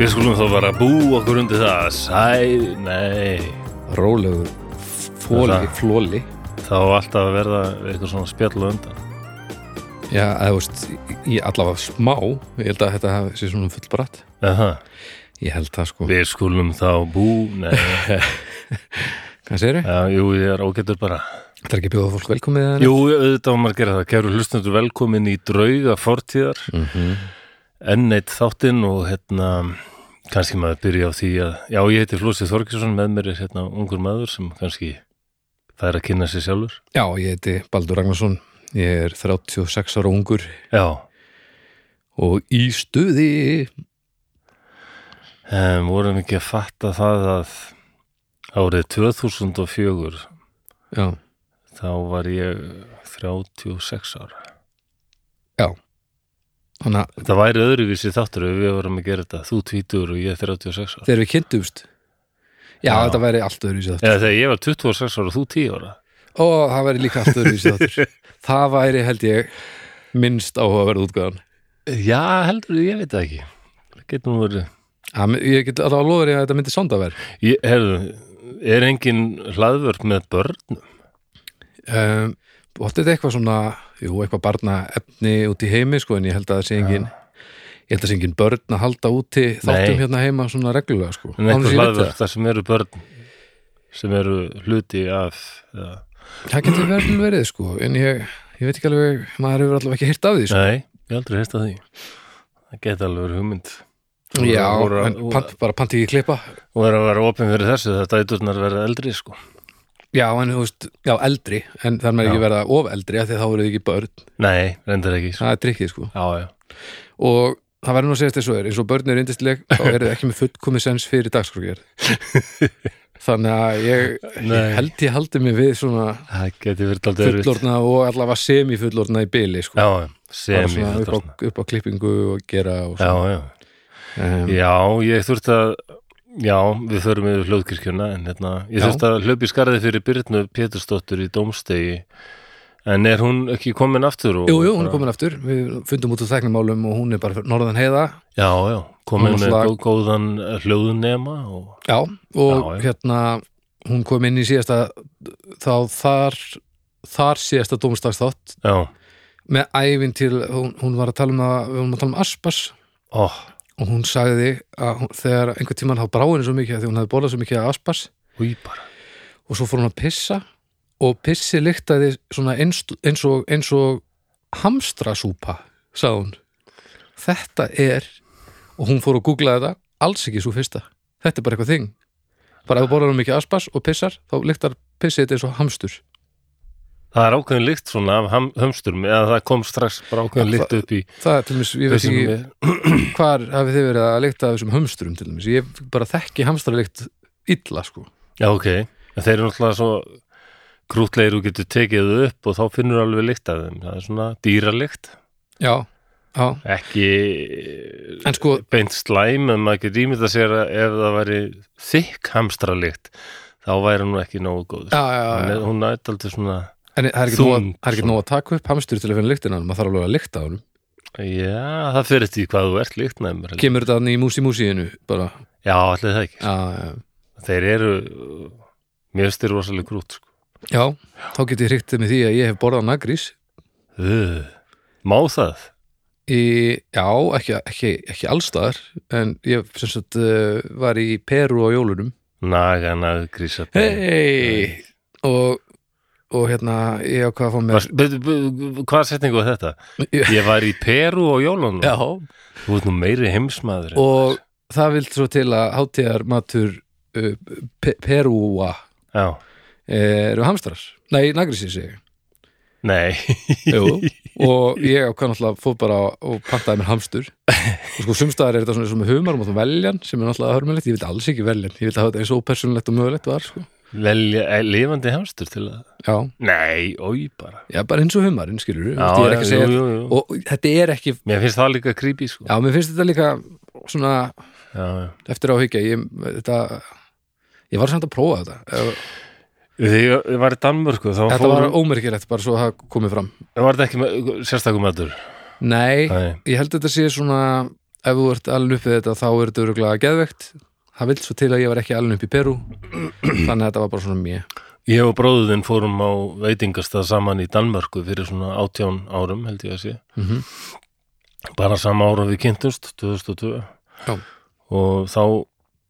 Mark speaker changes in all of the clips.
Speaker 1: Við skulum þá bara bú okkur undir það Sæ, nei
Speaker 2: Rólegur
Speaker 1: Það
Speaker 2: fóli,
Speaker 1: er það.
Speaker 2: flóli
Speaker 1: Þá á alltaf að verða eitthvað svona spjall á undan
Speaker 2: Já, eða þú veist, í allavega smá Ég held að þetta hafi- sé svona fullbratt
Speaker 1: Aha.
Speaker 2: Ég held það sko
Speaker 1: Við skulum þá bú Nei,
Speaker 2: Hvað segirðu?
Speaker 1: já, jú, ég er ágættur bara
Speaker 2: Þetta er ekki að bjóða fólk velkomið eða
Speaker 1: Jú, auðvitað var maður að gera það. Kæru hlustendur velkomin í drauga fortíðar. Enn eitt þáttinn og hérna, kannski maður byrja á því að, já, ég heiti Flósi Þorkjesson, með mér er hérna ungur maður sem kannski fær að kynna sér sjálfur.
Speaker 2: Já, ég heiti Baldur Ragnarsson Ég er 36 ára ungur
Speaker 1: Já,
Speaker 2: og í stuði
Speaker 1: um, vorum ekki að fatta það að árið 2004,
Speaker 2: Já,
Speaker 1: þá var ég 36 ára.
Speaker 2: þannig að
Speaker 1: Þetta væri öðruvísi þáttur ef við vorum að gera þetta, þú 20 og ég 36 ára.
Speaker 2: þegar við kynntumst Já,
Speaker 1: Já.
Speaker 2: þetta væri allt öðru í sér
Speaker 1: Eða þegar ég var 26 ára og þú 10 ára.
Speaker 2: Ó, það væri líka allt öðru í sér Það væri held ég minnst áhugaverð útgáðan
Speaker 1: Já, heldur, ég veit það ekki. Það getur nú verið.
Speaker 2: Það- Ég get alltaf að lofa þér að þetta myndi sondaverð
Speaker 1: Ég, herðu, er engin hlaðvörp með börnum?
Speaker 2: um, Ótti þetta eitthvað svona Jú, eitthvað barna efni út í heimi sko, en ég held að það sé engin ég held að það sé engin börn að halda úti þáttum
Speaker 1: Nei. Um
Speaker 2: hérna heima svona reglulega sko.
Speaker 1: En
Speaker 2: Án þess ég
Speaker 1: einhver
Speaker 2: veit
Speaker 1: hlaðvörp þar sem eru börn sem eru hluti af ja.
Speaker 2: það Það getur verið verið sko, en ég, ég veit ekki alveg maður hefur allavega ekki hýrt af því sko.
Speaker 1: Nei, ég hef aldrei heist að því Það geta alveg verið hugmynd
Speaker 2: Já,
Speaker 1: og,
Speaker 2: en
Speaker 1: og,
Speaker 2: pant, bara pant ekki klippa
Speaker 1: og er að vera opinn fyrir þessu það dæturnar verða eldri sko
Speaker 2: Já, en þú veist, já, eldri en þar maður ekki verða of eldri af því að þá eru þið ekki börn
Speaker 1: Nei, reyndar ekki sko.
Speaker 2: það er drikkið sko
Speaker 1: Já, já,
Speaker 2: og það verður nú að segja þessu er eins og börn er yndisleg þá eru þið ekki með fullkomi sens fyrir dagskrókjörð þannig að ég,
Speaker 1: Nei.
Speaker 2: ég held ég haldi mig við svona
Speaker 1: það geti verið aldrei erfitt
Speaker 2: fullorna og allavega semi-fullorna í byli sko.
Speaker 1: Já, já, sem
Speaker 2: bara
Speaker 1: ég
Speaker 2: svona upp á,
Speaker 1: þetta
Speaker 2: upp á klippingu og gera og
Speaker 1: Já, já,
Speaker 2: um,
Speaker 1: Já, ég þurft að Já, við förum yfir hljóðkirkjuna en hérna, ég
Speaker 2: Já.
Speaker 1: þurft að hlaupa í skarði fyrir Byrnu Pétursdóttur í Dómstegi en er hún ekki komin aftur? Og,
Speaker 2: Jú, jú, hún er komin aftur við fundum út úr þegnumálum og hún er bara fyrir norðan heiða
Speaker 1: Já, já, komin
Speaker 2: Hún
Speaker 1: með
Speaker 2: var slag-
Speaker 1: slag... góðan hljóðunema og
Speaker 2: já, og
Speaker 1: Já, já.
Speaker 2: hérna hún kom inn í síðasta þá þar, þar síðasta dómstagsþátt
Speaker 1: já,
Speaker 2: með ævinn til, hún, hún var að tala um að, við vorum að tala um Aspas
Speaker 1: ó,
Speaker 2: og hún sagði að hún, þegar einhvern tímann þá brá henni svo mikið af því hún hefði borðað svo mikið af aspas
Speaker 1: hví bara
Speaker 2: og svo fór hún að pissa og pissi lyktaði svona eins, eins, og, eins og hamstrasúpa sagði hún þetta er og hún fór að googla þetta alls ekki svo fyrsta þetta er bara eitthvað þing bara ef þú borðar hún mikið aspas og pissar þá lyktar pissið þetta eins og hamstur
Speaker 1: Það er ákveðin lykt svona af ham, hömsturum eða það kom strax bara ákveðin
Speaker 2: Já,
Speaker 1: lykt upp í
Speaker 2: það er til dæmis, ég veit
Speaker 1: hausinn á
Speaker 2: ekki
Speaker 1: mér.
Speaker 2: hvar hafið þið verið að lykta af þessum hamsturum til dæmis, ég bara þekki hamstralikt illa sko
Speaker 1: Já, ok, en þeir eru náttúrulega svo krútlegir og getur tekið þau upp og þá finnur alveg lykt af þeim, það er svona dýralykt
Speaker 2: já, já,
Speaker 1: ekki
Speaker 2: en sko
Speaker 1: eh, beint slæm en maður getur ímynda sér að ef það væri þykk hamstralikt þá væri hún ekki nógu góð
Speaker 2: já, já,
Speaker 1: hún,
Speaker 2: já.
Speaker 1: er- hún nætt aldrei svona
Speaker 2: En það er ekki nóg að-
Speaker 1: Þung,
Speaker 2: það er ekki
Speaker 1: svona.
Speaker 2: nóg að taka upp hamstur til að finna lyktina á honum, maður þarf alveg að lykta á honum
Speaker 1: já, það fyrir því hvað þú ert líkt nefnir
Speaker 2: Kemur þetta þannig í músi músiðinu bara,
Speaker 1: já, allir það ekki,
Speaker 2: já, já,
Speaker 1: þeir eru uh, mér styrir rosalega grút sko.
Speaker 2: já, þá get ég hrygt með því að ég hef borðað nagrís
Speaker 1: uh, má það?
Speaker 2: í, já, ekki, ekki, ekki allstaðar, en ég sem sagt uh, var í Peru á jólunum
Speaker 1: naga, naga, grísa
Speaker 2: hei, og og hérna, ég ákvað að fá mér
Speaker 1: Var, be, be, be, hvað setningu var þetta?
Speaker 2: Ég-
Speaker 1: ég var í Peru á jólunum
Speaker 2: já,
Speaker 1: þú ert nú meiri heimsmaður en
Speaker 2: og það vilt svo til að hátíðar matur uh, pe Perúa eh,
Speaker 1: þess. já,
Speaker 2: eru hamstrar, nei, nagrísir segi ég
Speaker 1: nei
Speaker 2: Jú, og ég ákvað náttúrulega fór bara og pantaði mér hamstur og sko sumstaðar er þetta svona eins og með humar og veljan sem er náttúrulega hörmulegt, ég vil alls ekki veljan ég vil hafa þetta eins og ópersonlegt og mögulegt var sko.
Speaker 1: velja eh, lifandi hamstur til að
Speaker 2: já,
Speaker 1: Nei, oi bara
Speaker 2: já, bara eins og humarinn skilur
Speaker 1: Já,
Speaker 2: ég er ekki að
Speaker 1: já,
Speaker 2: segja
Speaker 1: jú, jú, jú.
Speaker 2: og þetta er ekki,
Speaker 1: Mér finnst það líka creepy sko
Speaker 2: já, mér finnst þetta líka svona
Speaker 1: já, já.
Speaker 2: eftir á að higgja ég, þetta, ég var samt að prófa þetta Ef-
Speaker 1: Þegar ég- ég var í Danmörku þá
Speaker 2: þetta
Speaker 1: fór,
Speaker 2: var ómerkilegt bara svo það komið fram
Speaker 1: var þetta ekki með, sérstakum matur
Speaker 2: nei,
Speaker 1: Nei,
Speaker 2: ég held að þetta sé svona ef þú ert alveg upp við þetta þá er þetta öruglega geðvegt það vilt svo til að ég var ekki alveg upp í Peru þannig að þetta var bara svona mjög
Speaker 1: Ég og bróðin fórum á veitingastað saman í Danmörku fyrir svona átján árum held ég að sé
Speaker 2: Mhm.
Speaker 1: bara sama ára við kynntumst 2002
Speaker 2: Já.
Speaker 1: og þá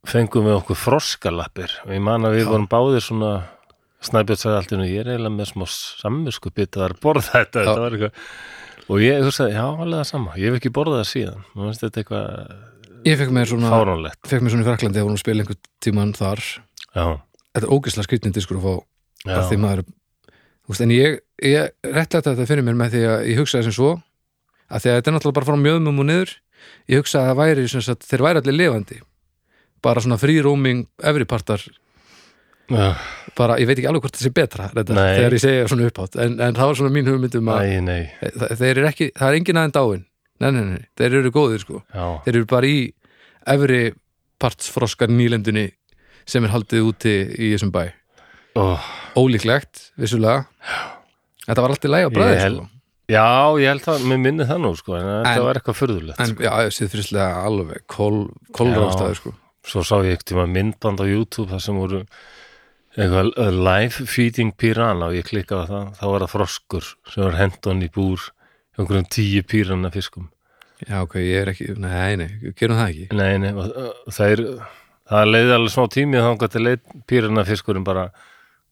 Speaker 1: fengum við okkur froskalappir og ég man að við vorum báðir svona snæbjörn sagði allt en ég er eiginlega með smá samvisku bitaðar borða þetta, þetta var eitthvað og ég hugsaði, já, alveg það sama ég hef ekki borðað það síðan, mér finnst þetta eitthvað
Speaker 2: ég fekk mér svona,
Speaker 1: fáránlegt
Speaker 2: fekk mér svona í Fraklandi þegar vorum að spila einhver tíman þar
Speaker 1: já,
Speaker 2: þetta er ógislega skrýtnin diskur að fá
Speaker 1: já,
Speaker 2: að því maður þú veist, en ég, ég réttlætti þetta fyrir mér með því að ég hugsaði sem svo að því að þetta er náttúrulega bara frá mjöðmum og niður ég hugsaði að það væri sem sagt, þeir væri allir lifandi bara svona fríróming efripartar,
Speaker 1: já.
Speaker 2: bara ég veit ekki alveg hvort það sé betra þetta,
Speaker 1: Nei.
Speaker 2: þegar ég segja svona upphátt en, en það var svona mín hugmyndum að
Speaker 1: Æ, nei,
Speaker 2: það, þeir eru ekki, það er engin aðeins dáin nei, nei, nei, þeir eru góðir sko
Speaker 1: já,
Speaker 2: þeir eru bara í efri partsfroskar nýlendunni sem er haldið úti í þessum bæ
Speaker 1: ó
Speaker 2: ólíklegt, vissulega þetta var allt í læg á
Speaker 1: Ég
Speaker 2: bræði
Speaker 1: held-
Speaker 2: sko.
Speaker 1: Já, ég held það, mér minni það nú sko, en, þetta
Speaker 2: En-
Speaker 1: var eitthvað furðulegt
Speaker 2: en
Speaker 1: sko.
Speaker 2: já, síðfyrslega alveg kol, kolráfstæður sko.
Speaker 1: Svo sá ég eitthvað myndband á YouTube þar sem voru eitthvað uh, live feeding piranha og ég klikkaði á það, þá var það froskur sem var hendon í búr hjá einhverjum tíu piranha fiskum
Speaker 2: já, ok, ég er ekki, nei, nei, gerum það ekki
Speaker 1: Nei, nei, og, uh, það er það leiði alveg smá tími og þá gæti leið piranha fiskurinn bara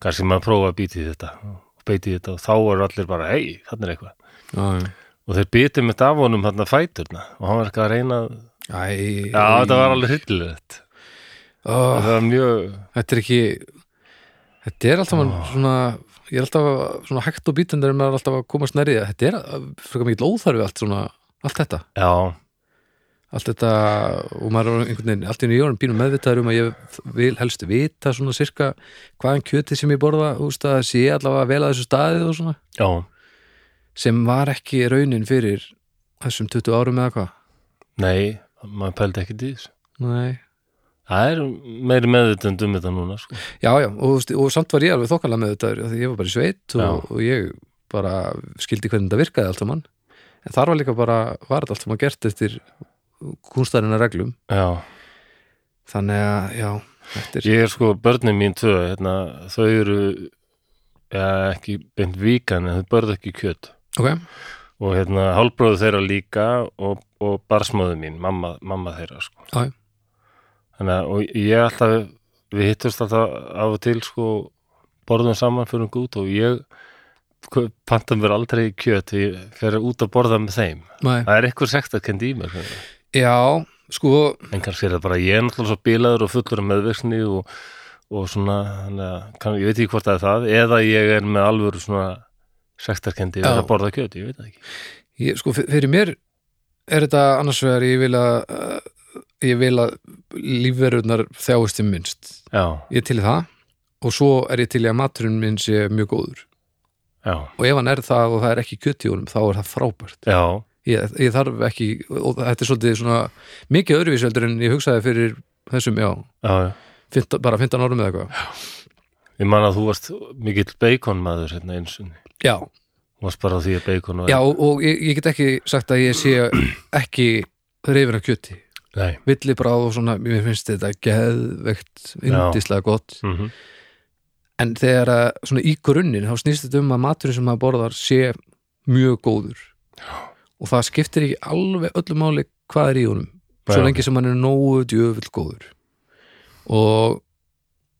Speaker 1: kannski maður prófa að býti þetta og beiti þetta og þá eru allir bara, hei, þannig er eitthvað
Speaker 2: já, já.
Speaker 1: og þeir býtið mitt af honum þarna fæturna og hann var eitthvað að reyna að-
Speaker 2: Æ,
Speaker 1: Já, þetta var alveg hryllilegt
Speaker 2: ó,
Speaker 1: Það var mjög
Speaker 2: þetta er ekki þetta er alltaf svona ég er alltaf svona hægt og býtundar en maður er alltaf að komast nærið þetta er frekar mikið óþarfi allt svona allt þetta,
Speaker 1: Já, einmitt
Speaker 2: allt þetta og maður er einhvern veginn, allt í nýjórn pínu meðvitaður um að ég vil helst vita svona sirka hvaðan kjötið sem ég borða úst, að sé allavega vel að þessu staðið og svona
Speaker 1: já,
Speaker 2: sem var ekki raunin fyrir þessum 20 árum eða hvað
Speaker 1: nei, maður pældi ekki dís
Speaker 2: Nei.
Speaker 1: Það er meiri meðutund um þetta núna sko.
Speaker 2: já, já, og, þú veist, og samt var ég alveg þokkalega með þetta af því ég var bara í sveit og,
Speaker 1: Já.
Speaker 2: og ég bara skildi hvernig þetta virkaði allt saman en þar var líka bara, var þetta allt saman gert eftir kunstarinnar reglum
Speaker 1: Já,
Speaker 2: þannig að, já, þetta er
Speaker 1: ég er sko börnin mín tvö, hérna, þau eru ja, ekki beint víkan en þau börðu ekki kjöt
Speaker 2: ok,
Speaker 1: og hérna hálfbróðu þeirra líka og, og barsmóðu mín, mamma, mamma þeirra sko.
Speaker 2: Já, já.
Speaker 1: Þannig að og ég alltaf við hittumst alltaf af og til sko borðum saman fyrir um gút og ég kau- panta mér aldrei kjöt ég fer út að borða með þeim
Speaker 2: maður,
Speaker 1: það er eitthvað sekt að kendi í mér sko.
Speaker 2: já, sko
Speaker 1: en kannski er það bara ég er náttúrulega svo bilaður og fullur af meðvirkni og, og svona þannig að, kann, ég veit ekki hvort það er það eða ég er með alvöru svona sektarkendi við
Speaker 2: Já.
Speaker 1: að borða kjöt, ég veit það ekki
Speaker 2: ég, sko, f- fyrir mér er þetta annars vegar ég vil að uh, ég vil að lífverðurnar þjáist til minnst
Speaker 1: já,
Speaker 2: ég er til í það og svo er ég til í að maturinn minn sé mjög góður
Speaker 1: já,
Speaker 2: og ef hann er það og það er ekki kjöt í honum þá er það frábært
Speaker 1: já,
Speaker 2: ég, ég þarf ekki, og þetta er svolítið svona mikið öðruvísveldur en ég hugsaði fyrir þessum, já,
Speaker 1: já, já.
Speaker 2: 15, bara 15 árum eða eitthvað
Speaker 1: ég man að þú varst mikill beikonmaður hérna eins og
Speaker 2: já,
Speaker 1: þú varst bara á því að beikon var
Speaker 2: já og, og ég, ég get ekki sagt að ég sé ekki reyfin af kjöti
Speaker 1: nei,
Speaker 2: villibráð og svona, mér finnst þetta geðvegt,
Speaker 1: Já.
Speaker 2: yndislega gott
Speaker 1: mm
Speaker 2: en þegar að svona í grunninn þá snýst þetta um að maturinn sem maður borðar sé mjög góður og það skiptir ekki alveg öllu máli hvað er í honum svo
Speaker 1: Já.
Speaker 2: lengi sem hann er nógu djöfull góður og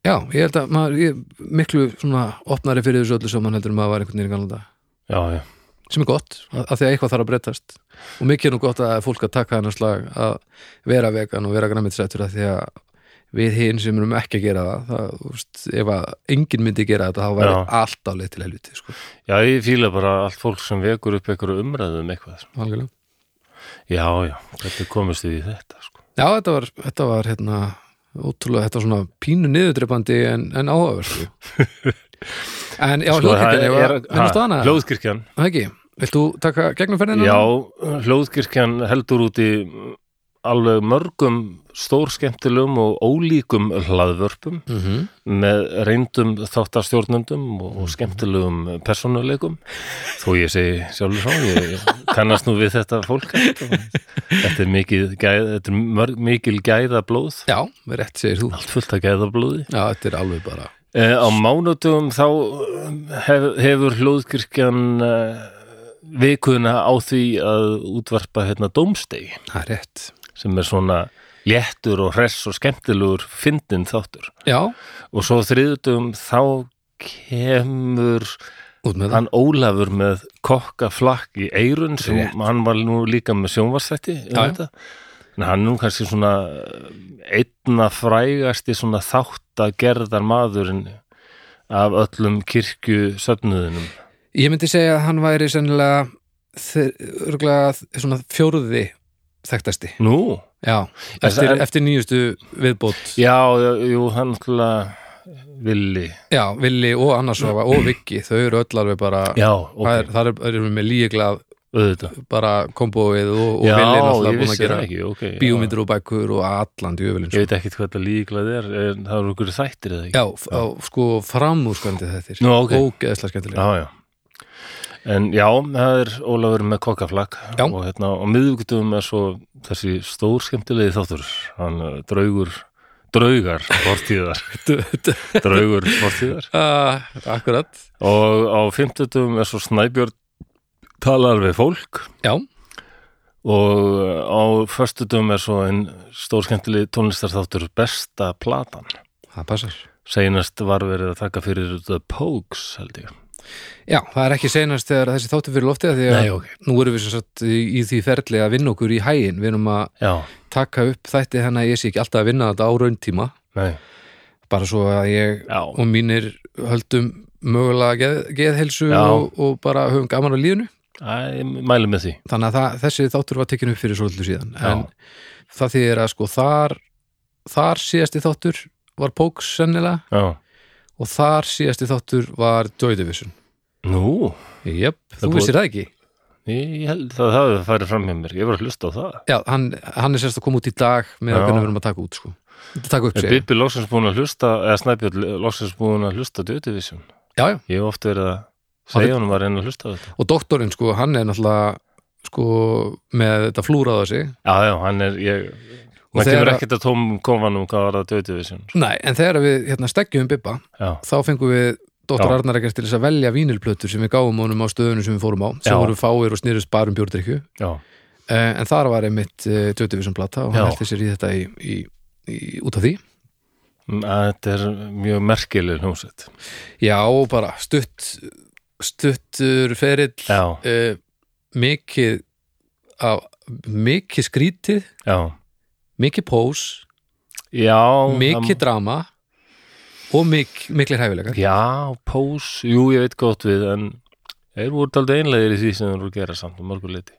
Speaker 2: já, ég held að maður ég, er miklu svona opnari fyrir þessu öllu sem mann heldur en maður var einhvern veginn í galanda
Speaker 1: já, já,
Speaker 2: sem er gott, að að því að eitthvað þarf að breytast og mikið er nú gott að fólk að taka hennar slag að vera vegan og vera græmitisættur að því að við hinn sem erum ekki að gera það, það þú veist, ef að enginn myndi gera þetta, þá væri
Speaker 1: Já.
Speaker 2: allt á leið til helviti, sko,
Speaker 1: já, ég fíla bara allt fólk sem vekur upp einhverju umræðu um eitthvað sko.
Speaker 2: algjörlega
Speaker 1: já, já, þetta komist við í þetta sko.
Speaker 2: Já, þetta var, þetta var hérna ótrúlega, þetta var svona pínu niðurdreipandi en, en áhugaverfi En já,
Speaker 1: Sko, það
Speaker 2: hljóðkirkjan, ég var hérna
Speaker 1: er-
Speaker 2: minnast á
Speaker 1: ha,
Speaker 2: hana,
Speaker 1: Hljóðkirkjan
Speaker 2: það ekki, vilt þú taka gegnum ferðina?
Speaker 1: Já, hljóðkirkjan heldur úti alveg mörgum stórskemmtilegum og ólíkum hlaðvörpum
Speaker 2: mm -hmm.
Speaker 1: með reyndum þáttastjórnendum og, og skemmtilegum persónuleikum þó ég segi sjálfur svo ég ég kannast nú við þetta fólk þetta er mikil gæð, þetta er mörg, mikil gæða blóð
Speaker 2: Já, rétt segir þú
Speaker 1: allt fullt af gæða blóði
Speaker 2: Já, þetta er alveg bara
Speaker 1: Eh, á mánudum þá eh, hef, hefur hljóðkirkjan eh, vikuna á því að útvarpa hérna dómstegi
Speaker 2: Það er rétt
Speaker 1: sem er svona léttur og hress og skemmtilegur fyndin þáttur
Speaker 2: Já,
Speaker 1: og svo á þriðudum þá kemur
Speaker 2: út með það
Speaker 1: hann Ólafur með kokkaflakk í eirun sem
Speaker 2: Rétt.
Speaker 1: hann var nú líka með sjónvarsætti um
Speaker 2: Já, já.
Speaker 1: þetta en hann er nú kannski svona einna frægasti svona þáttagerðar maðurinn af öllum kirkju söfnuðinum
Speaker 2: Ég myndi segja að hann væri sennilega örgulega svona fjóruði þekktasti
Speaker 1: Nú,
Speaker 2: Já,
Speaker 1: En-
Speaker 2: eftir,
Speaker 1: en-
Speaker 2: eftir nýjustu viðbót
Speaker 1: já, já, jú, hann náttúrulega villi,
Speaker 2: Já, Willi og Annarsófa og Viki þau eru öll alveg bara
Speaker 1: já, ok,
Speaker 2: það er, þar er- eru við með líklað
Speaker 1: auðvitað
Speaker 2: bara komboið og, og
Speaker 1: Já,
Speaker 2: Willi náttúrulega
Speaker 1: ég
Speaker 2: búin að
Speaker 1: vissi
Speaker 2: gera
Speaker 1: það ekki, ok já.
Speaker 2: bíómyndir og bækur og allan djöfulinn
Speaker 1: Ég
Speaker 2: sko.
Speaker 1: veit ekkert hvað þetta líklað er, en það eru okkur þættir eða ekki
Speaker 2: Já, f- á, sko framúrskandi þetta
Speaker 1: Nú, ok.
Speaker 2: ógeðslega skemmtilega
Speaker 1: Já, já. En já, það er Ólafur með kokkaflakk
Speaker 2: Já.
Speaker 1: og hérna á miðvíkutum er svo þessi stór skemmtilegi þáttur hann eh, draugur, draugar fortíðar, draugur fortíðar
Speaker 2: uh, Akkurat,
Speaker 1: og á fimmtutum er svo Snæbjörn talar við fólk
Speaker 2: já,
Speaker 1: og eh, á föstutum er svo einn stór skemmtilegi tónlistarþáttur besta platan
Speaker 2: það passar
Speaker 1: seinast var verið að taka fyrir The Pogues held ég
Speaker 2: Já, það er ekki senast þegar þessi þáttu fyrir loftið af því að
Speaker 1: ok
Speaker 2: nú erum við sem sagt í, í því ferli að vinna okkur í hægin við erum að
Speaker 1: Já,
Speaker 2: taka upp þætti þannig að ég sé ekki alltaf að vinna þetta á rauntíma
Speaker 1: nei,
Speaker 2: bara svo að ég
Speaker 1: já,
Speaker 2: og mínir höldum mögulega geð, geðhelsu
Speaker 1: Já.
Speaker 2: og, og bara höfum gaman á lífinu
Speaker 1: Æ, ég mæli með því
Speaker 2: þannig að það, þessi þáttur var tekinn upp fyrir svolítið síðan
Speaker 1: Já.
Speaker 2: en það þýðir að sko þar þar síðasti þáttur var Póks sennilega
Speaker 1: Já.
Speaker 2: og þar síðasti þáttur var Joy Division
Speaker 1: Nú,
Speaker 2: Jöp, þú
Speaker 1: búið-
Speaker 2: vissir það ekki
Speaker 1: ég held að það hafi farið fram hjá mér, ég var að hlusta á það.
Speaker 2: Já, hann, hann er sérst að koma út í dag með
Speaker 1: Já.
Speaker 2: að hvernig við erum að taka út sko taka upp
Speaker 1: Er
Speaker 2: sér,
Speaker 1: Bibi loksins búin að hlusta, eða Snæbjörn loksins búin að hlusta á Dötivisjón?
Speaker 2: já já
Speaker 1: Ég hef oft verið að segja honum að reyna að hlusta á þetta.
Speaker 2: og doktorinn sko, hann er náttúrulega sko með þetta flúraða sig
Speaker 1: Já, já, hann er, ég,
Speaker 2: Og
Speaker 1: maður
Speaker 2: þegar
Speaker 1: kemur
Speaker 2: að-
Speaker 1: ekkert að tóm komanum hvað var að Dötivisjón.
Speaker 2: Nei, en þegar við hérna steggjum Bibba
Speaker 1: Já,
Speaker 2: þá fengum við Dóttar
Speaker 1: Já.
Speaker 2: Arnar ekkert til þess að velja vínilplötur sem við gáum honum á stöðunum sem við fórum á sem
Speaker 1: Já.
Speaker 2: voru fáir og snýrist bara um bjórdrykju
Speaker 1: já,
Speaker 2: eh, en þar var einmitt eh, Djötivisson plata og hann
Speaker 1: Já.
Speaker 2: heldur sér í þetta í, í, í, út af því
Speaker 1: Mm, að þetta er mjög merkileg hljómsveit.
Speaker 2: Já, og bara stutt stuttur ferill
Speaker 1: Já,
Speaker 2: eh, mikið á, mikið skrítið
Speaker 1: já,
Speaker 2: mikið pós,
Speaker 1: já.
Speaker 2: mikið
Speaker 1: það-
Speaker 2: drama og mik, miklir hæfilegar
Speaker 1: Já, pós, jú, ég veit gott við, en þeir voru aldrei einlegir í því sem þeir voru að gera samt og mörguleiti.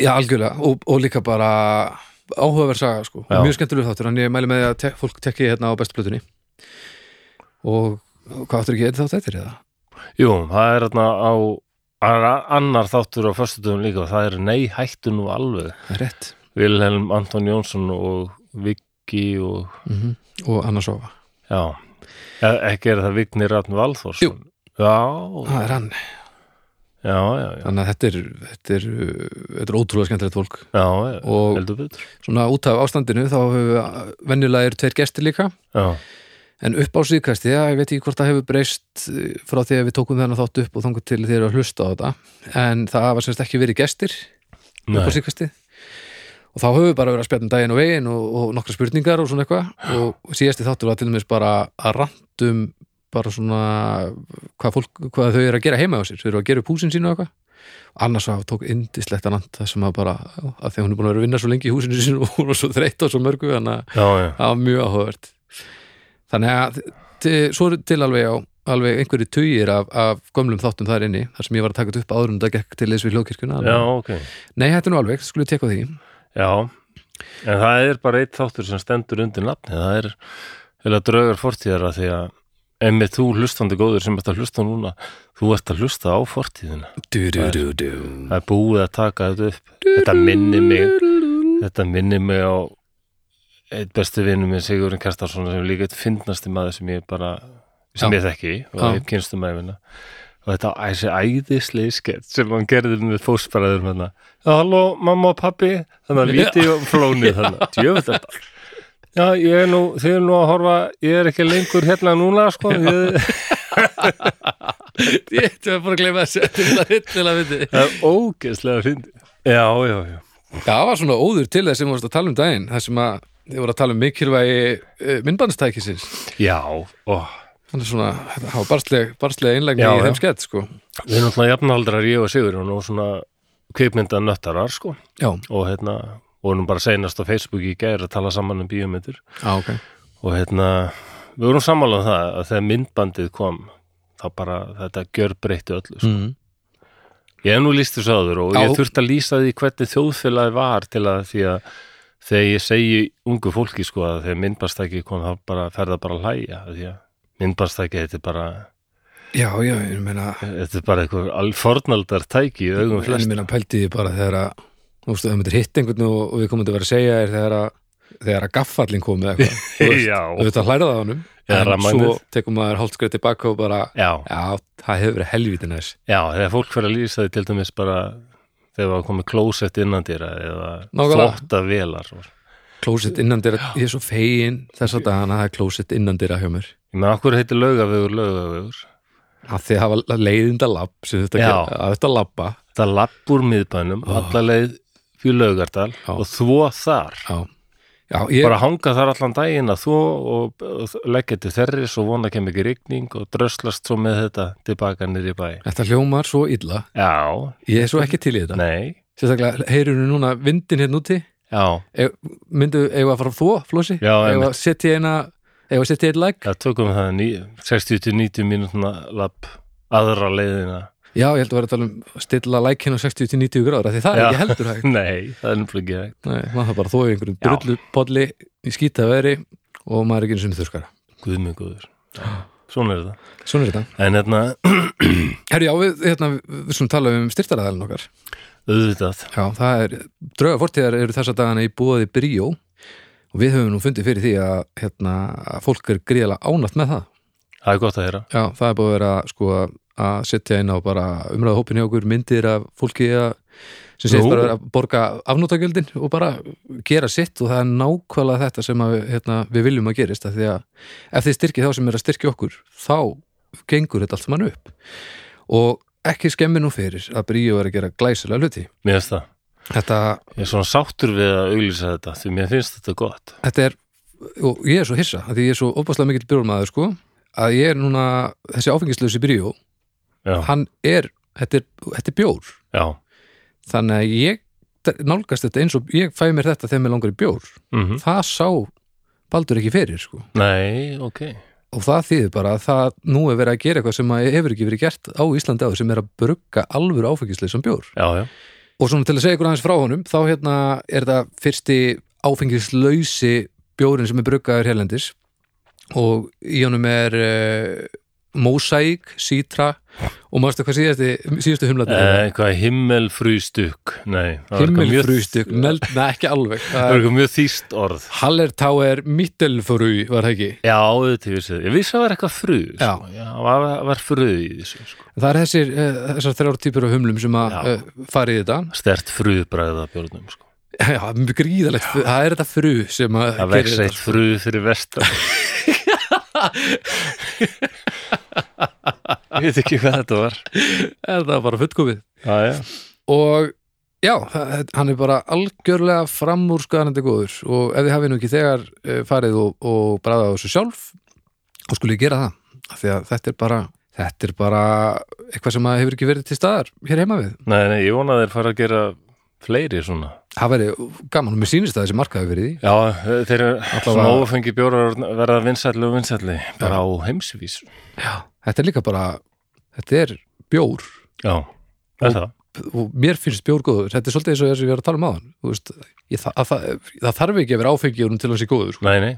Speaker 2: Já, algjörlega, og, og líka bara áhugaverð saga, sko,
Speaker 1: Já.
Speaker 2: og mjög skemmtileg þáttur en ég mæli með því að te fólk tekki hérna á bestu plötunni og og hvað áttur ekki einn þátt eftir eða?
Speaker 1: Jú, það er þarna á það er annar þáttur á föstutöfum líka og það er Nei hættu nú alveg
Speaker 2: Það er rétt
Speaker 1: Vilhelm Anton Jónsson og Viki og
Speaker 2: mm og annars ofa,
Speaker 1: já, E- ekki er það Vigni Ratn Valþórsson Já,
Speaker 2: það er hann
Speaker 1: já, já, já,
Speaker 2: þannig að þetta er, þetta er, uh, þetta er ótrúlega skemmtilegt fólk
Speaker 1: já, já
Speaker 2: Og-
Speaker 1: heldur betur
Speaker 2: svona út af ástandinu þá hefur við uh, venjulega eru tveir gestir líka
Speaker 1: Já,
Speaker 2: en upp á síðkasti, já, ég veit ekki hvort það hefur breyst uh, frá því að við tókum þennan þátt upp og þangur til þeir eru að hlusta á þetta en það hafa semst ekki verið gestir upp á
Speaker 1: nei,
Speaker 2: síkasti og þá höfum við bara verið að spjalla um daginn og veginn og, og nokkra spurningar og svona eitthvað og síðasti þáttur var til dæmis bara að randum bara svona hvað, fólk, hvað þau eru að gera heima á sér þau eru að gera upp húsin sínu og eitthvað annars var tók indislegt að rand það sem að bara, að því að hún er búin að vera að vinna svo lengi í húsinu sínu og hún var svo þreytt á svo mörgu þannig að
Speaker 1: já, já,
Speaker 2: það var mjög áhugavert þannig að til, svo eru til alveg á alveg einhverju tugir af, af gömlum þáttum þar inni þar sem ég var að taka þetta upp áður um það gekk til þess við hljókirkuna
Speaker 1: já, ok
Speaker 2: Nei, þetta er nú alveg, skulum við teka á því
Speaker 1: Já, en það er bara eitt þáttur sem stendur undir nafni, það er heila draugar fortíðar að því að ef með þú hlustandi góður sem ert að hlusta núna þú ert að hlusta á fortíðina
Speaker 2: du, du, du, du.
Speaker 1: Það er búið að taka þetta upp Þetta minni mig Þetta minnir mig á eitt besti vinnu minn Sigurinn Kastarsson sem er líka eitt fyndnasti maður sem ég bara sem
Speaker 2: Já.
Speaker 1: ég þekki og
Speaker 2: Já.
Speaker 1: ég kynstu maður minna og þetta á þessi æðislegi skett sem hann gerði með fósbræður hann halló mamma og pappi þannig að
Speaker 2: Já.
Speaker 1: víti og flónið þannig djöfut þetta já ég er nú, þið er nú að horfa ég er ekki lengur hérna núna sko ég,
Speaker 2: Ég ætti að bara að gleyma þessu til að viti, til að viti.
Speaker 1: það er ógeðslega fyndi já já já
Speaker 2: Já, það var svona óður til þess sem við varst að tala um daginn, það sem að þið voru að tala um mikilvægi eh, myndbandstækisins.
Speaker 1: já ó,
Speaker 2: Þannig svona, þetta hafa barstlega, barstlega einlægni
Speaker 1: Já,
Speaker 2: í
Speaker 1: já.
Speaker 2: þeim skett, sko.
Speaker 1: við erum alltaf jafnaldrar ég og Sigurinn og svona kveikmynda nöttarar sko
Speaker 2: Já,
Speaker 1: og hérna vorum bara seinast á Facebook í gær að tala saman um bíómyndir
Speaker 2: á, ok.
Speaker 1: og hérna við vorum sammála um það að þegar myndbandið kom þá bara þetta gjör breytti öllu sko.
Speaker 2: Mm.
Speaker 1: ég hef nú líst þessu áður og ég
Speaker 2: Já.
Speaker 1: þurfti að lýsa því hvernig þjóðfélagi var til að því að þegar ég segi ungu fólki sko að þegar myndbandstæki kom þá bara fer það bara að hlæja af því að myndbandstæki þetta er bara
Speaker 2: Já, já, ég meina,
Speaker 1: þetta er bara eitthvað alfornaldar tæki í augum
Speaker 2: ég
Speaker 1: flest
Speaker 2: meina pælti því bara þegar að, þú veist, það myndir hitt einhvern og, og við komum til að vera að segja þér þegar að, þegar að gaffallin komið eitthvað. Þú veist,
Speaker 1: já,
Speaker 2: auðvitað hlærað á honum,
Speaker 1: Eða
Speaker 2: en
Speaker 1: rafmagnið.
Speaker 2: svo tekum maður hálfskrið tilbaka og bara,
Speaker 1: já
Speaker 2: já, það hefur verið helvítið næs.
Speaker 1: Já, þegar fólk fyrir að lýsa því til dæmis bara þegar var komið klósett innan dýra eða
Speaker 2: Nákvæmlega.
Speaker 1: þvottavélar og-
Speaker 2: Klósett innandira, ég er svo fegin þess að dagana það er klósett innandira hjá mér.
Speaker 1: Ég meðan, okkur heitir laugavegur, laugavegur
Speaker 2: að þið hafa leiðinda lapp sem þetta
Speaker 1: Já.
Speaker 2: gera, að þetta lappa
Speaker 1: Það lapp úr miðbænum, oh. alla leið fyrir laugardal
Speaker 2: Ah. Já.
Speaker 1: og þvo þar
Speaker 2: já, já ég,
Speaker 1: bara hanga þar allan daginn að þvo og, og leggja til þerri svo vona kem ekki rigning og dröslast svo með þetta tilbaka niður í bæ
Speaker 2: þetta hljómar svo illa
Speaker 1: Já,
Speaker 2: ég er svo ekki til í þetta
Speaker 1: nei,
Speaker 2: sérstaklega, heyrur við núna vindin hérna úti
Speaker 1: já
Speaker 2: Ef- myndu, eigum við að fara að þvó, Flósi
Speaker 1: Já,
Speaker 2: eigum við
Speaker 1: einmitt.
Speaker 2: að setja eina eigum við að setja eitt lag
Speaker 1: Það tökum við það ný- 60-90 mínútna lapp aðra leiðina
Speaker 2: já, ég held að vera að tala um stilla lag hérna á 60 til 90 gráður af því það er
Speaker 1: Já.
Speaker 2: ekki heldur hægt
Speaker 1: Nei, það er nefnilega ekki hægt.
Speaker 2: Nei, maður það bara að þvó í einhverjum
Speaker 1: Já.
Speaker 2: drullupolli í skýta veri og maður er ekki einu sinni þurrskara
Speaker 1: Guð minn góður Já, Svona er það
Speaker 2: svona er þetta
Speaker 1: En hérna,
Speaker 2: herri, já, við, hérna, við, við svona tala um styrtaraðalinn okkar
Speaker 1: auðvitað
Speaker 2: Já, það er, drauga fortíðar eru þessa dagana í búaði bríó og við höfum nú fundið fyrir því að, hérna, að fólk er gríðalega ánátt með það.
Speaker 1: Það er gott að heyra
Speaker 2: Já, það er búið að vera sko að setja inn á bara umræða hópin hjá okkur myndir af fólki að, sem
Speaker 1: Nú.
Speaker 2: segist bara vera að borga afnótagjöldin og bara gera sitt og það er nákvæmlega þetta sem að, við, hérna, við viljum að gerist af því að ef þið styrkið þá sem er að styrkja okkur þá gengur þetta allt mann upp og ekki skemmi nú fyrir að bríó er að gera glæsilega hluti.
Speaker 1: Mér finnst það
Speaker 2: Þetta
Speaker 1: Ég er svona sáttur við að auglýsa þetta því mér finnst þetta gott
Speaker 2: þetta er, og ég er svo hissa af því ég er svo opaslega mikill byrjulmaður sko að ég er núna, þessi áfengislösi byrjó
Speaker 1: Já,
Speaker 2: hann er, þetta er, þetta er bjór
Speaker 1: já,
Speaker 2: þannig að ég nálgast þetta eins og ég fæ mér þetta þegar mér langar í bjór
Speaker 1: mhm
Speaker 2: það sá Baldur ekki fyrir sko
Speaker 1: Nei, ok
Speaker 2: og það þýðir bara að það nú er verið að gera eitthvað sem að hefur ekki verið gert á Íslandi áður sem er að brugga alvöru áfengisleysan bjór
Speaker 1: Já, já,
Speaker 2: og svona til að segja ykkur aðeins frá honum þá hérna er þetta fyrsti áfengislausi bjórin sem er bruggaður hérlendis og í honum er uh, mosaík, sítra og mástu hvað síðasti, síðustu humlatir
Speaker 1: Eh, eitthvað himmelfrýstuk Nei, það var eitthvað mjög-
Speaker 2: himmelfrústuk, neld, neða ekki alveg
Speaker 1: Það er eitthvað mjög þýst orð
Speaker 2: Hallertáer mittelfrú var það ekki
Speaker 1: Já, auðvitað, ég vissi það Ég vissi að það var eitthvað frú
Speaker 2: Já.
Speaker 1: sko. já var, var frú í þessu sko.
Speaker 2: það er þessir, uh, þessar þrjár típur af humlum sem að
Speaker 1: Já.
Speaker 2: uh, fara í þetta
Speaker 1: Stert frúbræða björnum sko.
Speaker 2: Já, gríðalegt, það er þetta frú sem að gerir
Speaker 1: Það vex
Speaker 2: þetta,
Speaker 1: eitt frú fyrir vestan Ég veit ekki hvað þetta var
Speaker 2: sko. er það bara fullkomið
Speaker 1: Já, já
Speaker 2: og já, það- hann er bara algjörlega framúrskanandi góður og ef þið hafið nú ekki þegar eh, farið og, og bræðað á þessu sjálf og skulle gera það af því að þetta er bara þetta er bara eitthvað sem að hefur ekki verið til staðar hér heima við
Speaker 1: Nei, nei, ég vona að þeir fara að gera fleiri svona.
Speaker 2: það væri gaman og mér sýnist að þessi markaði verið í
Speaker 1: Já, þeir eru svona
Speaker 2: var-
Speaker 1: ófengi bjórar verða vinsælli og vinsælli, bara á heimsvísu.
Speaker 2: já. þetta er líka bara þetta er bjór
Speaker 1: Já, er það?
Speaker 2: og mér finnst bjór góður þetta er svolítið eins og þess að við erum að tala um aðan veist, ég, það, það, það þarf ekki að vera áfengjörnum til hans í góður sko.
Speaker 1: Nei, nei,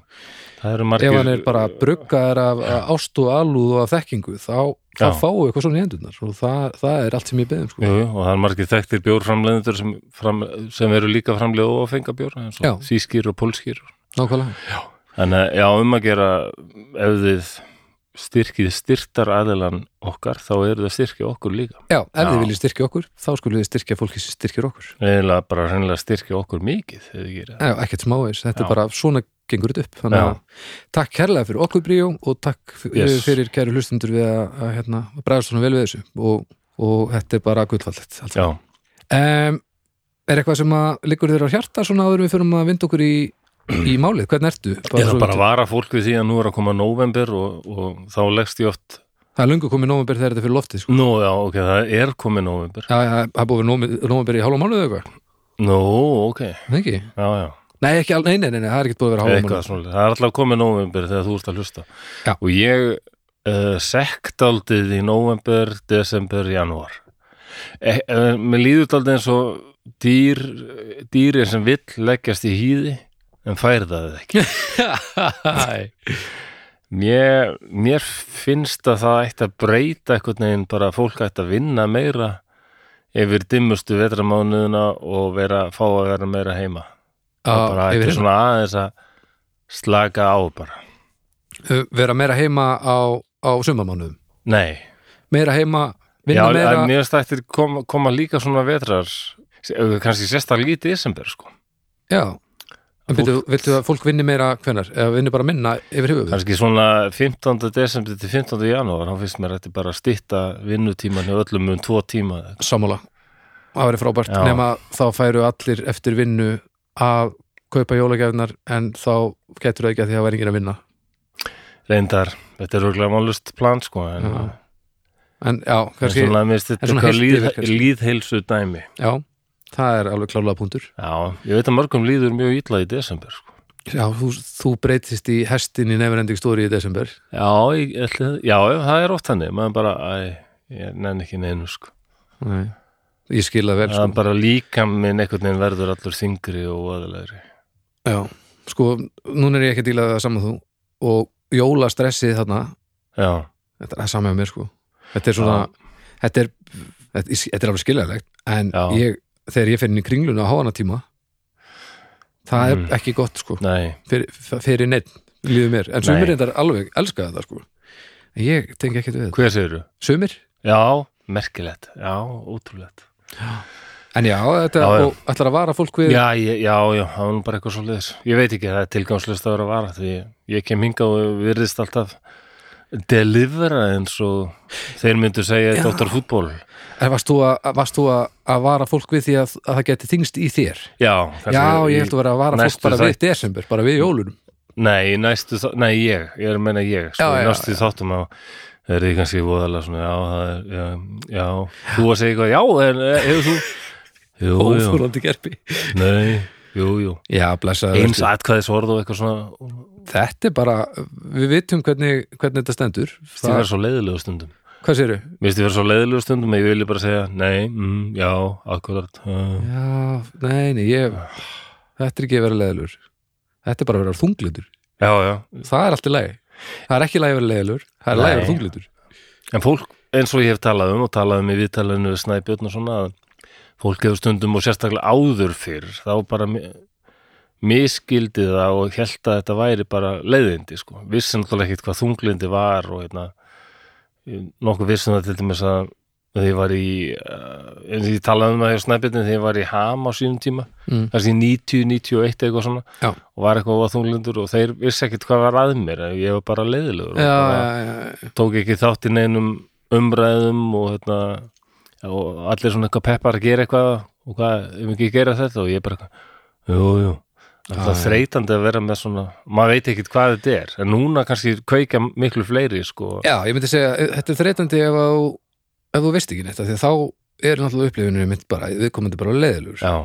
Speaker 1: það eru
Speaker 2: ef
Speaker 1: margir
Speaker 2: hann er bara bruggaðar af af ást og alúð og af þekkingu þá, þá
Speaker 1: Já.
Speaker 2: fáu eitthvað svona í hendunar og það, það er allt sem ég beðum sko.
Speaker 1: jú, jú, og það eru margir þekktir bjórframleðendur sem, fram, sem eru líka framlega ófenga bjór eins og
Speaker 2: Já.
Speaker 1: þýskir og pólskir
Speaker 2: nákvæmlega,
Speaker 1: Þannig að já, um að gera ef þið styrkið styrtar aðilan okkar, þá eru það styrkið okkur líka.
Speaker 2: já, ef
Speaker 1: Já.
Speaker 2: þið viljið styrkja okkur þá skulle þið styrkja fólki sem styrkir okkur
Speaker 1: Eða bara hreinlega styrkið okkur mikið, ef þið gera það.
Speaker 2: já, ekkert smávegis, þetta
Speaker 1: Já.
Speaker 2: er bara svona gengur þetta upp, þannig
Speaker 1: Já.
Speaker 2: að takk kærlega fyrir okkur bríó og takk f- eh,
Speaker 1: Yes.
Speaker 2: fyrir kæru hlustundur við að, að hérna, bregðast svona vel við þessu og, og þetta er bara gullfallet allt
Speaker 1: Já,
Speaker 2: um, Er eitthvað sem að liggur þér á hjarta svona áður en við fyrir að vinda okkur í, í málið, hvernig ertu? svo-
Speaker 1: ég það bara að vara fólk við því að nú er að koma november og, og þá leggst ég oft
Speaker 2: Það er lungu komið nómabir þegar þetta er fyrir loftið sko.
Speaker 1: Nú, já, ok, það er komið november.
Speaker 2: Já, já, það er búið nómabir í hálfa mánuð eða eitthvað,
Speaker 1: Nú, ok,
Speaker 2: það ekki?
Speaker 1: já, já.
Speaker 2: Nei, ekki alveg, nei, nei, nei, það er ekki búið að vera hálfa
Speaker 1: eitthvað
Speaker 2: mánuð
Speaker 1: svona, það er alltaf komið november þegar þú ert að hlusta
Speaker 2: Já.
Speaker 1: og ég uh, sektaldið í november, desember, janúar e, uh, mér líður daldið eins og dýr dýri sem vill leggjast í hýði en fær það ekki
Speaker 2: Æ,
Speaker 1: mér, mér finnst að það ætti að breyta eitthvað neginn bara að fólk ætti að vinna meira yfir dimmustu vetramánuðuna og vera, fá að vera meira heima það
Speaker 2: yfir
Speaker 1: bara ætti
Speaker 2: hérna.
Speaker 1: svona aðeins að slaka á bara
Speaker 2: Uh, Vera meira heima á, á sumamánuðum
Speaker 1: Nei,
Speaker 2: Meira heima, vinna
Speaker 1: Já,
Speaker 2: meira
Speaker 1: en mér finnst ættir koma, koma líka svona vetrar kannski sérstaklega í desember sko.
Speaker 2: Já, en byrju, viltu að fólk vinni meira hvenar, eða vinni bara minna yfir höfuð
Speaker 1: kannski svona 15. desember til 15. janúar, þá finnst mér þetta bara að stýtta vinnutíman hjá öllum um tvo tíma
Speaker 2: Sammála, það verið frábært
Speaker 1: Já.
Speaker 2: nema þá færu allir eftir vinnu að kaupa jólagjafnar en þá getur það ekki að því að það væri enginn að vinna
Speaker 1: reyndar, þetta er röglega málust plan sko, en,
Speaker 2: Já, En já,
Speaker 1: en
Speaker 2: kannski
Speaker 1: svona mér finnst
Speaker 2: en
Speaker 1: þetta
Speaker 2: svona
Speaker 1: eitthvað
Speaker 2: heilt
Speaker 1: líð,
Speaker 2: yfir kannski.
Speaker 1: líðheilsu dæmi
Speaker 2: Já, það er alveg klálega punktur
Speaker 1: Já, ég veit að mörgum líður mjög illa í desember sko.
Speaker 2: Já, þú, þú breytist í hestin í nefnending stóri í desember
Speaker 1: Já, ég, ætli, já, það er oft hannig maður bara, æ, ég nenni ekki neinu sko.
Speaker 2: Nei. Ég skil það vel
Speaker 1: það
Speaker 2: sko.
Speaker 1: er bara líka minn einhvern veginn verður allur þingri og aðalegri
Speaker 2: Já, sko, núna er ég ekki að díla við það saman þú og jólastressið þarna
Speaker 1: Já
Speaker 2: þetta er saman með mér sko Þetta er svona, þetta er þetta, ég- þetta er alveg skiljaðlegt en
Speaker 1: Já.
Speaker 2: ég, þegar ég fer inn í kringluna á háana tíma það er
Speaker 1: Mm.
Speaker 2: ekki gott sko
Speaker 1: Nei,
Speaker 2: fyrir, fyrir neitt, líður mér en
Speaker 1: Nei.
Speaker 2: sumir reyndar alveg elska þetta sko en ég tengi ekkert við þetta
Speaker 1: hver segirðu?
Speaker 2: Sumir?
Speaker 1: Já, merkilegt, já, ótrúlegt
Speaker 2: En já, þetta,
Speaker 1: Já, já.
Speaker 2: og ætlar að vara fólk við
Speaker 1: Já, ég, já, já, það var nú bara eitthvað svo liðis Ég veit ekki, það er tilgangslust að vera að vara því ég kem hingað og virðist alltaf delivera eins og þeir myndu segja
Speaker 2: Já.
Speaker 1: Dr. Fútból
Speaker 2: En Eh, varst þú, að, varst þú að, að vara fólk við því að, að það geti þingst í þér?
Speaker 1: Já, kannski
Speaker 2: já,
Speaker 1: í-
Speaker 2: ég ætla að vera að vara
Speaker 1: næstu
Speaker 2: fólk bara við
Speaker 1: þætt-
Speaker 2: desember, bara við jólunum
Speaker 1: Nei, í næstu, þá- nei, ég, ég er að menna ég sko,
Speaker 2: Já,
Speaker 1: já,
Speaker 2: já,
Speaker 1: Næstu þáttum á Það er því kannski voðalega svona, já, það er, já, já, þú að segja eitthvað, já, en eh, hefur þú, jú, jú,
Speaker 2: Óþúlandi gerpi
Speaker 1: nei, jú, jú,
Speaker 2: Já, blessaður
Speaker 1: eins
Speaker 2: vertu.
Speaker 1: atkvæðis orð og eitthvað svona
Speaker 2: Þetta er bara, við vitum hvernig, hvernig þetta stendur
Speaker 1: Mér finnst ég
Speaker 2: það,
Speaker 1: vera svo leiðilegu stundum
Speaker 2: Hvað séru?
Speaker 1: Mér finnst ég vera svo leiðilegu stundum að ég vilja bara segja Nei, mm, já, akkurat uh,
Speaker 2: Já, nei, nei, ég Þetta er ekki að vera leðilur Þetta er bara að vera þunglindur
Speaker 1: Já, já,
Speaker 2: Það er allt í lagi Það er ekki lagi að vera leðilur, það er lagi að vera
Speaker 1: Nei.
Speaker 2: þunglindur
Speaker 1: en fólk eins og ég hef talað um og talað um í viðtalinu við Snæbjörn og svona að fólk hefur stundum og sérstaklega áður fyrr þá bara mi- miskildi það og held að þetta væri bara leiðindi sko. vissi náttúrulega ekkit hvað þunglindi var og hérna ég- nokkuð vissi um það til dæmis að þegar ég var í eh, eins og ég talaði um það hjá Snæbjörn þegar ég var í Ham á sínum tíma
Speaker 2: Mm.
Speaker 1: kannski 90, 91 eitthvað svona
Speaker 2: Já.
Speaker 1: og var eitthvað á þunglindur og þeir vissi ekkit hvað var að mér ég var bara leiðilegur
Speaker 2: Já,
Speaker 1: og bara,
Speaker 2: já, já,
Speaker 1: tók ekki þátt í neinum umræðum og, hérna, og allir svona eitthvað peppar að gera eitthvað og hvað, ef ekki gera þetta og ég bara, eitthvað, jú, jú
Speaker 2: Já,
Speaker 1: það er
Speaker 2: já.
Speaker 1: þreytandi að vera með svona maður veit ekkit hvað þetta er, en núna kannski kveikja miklu fleiri, sko
Speaker 2: já, ég myndi segja Þetta er þreytandi ef, að- ef þú veist ekki neitt af Því að þá er náttúrulega upplifinu mitt bara, við komandi bara leðilur
Speaker 1: já,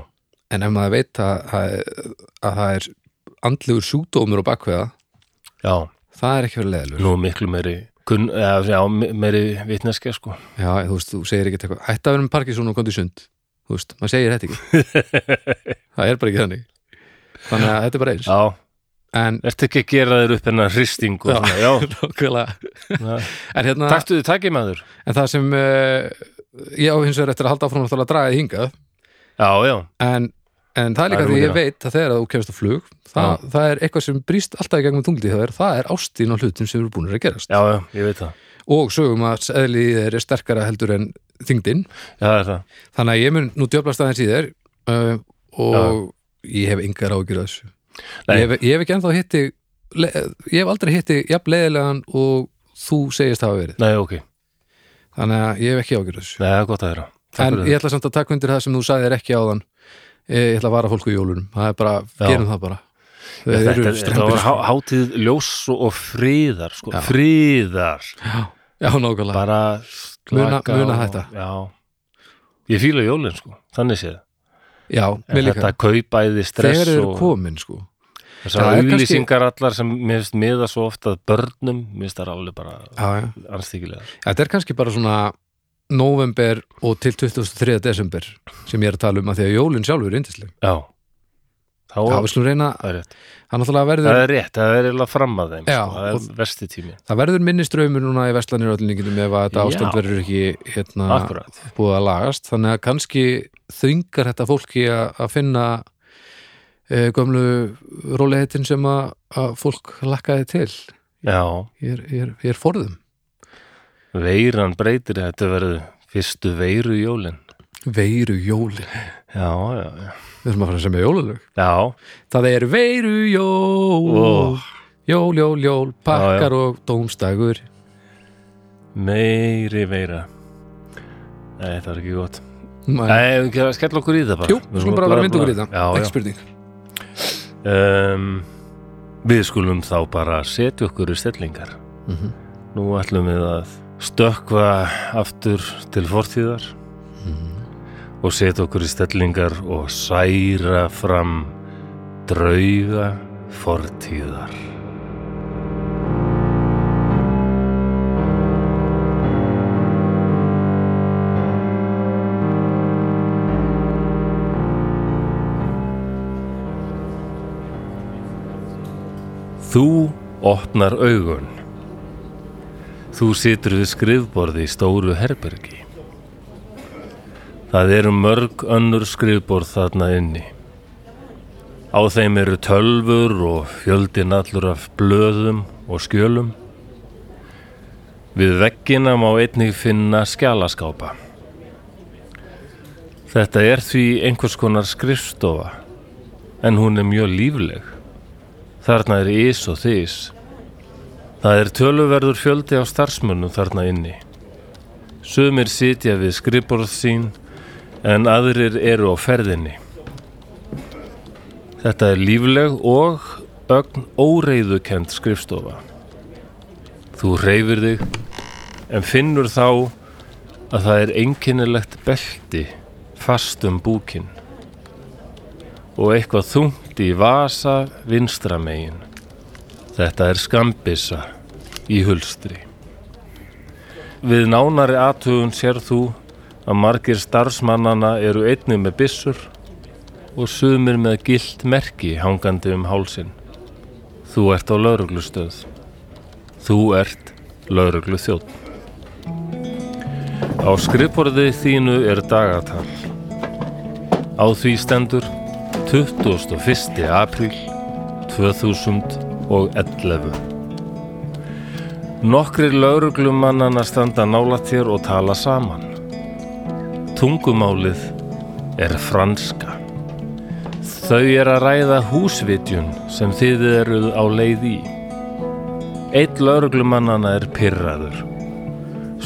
Speaker 2: En ef maður veit að, að, að það er andlegur sjúkdómur og bakveða
Speaker 1: já,
Speaker 2: Það er ekki að vera leðilur
Speaker 1: nú er miklu meiri Kun, eða, já, me- meiri vitneskja sko
Speaker 2: Já, þú veist, þú segir ekki eitthvað Hætt að vera með Parkinson og komdu í sund Þú veist, maður segir þetta ekki Það er bara ekki þannig Þannig að þetta er bara eins
Speaker 1: Já,
Speaker 2: En,
Speaker 1: ertu ekki að gera þér upp hennar hristing og
Speaker 2: Já.
Speaker 1: svona, já,
Speaker 2: nákvæmlega
Speaker 1: já.
Speaker 2: En hérna
Speaker 1: Taktu þið takið maður
Speaker 2: En það sem uh, ég á hins vegar eftir að halda áfram náttúrulega að draga þig hingað
Speaker 1: Já, já,
Speaker 2: en, en það er líka
Speaker 1: Það er
Speaker 2: því
Speaker 1: nú
Speaker 2: ég veit að þegar þú kemst á flug það, það er eitthvað sem brýst alltaf í gegnum tunglið það er, það er ástin á hlutum sem eru búinir að gerast
Speaker 1: já, já, ég veit það
Speaker 2: og sögum að eðlið er sterkara heldur en þingdin
Speaker 1: Já, það er það
Speaker 2: þannig að ég mun nú djöflast aðeins í þér uh, og ég hef yngar ágjur þessu
Speaker 1: Nei.
Speaker 2: ég hef, ég hef ekki ennþá hitti le, ég hef aldrei hitti jafn leiðilegan og þú segist hafa verið
Speaker 1: Nei, ok,
Speaker 2: þannig að ég hef ekki ágjur þessu
Speaker 1: Nei, það er gott að þeirra Takk
Speaker 2: en
Speaker 1: fyrir
Speaker 2: ég
Speaker 1: það.
Speaker 2: ætla samt að taka undir það sem þú sagðir ekki áðan Eh, ég ætla að vara fólku í jólunum það er bara,
Speaker 1: Já.
Speaker 2: gerum það bara Þau
Speaker 1: Þetta,
Speaker 2: eru
Speaker 1: þetta, þetta
Speaker 2: strembir
Speaker 1: var há, hátíð ljós og, og friðar sko,
Speaker 2: Já.
Speaker 1: friðar
Speaker 2: já, já, nákvæmlega
Speaker 1: bara
Speaker 2: Muna-
Speaker 1: slaka
Speaker 2: muna
Speaker 1: á-
Speaker 2: þetta.
Speaker 1: Já, ég fíla jólin sko, þannig séð
Speaker 2: já, mér
Speaker 1: En
Speaker 2: líka,
Speaker 1: Þetta kaupæði stress
Speaker 2: þegar þeir eru
Speaker 1: og
Speaker 2: komin sko.
Speaker 1: þessar
Speaker 2: Það er kannski-
Speaker 1: auðlýsingar allar sem mér finnst miða svo ofta að börnum, mér finnst það ráli bara
Speaker 2: já, já.
Speaker 1: anstíkilega
Speaker 2: þetta er kannski bara svona november og til 23. desember sem ég er að tala um að því að jólin sjálfur er yndisleg
Speaker 1: Já, þá
Speaker 2: það við slum reyna,
Speaker 1: það er rétt
Speaker 2: það náttúrulega verður
Speaker 1: Það er rétt, það er eiginlega fram að þeim
Speaker 2: Já,
Speaker 1: sko. það er
Speaker 2: og-
Speaker 1: versti tími,
Speaker 2: það verður minni ströymur núna í vestlanir öllningindum ef að þetta
Speaker 1: Já.
Speaker 2: ástand verður ekki hérna,
Speaker 1: akkurat
Speaker 2: búið að lagast þannig að kannski þungar þetta fólki að að finna e, gömlu róliheitin sem að, að fólk lakkaði til
Speaker 1: Já,
Speaker 2: ég er, ég er, ég er forðum
Speaker 1: veiran breytir þetta verður fyrstu veiru jólin
Speaker 2: veiru jólin,
Speaker 1: Já, já, já
Speaker 2: við erum að fara að semja jólalög
Speaker 1: Já,
Speaker 2: það er veiru jól
Speaker 1: Ó.
Speaker 2: jól, jól, jól, pakkar og dómstægur
Speaker 1: meiri veira Nei, það er ekki gott
Speaker 2: Nei,
Speaker 1: Nei, við gerum að skella okkur í það bara
Speaker 2: jú, við skulum bara vera mynd okkur í það
Speaker 1: Já,
Speaker 2: ekki
Speaker 1: já
Speaker 2: spurning
Speaker 1: um, Við skulum þá bara setja okkur í stellingar
Speaker 2: Mhm.
Speaker 1: Nú ætlum við að stökkva aftur til fortíðar
Speaker 2: mhm.
Speaker 1: og setja okkur í stellingar og særa fram drauga fortíðar Þú opnar augun. Þú situr við skrifborði í stóru herbergi. Það eru mörg önnur skrifborð þarna inni. Á þeim eru tölfur og fjöldin allur af blöðum og skjölum. Við veggina má einnig finna skjalaskápa. Þetta er því einhvers konar skrifstofa, en hún er mjög lífleg. Þarna er ís og þís. Það er töluverður fjöldi á starfsmönnum þarna inni. Sumir sitja við skrifborð sín en aðrir eru á ferðinni. Þetta er lífleg og ögn óreiðukend skrifstofa. Þú reyfir þig en finnur þá að það er einkennilegt belti fast um búkinn og eitthvað þungt í vasa vinstra megin. Þetta er skambissa í hulstri. Við nánari aðtugun sér þú að margir starfsmannana eru einni með byssur og sumir með gilt merki hangandi um hálsin. Þú ert á lauruglustöð. Þú ert lauruglu þjótt. Á skrifborði þínu er dagatal. Á því stendur 21. apríl 2011 Nokkrir lauruglumannana standa nálat þér og tala saman Tungumálið er franska Þau er að ræða húsvitjun sem þið eruð á leið í Eitt lauruglumannana er pirraður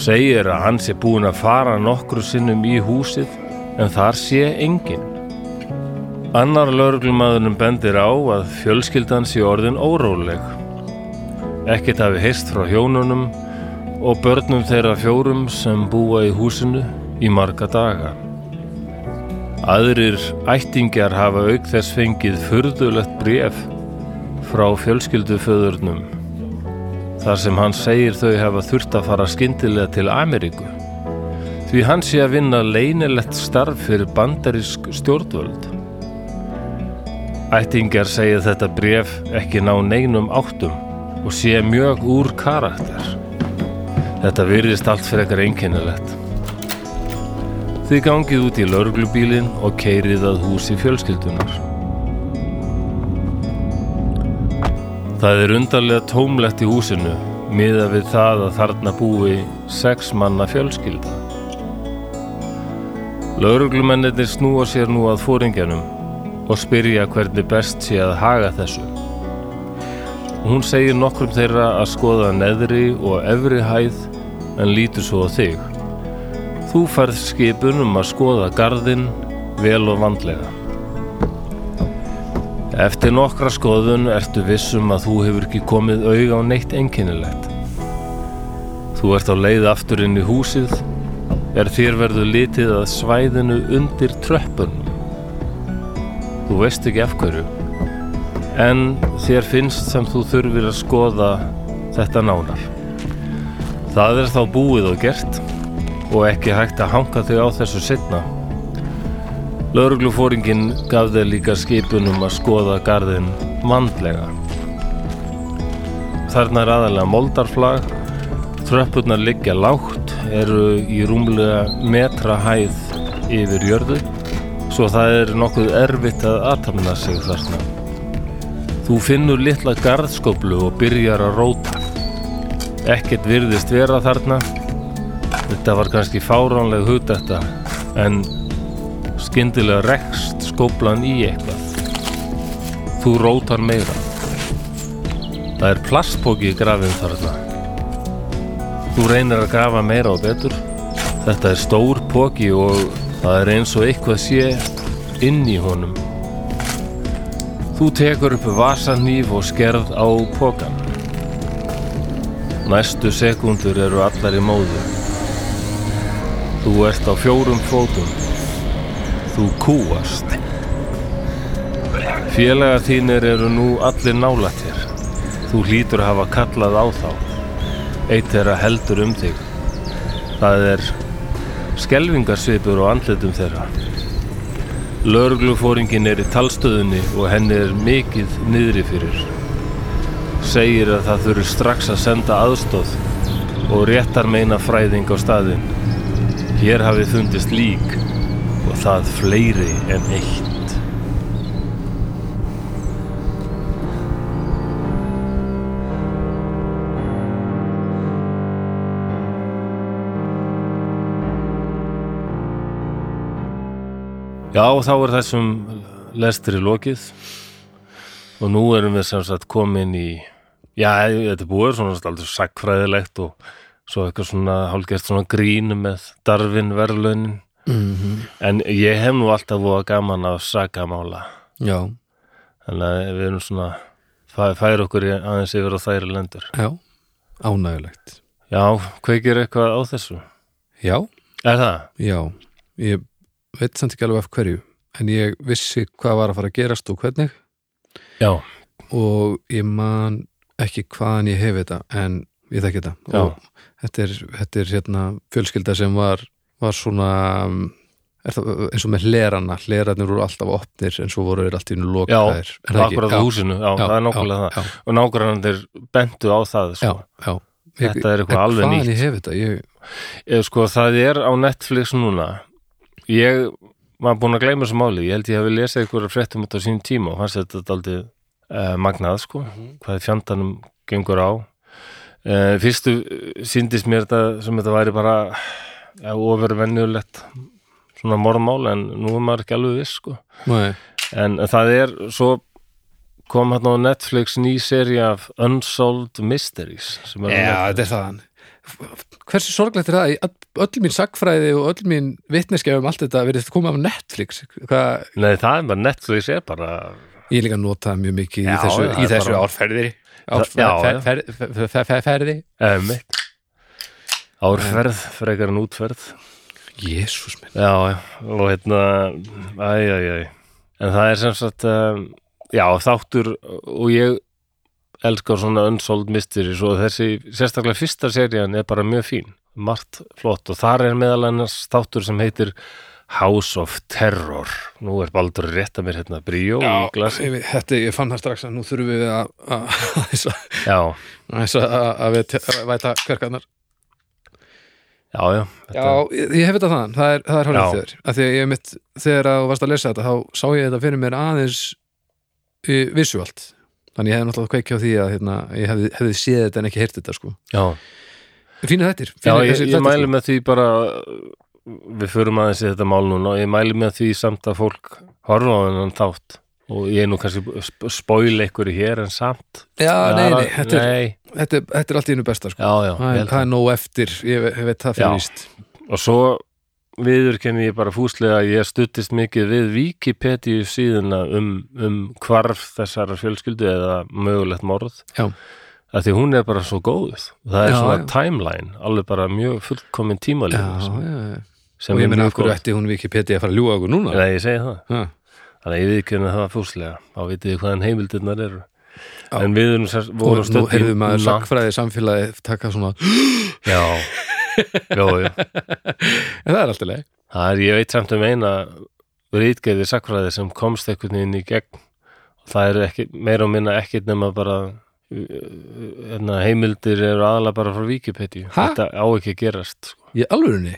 Speaker 1: Segir að hann sé búin að fara nokkru sinnum í húsið en þar sé enginn Annar lörglumæðunum bendir á að fjölskyldan sé orðin óróleg. Ekkert hafi heist frá hjónunum og börnum þeirra fjórum sem búa í húsinu í marga daga. Aðrir ættingjar hafa auk þess fengið furðulegt bref frá fjölskylduföðurnum. þar sem hann segir þau hafa þurft að fara skyndilega til Ameríku. Því hann sé að vinna leynilegt starf fyrir bandarísk stjórnvöld. Ættingar segja þetta bref ekki ná neinum áttum og sé mjög úr karakter. Þetta virðist allt fyrir ekkar einkennilegt. Þið gangið út í lauruglubílinn og keirið að húsi fjölskyldunar. Það er undarlega tómlegt í húsinu miða við það að þarna búi sex manna fjölskylda. Lauruglumennir snúa sér nú að fóringjanum og spyrja hvernig best sé að haga þessu. Hún segir nokkrum þeirra að skoða neðri og efri hæð en lítur svo á þig. Þú færð skipun um að skoða gardinn vel og vandlega. Eftir nokkra skoðun ertu vissum að þú hefur ekki komið auga á neitt einkennilegt. Þú ert á leið aftur inn í húsið, er þér verður litið að svæðinu undir tröppunum. Þú veist ekki af hverju, en þér finnst sem þú þurfir að skoða þetta nánar. Það er þá búið og gert og ekki hægt að hanga þau á þessu setna Lauruglufóringin gaf þeir líka skipunum að skoða garðin vandlega. Þarna er aðalega moldarflag, tröppurnar liggja lágt, eru í rúmlega metra hæð yfir jörðu, svo það er nokkuð erfitt að aðtamna sig þarna. Þú finnur litla garðskoplu og byrjar að róta. Ekkert virðist vera þarna, þetta var kannski fáránleg hugdetta, en Skyndilega rekst skóplan í eitthvað. Þú rótar meira. Það er plastpóki í grafin þarna. Þú reynir að grafa meira og betur. Þetta er stór póki og það er eins og eitthvað sé inn í honum. Þú tekur upp vasanýf og skerð á pókan. Næstu sekundur eru allar í móðu. Þú ert á fjórum fótum. Þú kúast. Félagar þínir eru nú allir nálætt þér. Þú hlýtur að hafa kallað á þá. Eitt er að heldur um þig. Það er skelvingarsvipur á andletum þeirra. Lörglufóringin er í talstöðunni og henni er mikið niðri fyrir. Segir að það þurfi strax að senda aðstóð og réttar meina fræðing á staðinn. Hér hafi fundist lík og það fleiri en eitt. Já, þá er þessum lestri lokið og nú erum við sem sagt komin í, já, þetta er búið svona alltaf sakkfræðilegt og svo eitthvað svona hálfgerst svona grín með darfin verðlaunin
Speaker 2: Mhm.
Speaker 1: En ég hef nú alltaf voða gaman af sagamála
Speaker 2: já,
Speaker 1: Þannig að við erum svona Það fær okkur í- aðeins yfir á þæri lendur
Speaker 2: já, ánægulegt
Speaker 1: Já, kveikir eitthvað á þessu
Speaker 2: já,
Speaker 1: Er það?
Speaker 2: já ég veit samt ekki alveg af hverju en ég vissi hvað var að fara að gerast og hvernig
Speaker 1: Já,
Speaker 2: og ég man ekki hvaðan ég hef þetta en ég þekki þetta
Speaker 1: Já.
Speaker 2: og þetta er, þetta er hérna fjölskylda sem var, var svona um, er það, eins og með hlerana hlerarnir voru alltaf opnir en svo voru þeir alltaf innu
Speaker 1: já,
Speaker 2: lokaðir Er það ekki?
Speaker 1: akkurat á húsinu Já, það er nákvæmlega það
Speaker 2: já,
Speaker 1: Og nákvæmlega bentu á það
Speaker 2: já,
Speaker 1: sko.
Speaker 2: já.
Speaker 1: Þetta er eitthvað
Speaker 2: en
Speaker 1: alveg
Speaker 2: hvaðan
Speaker 1: nýtt.
Speaker 2: ég hef þetta, ég,
Speaker 1: Eða sko, það er á Netflix núna Ég var búin að gleyma þessu máli Ég held ég hafi lesið eitthvað fréttum út á sínum tíma og fannst þetta aldrei uh, magnað sko, hvað fjandanum gengur á uh, Fyrstu síndist mér þetta sem þetta væri bara ja, ofurvenjulegt svona morðmál en nú er maður ekki alveg viss sko
Speaker 2: nei,
Speaker 1: en það er svo kom hann á Netflix ný seri af Unsolved Mysteries sem er á
Speaker 2: Já, þetta er þaðan Hversu sorglegt er það? Í öll- Öll mín sagfræði og öll mín vitneskja um allt þetta verið þetta komið af Netflix Hvað,
Speaker 1: Nei, það er bara Netflix er bara
Speaker 2: ég er líka að nota það mjög mikið
Speaker 1: Já,
Speaker 2: í þessu,
Speaker 1: það
Speaker 2: í
Speaker 1: er
Speaker 2: þessu
Speaker 1: bara-
Speaker 2: árferðir
Speaker 1: Já,
Speaker 2: Árferði
Speaker 1: emitt Árferð, frekar en útferð
Speaker 2: Jésús minn
Speaker 1: Já, já, og hérna æ, ehm, æ, æ, en það er sem sagt um, já, þáttur og ég elskar svona unsold mysteries og þessi sérstaklega fyrsta serían er bara mjög fín, margt flott og þar er meðal annars þáttur sem heitir House of Terror nú er Baldur að rétta mér hérna bríó í glasi,
Speaker 2: ég, veit- þetta, ég fann það strax að nú þurfum við að að- aðeins að-
Speaker 1: já,
Speaker 2: aðeins að- að að við te- að væta kverkarnar
Speaker 1: já, já
Speaker 2: Já, ég, ég hef þetta þann, það er, það er hálfrið
Speaker 1: Já.
Speaker 2: þér að því að ég mitt, þegar að þú varst að lesa þetta þá sá ég þetta fyrir mér aðeins uh, visuált þannig ég hefði náttúrulega kveikja á því að hérna, ég hefði, hefði séð þetta en ekki heyrt þetta sko
Speaker 1: já,
Speaker 2: Fínu þettir,
Speaker 1: já
Speaker 2: fínu
Speaker 1: ég,
Speaker 2: þessir
Speaker 1: ég
Speaker 2: þættir, sko.
Speaker 1: mæli með því bara við förum aðeins í þetta mál núna og ég mæli með því samt að fólk horfa á þennan þátt og ég er nú kannski sp- spoil einhverju hér en samt
Speaker 2: sko. Já, nei, nei, þetta er,
Speaker 1: nei,
Speaker 2: þetta, er, þetta er allt í einu besta sko
Speaker 1: já, já,
Speaker 2: það,
Speaker 1: vel
Speaker 2: er, það er nóg eftir, ég, ve- ég veit það
Speaker 1: Já.
Speaker 2: fyrir víst
Speaker 1: og svo viðurkenni ég bara fúslega að ég stuttist mikið við Wikipedia síðuna um, um hvarf þessara fjölskyldu eða mögulegt morð
Speaker 2: Já.
Speaker 1: að því hún er bara svo góð það er
Speaker 2: Já,
Speaker 1: svona
Speaker 2: já.
Speaker 1: timeline, alveg bara mjög fullkomin
Speaker 2: Já,
Speaker 1: tímalíð
Speaker 2: já, já.
Speaker 1: sem
Speaker 2: og ég
Speaker 1: er
Speaker 2: meina
Speaker 1: mjög
Speaker 2: af hverju
Speaker 1: góð
Speaker 2: ætti hún Wikipedia að fara að ljúga okkur núna
Speaker 1: Nei, ég segi það,
Speaker 2: Ha.
Speaker 1: þannig að ég viðurkenni það fúslega þá vitið þið hvaðan heimildirnar eru
Speaker 2: Já.
Speaker 1: en við erum sér,
Speaker 2: og nú
Speaker 1: vorum stödd í
Speaker 2: heyrðum maður
Speaker 1: Nam-
Speaker 2: sagfræði samfélagi taka svona,
Speaker 1: Já, já, já
Speaker 2: en það er alltaf leið
Speaker 1: Það er, ég veit samt um eina rítgeiði sakfræði sem komst einhvern veginn í gegn og það er ekki, meira og minna ekkit nema bara uh, hérna, heimildir eru aðalega bara frá Wikipedia
Speaker 2: Ha?
Speaker 1: þetta á ekki að gerast sko.
Speaker 2: í alvörunni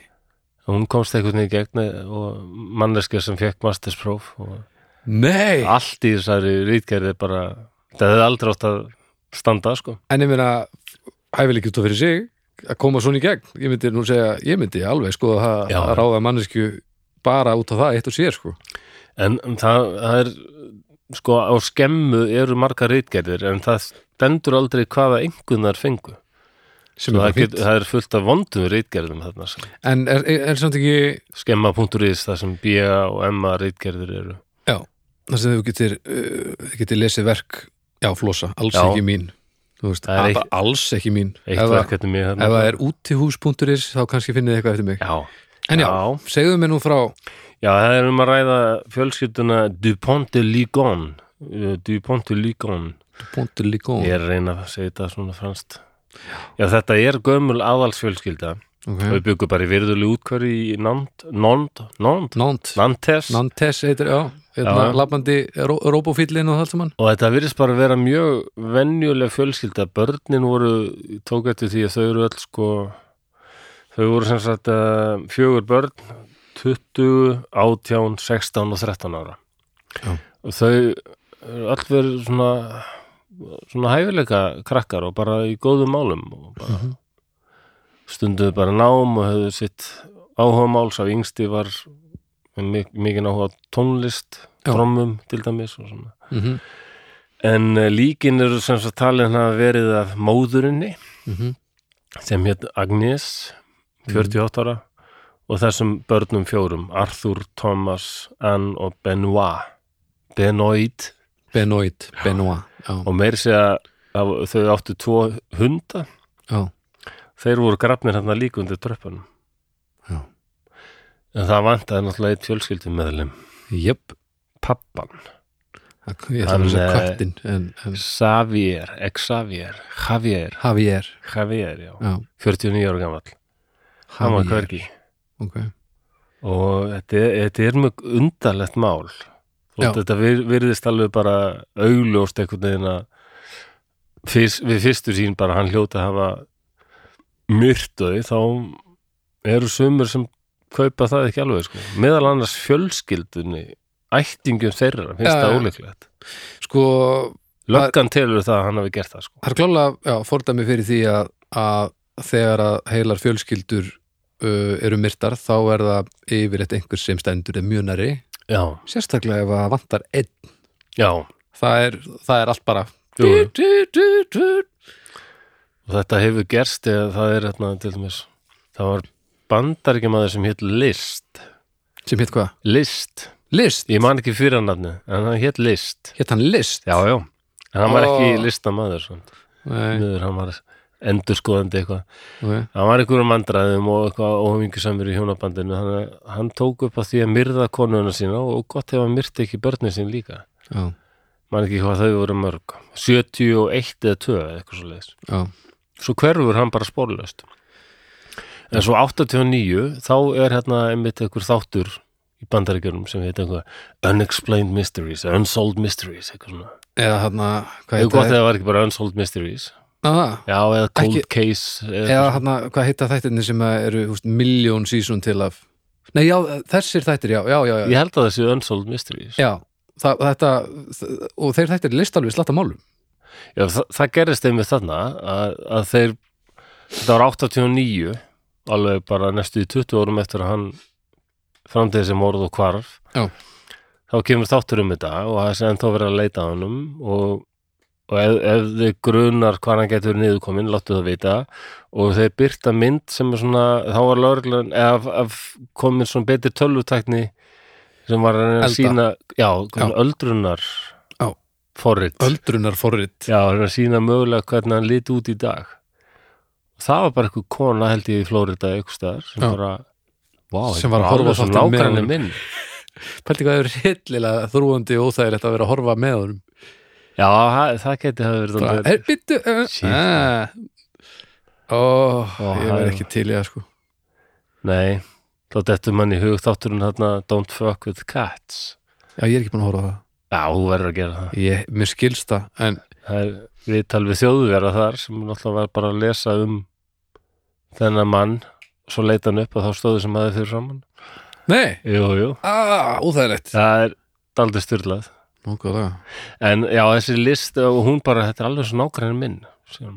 Speaker 1: hún komst einhvern veginn í gegn og manneskja sem fekk masterspróf og
Speaker 2: Nei,
Speaker 1: allt í þessari rítgeiði bara þetta hefði aldrei átt að standa sko.
Speaker 2: en ég meina hæfileg út af fyrir sig að koma svona í gegn ég myndi nú segja, ég myndi alveg sko að,
Speaker 1: Já.
Speaker 2: að ráða mannesku bara út af það eitt og sér sko
Speaker 1: En það, það er sko á skemmu eru margar rítgerðir en það stendur aldrei hvaða einhvernar fengu.
Speaker 2: sem
Speaker 1: Það,
Speaker 2: er
Speaker 1: get,
Speaker 2: fint
Speaker 1: það er fullt af vondum rítgerðum þarna sem
Speaker 2: en er, er, er samt ekki
Speaker 1: skemma.is það sem BA og MA rítgerðir eru.
Speaker 2: já, það sem þú getur uh, þú getur lesið verk, já flosa alls
Speaker 1: Já.
Speaker 2: ekki mín Þú veist,
Speaker 1: Það er
Speaker 2: að-
Speaker 1: eitt-
Speaker 2: alls ekki mín ef
Speaker 1: Eitt
Speaker 2: það-
Speaker 1: verkefni mér
Speaker 2: ef
Speaker 1: þarna.
Speaker 2: það er útihús.is þá kannski finnið þið eitthvað eftir mig
Speaker 1: Já,
Speaker 2: en já,
Speaker 1: Já.
Speaker 2: segðu mér nú frá
Speaker 1: já, það er um að ræða fjölskylduna Dupont de Ligon. Eh, Dupont de Ligon.
Speaker 2: Pontur Ligón
Speaker 1: Ég er að reyna að segja þetta svona franskt. Já, þetta er gömul aðalsfjölskylda.
Speaker 2: okay.
Speaker 1: Við byggum bara í virðuleg útkværi í Nant, Nant, Nant,
Speaker 2: Nant,
Speaker 1: Nantes.
Speaker 2: Nantes heitir, já,
Speaker 1: Já.
Speaker 2: hérna, labbandi ró, róbófýllin og það sem hann
Speaker 1: Og þetta virðist bara að vera mjög venjuleg fjölskylda. Börnin voru, tók eftir því að þau eru öll sko, þau voru sem sagt uh, fjögur börn, 20, 18, 16 og 13 ára.
Speaker 2: Já.
Speaker 1: Og þau eru öll verið svona, svona hæfileika krakkar og bara í góðum málum og bara stunduðu bara nám og höfðu sitt áhuga máls af yngsti var með mik mikið áhuga á tónlist,
Speaker 2: Já.
Speaker 1: trommum til dæmis og svona.
Speaker 2: mm -hmm.
Speaker 1: En eh, líkin eru sem sagt talin að verið af móðurinni
Speaker 2: mhm.
Speaker 1: sem hétt Agnes, 48 ára og þessum börnum fjórum, Arthur, Thomas, Anne og Benoit. Benoit
Speaker 2: Benoit, Benoit já,
Speaker 1: og meir segja að þau áttu tvo hunda,
Speaker 2: já,
Speaker 1: þeir voru grafnir hérna líka undir tröppunum.
Speaker 2: Já.
Speaker 1: En það vantaði náttúrulega eitt fjölskyldum meðlum,
Speaker 2: jöp
Speaker 1: pappan.
Speaker 2: ég ætla að
Speaker 1: Hann,
Speaker 2: segja
Speaker 1: eh,
Speaker 2: köttin en, en
Speaker 1: Xavier, Xavier, Javier,
Speaker 2: Javier
Speaker 1: Javier, já,
Speaker 2: já,
Speaker 1: 49 ára gamall. Hann var
Speaker 2: Javier,
Speaker 1: hvergi.
Speaker 2: ok
Speaker 1: og þetta er, þetta er mjög undarlegt mál
Speaker 2: Já.
Speaker 1: og þetta vir- virðist alveg bara augljóst einhvern veginn að fyrst, við fyrstu sín bara hann hljóta að hafa myrtuði þá eru sumur sem kaupa það ekki alveg sko. meðal annars fjölskyldunni ættingum þeirra, finnst
Speaker 2: Já,
Speaker 1: það
Speaker 2: já.
Speaker 1: óleiklegt
Speaker 2: sko,
Speaker 1: löggan telur það að hann hafi gert það sko.
Speaker 2: það er klálega já, fordæmi fyrir því að, að þegar að heilar fjölskyldur uh, eru myrtar þá er það yfirleitt einhver sem stendur er mjög næri
Speaker 1: já,
Speaker 2: sérstaklega ef að vantar einn
Speaker 1: já,
Speaker 2: það er, það er allt bara
Speaker 1: Jú, jú.
Speaker 2: Du, du, du, du.
Speaker 1: og þetta hefur gerst eða það er hérna til dæmis það var bandaríkjamaður sem hétt List
Speaker 2: sem hétt hvað?
Speaker 1: List
Speaker 2: List,
Speaker 1: Ég man ekki fyrir hann nafni, en hann hétt List.
Speaker 2: hétt hann List
Speaker 1: Já, já. En hann var
Speaker 2: Ó.
Speaker 1: ekki listamæður, svona.
Speaker 2: Nei,
Speaker 1: Miður, hann var endurskoðandi eitthvað.
Speaker 2: ok.
Speaker 1: Hann var einhverjum andræðum og eitthvað óhamingisamur í hjónabandinu. Hann, hann tók upp á því að myrða konuna sína og gott ef hann myrti ekki börnin sín líka.
Speaker 2: Já.
Speaker 1: man ekki hvað þau voru mörg 71 eða 2 eða eitthvað svo leiðis
Speaker 2: já,
Speaker 1: svo hverfur hann bara spórlaust en svo 89 þá er hérna einmitt einhver þáttur í bandaríkjörnum sem heit einhver Unexplained Mysteries, Unsolved Mysteries eitthvað svona,
Speaker 2: eða hérna hvað
Speaker 1: hefur gott
Speaker 2: heita,
Speaker 1: eða var ekki bara Unsolved Mysteries
Speaker 2: Ná, það?
Speaker 1: já, eða Cold
Speaker 2: Ekki-
Speaker 1: Case
Speaker 2: eða
Speaker 1: eða,
Speaker 2: hérna, hvað heita þættirni sem að eru húst, miljón sísun til af nei, já, þessir þættir, já, já, já, já.
Speaker 1: ég held að það séu Unsolved Mysteries
Speaker 2: já það, þetta, þ- og þeir þættir list alveg slatta málum
Speaker 1: Já, það, það gerðist einmitt þarna að, að þeir þetta var 89 alveg bara næstu í 20 árum eftir að hann framtíði sem orð og hvarf
Speaker 2: Já.
Speaker 1: þá kemur þáttur um þetta og það er ennþá verið að leita að honum og, og ef, ef þið grunar hvað hann getur niðurkomin, láttu það vita og þeir byrta mynd sem er svona þá var lögreglan ef, ef komin svona betri tölvutækni sem var að reyna
Speaker 2: Elda.
Speaker 1: að sína já,
Speaker 2: Já.
Speaker 1: öldrunar
Speaker 2: Já.
Speaker 1: forrit
Speaker 2: öldrunar forrið
Speaker 1: Já, hann er að sína mögulega hvernig hann liti út í dag. Það var bara eitthvað kona held ég í Flórida eitthvað staðar sem
Speaker 2: Já.
Speaker 1: bara, vá,
Speaker 2: Sem var að horfa
Speaker 1: svo
Speaker 2: þáttinn með
Speaker 1: nákvæmni
Speaker 2: honum.
Speaker 1: minn.
Speaker 2: pælti hvað það er hryllilega þrúandi og það er þetta að vera að horfa með honum
Speaker 1: Já, það, það geti hafa verið
Speaker 2: bara,
Speaker 1: dálítið-
Speaker 2: er, byttu
Speaker 1: Shit.
Speaker 2: eh." ó, ég
Speaker 1: það
Speaker 2: verð
Speaker 1: er-
Speaker 2: ekki til í það sko
Speaker 1: Nei, þá dettur mann í hug þátturinn þarna Don't fuck with cats.
Speaker 2: já, ég er ekki búin að horfa á það
Speaker 1: Já, þú verður að gera það.
Speaker 2: ég, mér skilsta, en
Speaker 1: Það er viðtal við þjóðverða þar sem náttúrulega var bara að lesa um þennan mann svo leita hann upp og þá stóðu sem aðeins fyrir framann.
Speaker 2: nei,
Speaker 1: Jú, jú.
Speaker 2: aaa, óþægilegt
Speaker 1: Það er daldið styrlað.
Speaker 2: nokkuð á það
Speaker 1: En já, þessi list eh, og hún bara, þetta er alveg svo nákvæmni minn sem,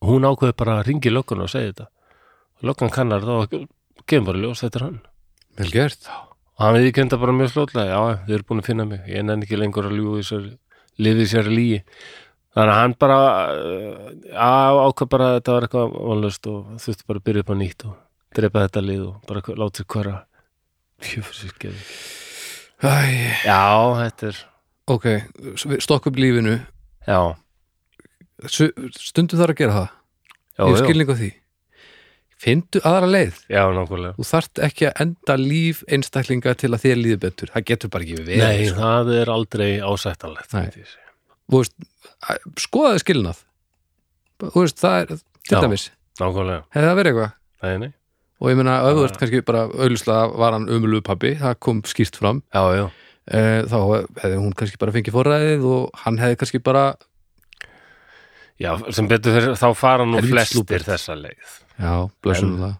Speaker 1: hún ákveði bara að ringi lögguna og segja þetta og löggan kannar þá og kemur bara í ljós, þetta er hann
Speaker 2: vel gert,
Speaker 1: og hann við kenda bara mjög slótlega, já, þið eru búin að finna mig ég nenni ekki lengur að ljúi sér lifið sér líi þannig að hann bara uh, ákveð bara að þetta var eitthvað vonlust og þurfti bara að byrja upp á nýtt og drepa þetta lið og bara láti hverja Jöfus, ég gerði.
Speaker 2: æj
Speaker 1: já, þetta er
Speaker 2: Ok, stokk upp lífinu
Speaker 1: já,
Speaker 2: Su- Stundum þarf að gera það
Speaker 1: já,
Speaker 2: Ég hef
Speaker 1: já,
Speaker 2: skilning á því Findu aðra leið
Speaker 1: já, nákvæmlega
Speaker 2: Þú þarft ekki að enda líf einstaklinga til að þér líði betur Það getur bara ekki við
Speaker 1: Nei, það er aldrei ásættanlegt
Speaker 2: sko. Nei.
Speaker 1: myndi ég segja.
Speaker 2: veist, að- Skoðaðu skilnað Þú veist, það er til
Speaker 1: Já.
Speaker 2: dæmis
Speaker 1: Nákvæmlega,
Speaker 2: Hefði það verið eitthvað
Speaker 1: nei, nei
Speaker 2: Og ég meina, ef þú
Speaker 1: Já.
Speaker 2: ert kannski bara auðlislega var hann ömulegu pabbi, það kom skýrt fram
Speaker 1: Já, já,
Speaker 2: eh, þá hefði hún kannski bara fengið forræðið og hann hefði kannski bara
Speaker 1: já sem betur fyrir þá fara nú
Speaker 2: Helvítis
Speaker 1: flestir
Speaker 2: lúpert.
Speaker 1: þessa leið
Speaker 2: Já, blessunlega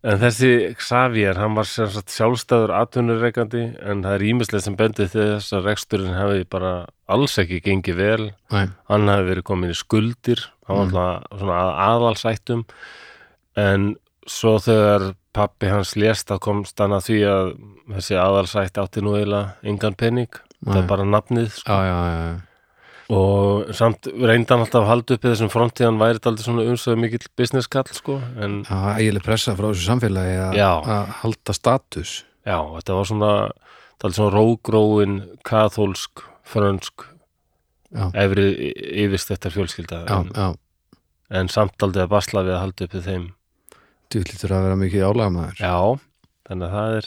Speaker 1: En þessi Xavier, hann var sem sagt sjálfstæður atvinnureikandi en það er ímislega sem bendið þess að reksturinn hafi bara alls ekki gengið vel
Speaker 2: Nei,
Speaker 1: hann hafi verið komin í skuldir hann
Speaker 2: Mm.
Speaker 1: var alltaf svona að, aðalsættum en svo þegar pappi hans lést þá komst hann að því að þessi aðalsætt átti nú eiginlega engan pening, það
Speaker 2: Nei.
Speaker 1: er bara nafnið sko.
Speaker 2: já, já, já, já.
Speaker 1: og samt reyndan alltaf að halda uppið þessum frontíðan væri þetta aldrei svona umsöðu mikill business kall sko en
Speaker 2: Já, ægileg pressa frá þessu samfélagi að-
Speaker 1: Já.
Speaker 2: að halda status
Speaker 1: já, þetta var svona þetta var svona rógróin, kathólsk frönsk
Speaker 2: Já.
Speaker 1: efri yfirst þetta fjölskylda
Speaker 2: Já,
Speaker 1: en,
Speaker 2: já,
Speaker 1: en samt aldrei að basla við að halda uppið þeim
Speaker 2: þú lítur að vera mikið álaga maður
Speaker 1: já, þannig að það er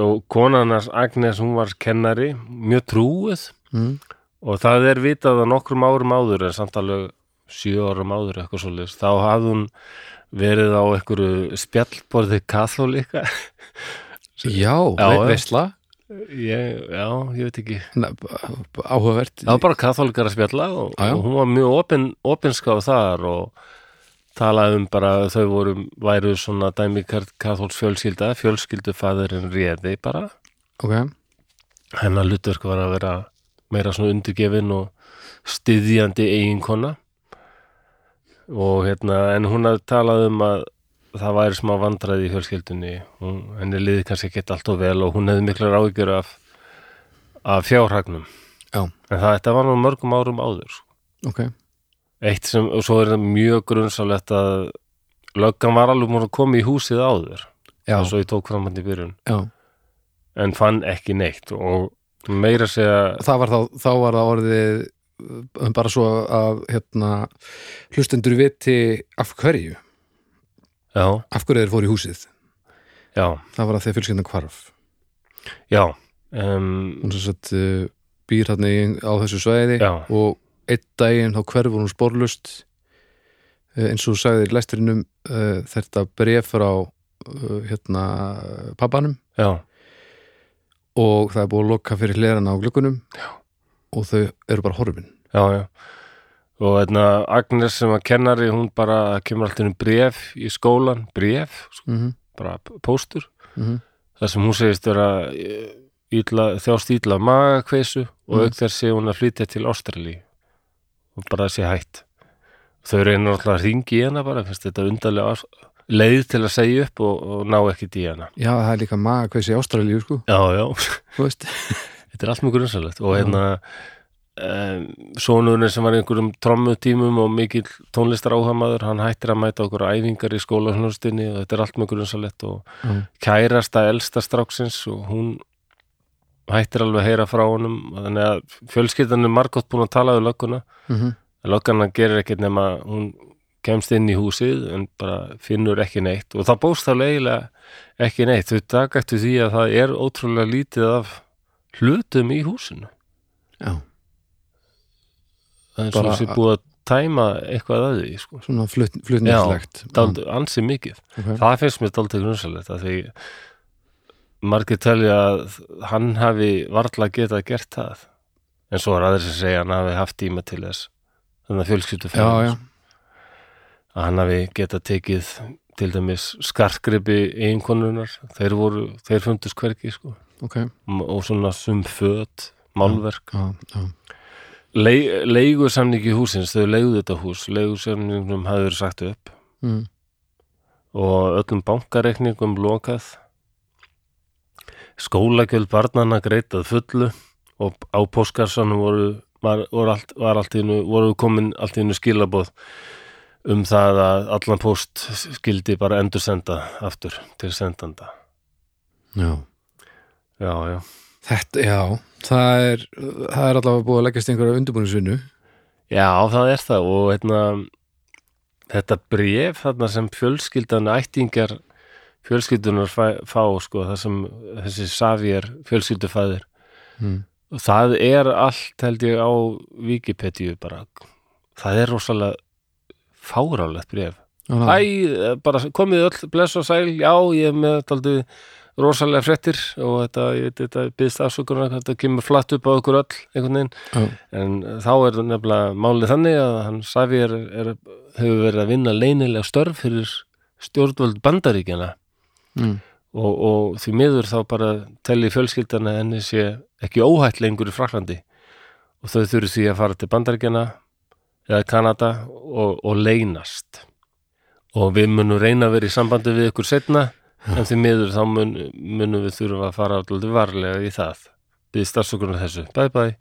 Speaker 1: og konarnas Agnes hún var kennari, mjög trúið
Speaker 2: mm.
Speaker 1: og það er vitað að nokkrum árum áður en samt alveg sjö árum áður eitthvað svoleiðis, þá hafði hún verið á einhverju spjallborði katholika
Speaker 2: Já,
Speaker 1: Já,
Speaker 2: já
Speaker 1: já.
Speaker 2: veistla
Speaker 1: ég, já, ég veit ekki
Speaker 2: áhugavert
Speaker 1: það var bara katholikar að spjalla og,
Speaker 2: Já, já.
Speaker 1: og hún var mjög opin, opinskáð þar og talaði um bara að þau voru, væru svona dæmi kathols fjölskylda, fjölskyldufæðurinn réði bara,
Speaker 2: Ok,
Speaker 1: hennar hlutverk var að vera meira svona undirgefin og styðjandi eiginkona og hérna en hún hafði talað um að það væri smá vandræði í fjölskyldunni hún, henni liði kannski ekki allt og vel og hún hefði miklar áhyggjur af, af fjárhagnum
Speaker 2: Já.
Speaker 1: en það, þetta var nú mörgum árum áður sko.
Speaker 2: ok
Speaker 1: eitt sem, og svo er það mjög grunnsalegt að löggan var alveg múin að koma í húsið áður
Speaker 2: Já,
Speaker 1: svo ég tók fram hann í byrjun
Speaker 2: já
Speaker 1: en fann ekki neitt og meira að segja
Speaker 2: Það var þá, þá var það orðið uh, bara svo að hérna, hlustendur viti af hverju,
Speaker 1: já,
Speaker 2: af hverju þeir fóru í húsið
Speaker 1: já
Speaker 2: það var að þeir fjölskyldan hvarf
Speaker 1: Já, um,
Speaker 2: hún sem sagt uh, býr hann á þessu svæði
Speaker 1: Já.
Speaker 2: og einn daginn þá hverfur hún spórlust eins og þú sagði í lestrinum eh, þetta bref frá eh, hérna pappanum
Speaker 1: já,
Speaker 2: og það er búið að loka fyrir hlerana á glöggunum Já. og þau eru bara horfin
Speaker 1: já, já. Og hérna, Agnes sem að kennari, hún bara kemur alltaf um bref í skólan, bref, sko,
Speaker 2: mm -hmm.
Speaker 1: bara p- póstur,
Speaker 2: Mm -hmm.
Speaker 1: þar sem hún segist vera eh, illa, þjást ítla magakveisu og
Speaker 2: Mm.
Speaker 1: auk þess sé hún að flytja til Ástralí og bara sé hætt. Þau reynir alltaf að ringi í hana bara, finnst þetta undarlega ás- leið til að segja upp og, og ná ekkert í hana.
Speaker 2: Já, það er líka maga hversi ástralíu sko,
Speaker 1: Já, já.
Speaker 2: þú veist
Speaker 1: Þetta er allt mjög grunnsælegt og hérna um, sonurinn sem var í einhverjum trommutímum og mikill tónlistar áhamaður hann hættir að mæta okkur á æfingar í skólahnústinni og þetta er allt mjög grunnsælegt og
Speaker 2: Mm.
Speaker 1: kærasta elsta stráksins og hún hættir alveg að heyra frá honum þannig að fjölskyldan er margótt búin að tala við lögguna
Speaker 2: mm
Speaker 1: en löggana gerir ekkert nema hún kemst inn í húsið en bara finnur ekki neitt og það bóst þá leiðilega ekki neitt þau dagættu því að það er ótrúlega lítið af hlutum í húsinu
Speaker 2: Já,
Speaker 1: það er svo
Speaker 2: Bara-
Speaker 1: þessi búið að tæma eitthvað að því sko.
Speaker 2: svona flutt, fluttnistlegt
Speaker 1: Dald, ansi mikið
Speaker 2: okay.
Speaker 1: það finnst mér daldið grunnsalegt að því margir telja að hann hafi varla getað gert það en svo er aðeins að segja að hann hafi haft tíma til þess þannig að fjölskyldu
Speaker 2: Já, já,
Speaker 1: að hann hafi getað tekið til dæmis skartgripi einkonunar þeir voru, þeir fundust hvergi sko.
Speaker 2: ok
Speaker 1: M- og svona sumföt málverk
Speaker 2: Já, já,
Speaker 1: Le leigu samningi húsins, þau leiguðu þetta hús leigu samningnum hafði verið sagt upp
Speaker 2: mm.
Speaker 1: og öllum bankareikningum lokað skólagjöld barnana greitt að fullu og á póskarsanum voru, var, voru, allt, var allt í innu, voru komin allt í innu skilaboð um það að allan póst skildi bara endursenda aftur til sendanda
Speaker 2: já
Speaker 1: já, já,
Speaker 2: Þetta, já, það er, það er allavega búið að leggjast einhverja undirbúinisvinnu
Speaker 1: já, það er það og hérna þetta bref þarna sem fjölskyldan ættingar fjölskyldunar fá, fá sko, það sem þessi Savjör fjölskyldufæðir
Speaker 2: mm.
Speaker 1: Og það er allt held ég á Wikipedia bara það er rosalega fárálegt bref
Speaker 2: Já,
Speaker 1: Æ, bara komið öll, bless og sæl já, ég er með daldið rosalega fréttir og þetta, ég veit, þetta byggst afsökunar, þetta kemur flatt upp á okkur öll einhvern veginn,
Speaker 2: já,
Speaker 1: en þá er það nefnilega málið þannig að hann Savi er, er, hefur verið að vinna leynilega störf fyrir stjórnvöld bandaríkjana
Speaker 2: mm.
Speaker 1: og, og því miður þá bara telli fjölskyldana henni sé ekki óhætt lengur í Fraklandi og þau þurfi því að fara til Bandaríkjana eða Kanada og, og leynast og við munum reyna að vera í sambandi við ykkur setna en því miður þá mun, munum við þurfa að fara alltaf varlega í það við starfsökunar þessu, bye bye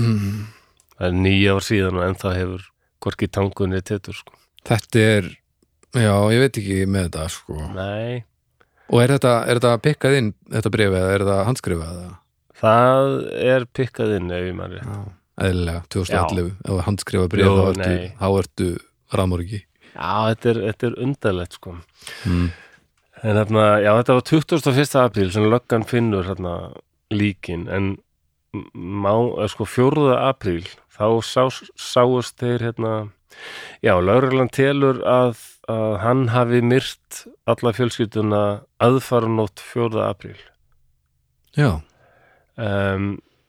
Speaker 2: Mm.
Speaker 1: það er nýja ár síðan og ennþá hefur hvorki tangunni tettur sko.
Speaker 2: Þetta er, já, ég veit ekki með þetta sko
Speaker 1: nei,
Speaker 2: Og er þetta, er þetta pikkað inn, þetta brefið, eða er þetta handskrifað eða?
Speaker 1: það er pikkað inn ef ég maður rétt
Speaker 2: Já, eðlilega, 2011 ef þú handskrifa bréf
Speaker 1: Jú,
Speaker 2: þá ertu,
Speaker 1: nei.
Speaker 2: þá ertu ráðmorgi
Speaker 1: já, þetta er, þetta er undarlegt sko
Speaker 2: mm.
Speaker 1: En þarna, já, þetta var 21. apríl sem löggan finnur þarna líkin en m- má, eh, sko 4. apríl þá sá, sáust þeir hérna, já, lögreglan telur að, að hann hafi myrt alla fjölskylduna aðfaranótt 4. apríl
Speaker 2: Já,
Speaker 1: um,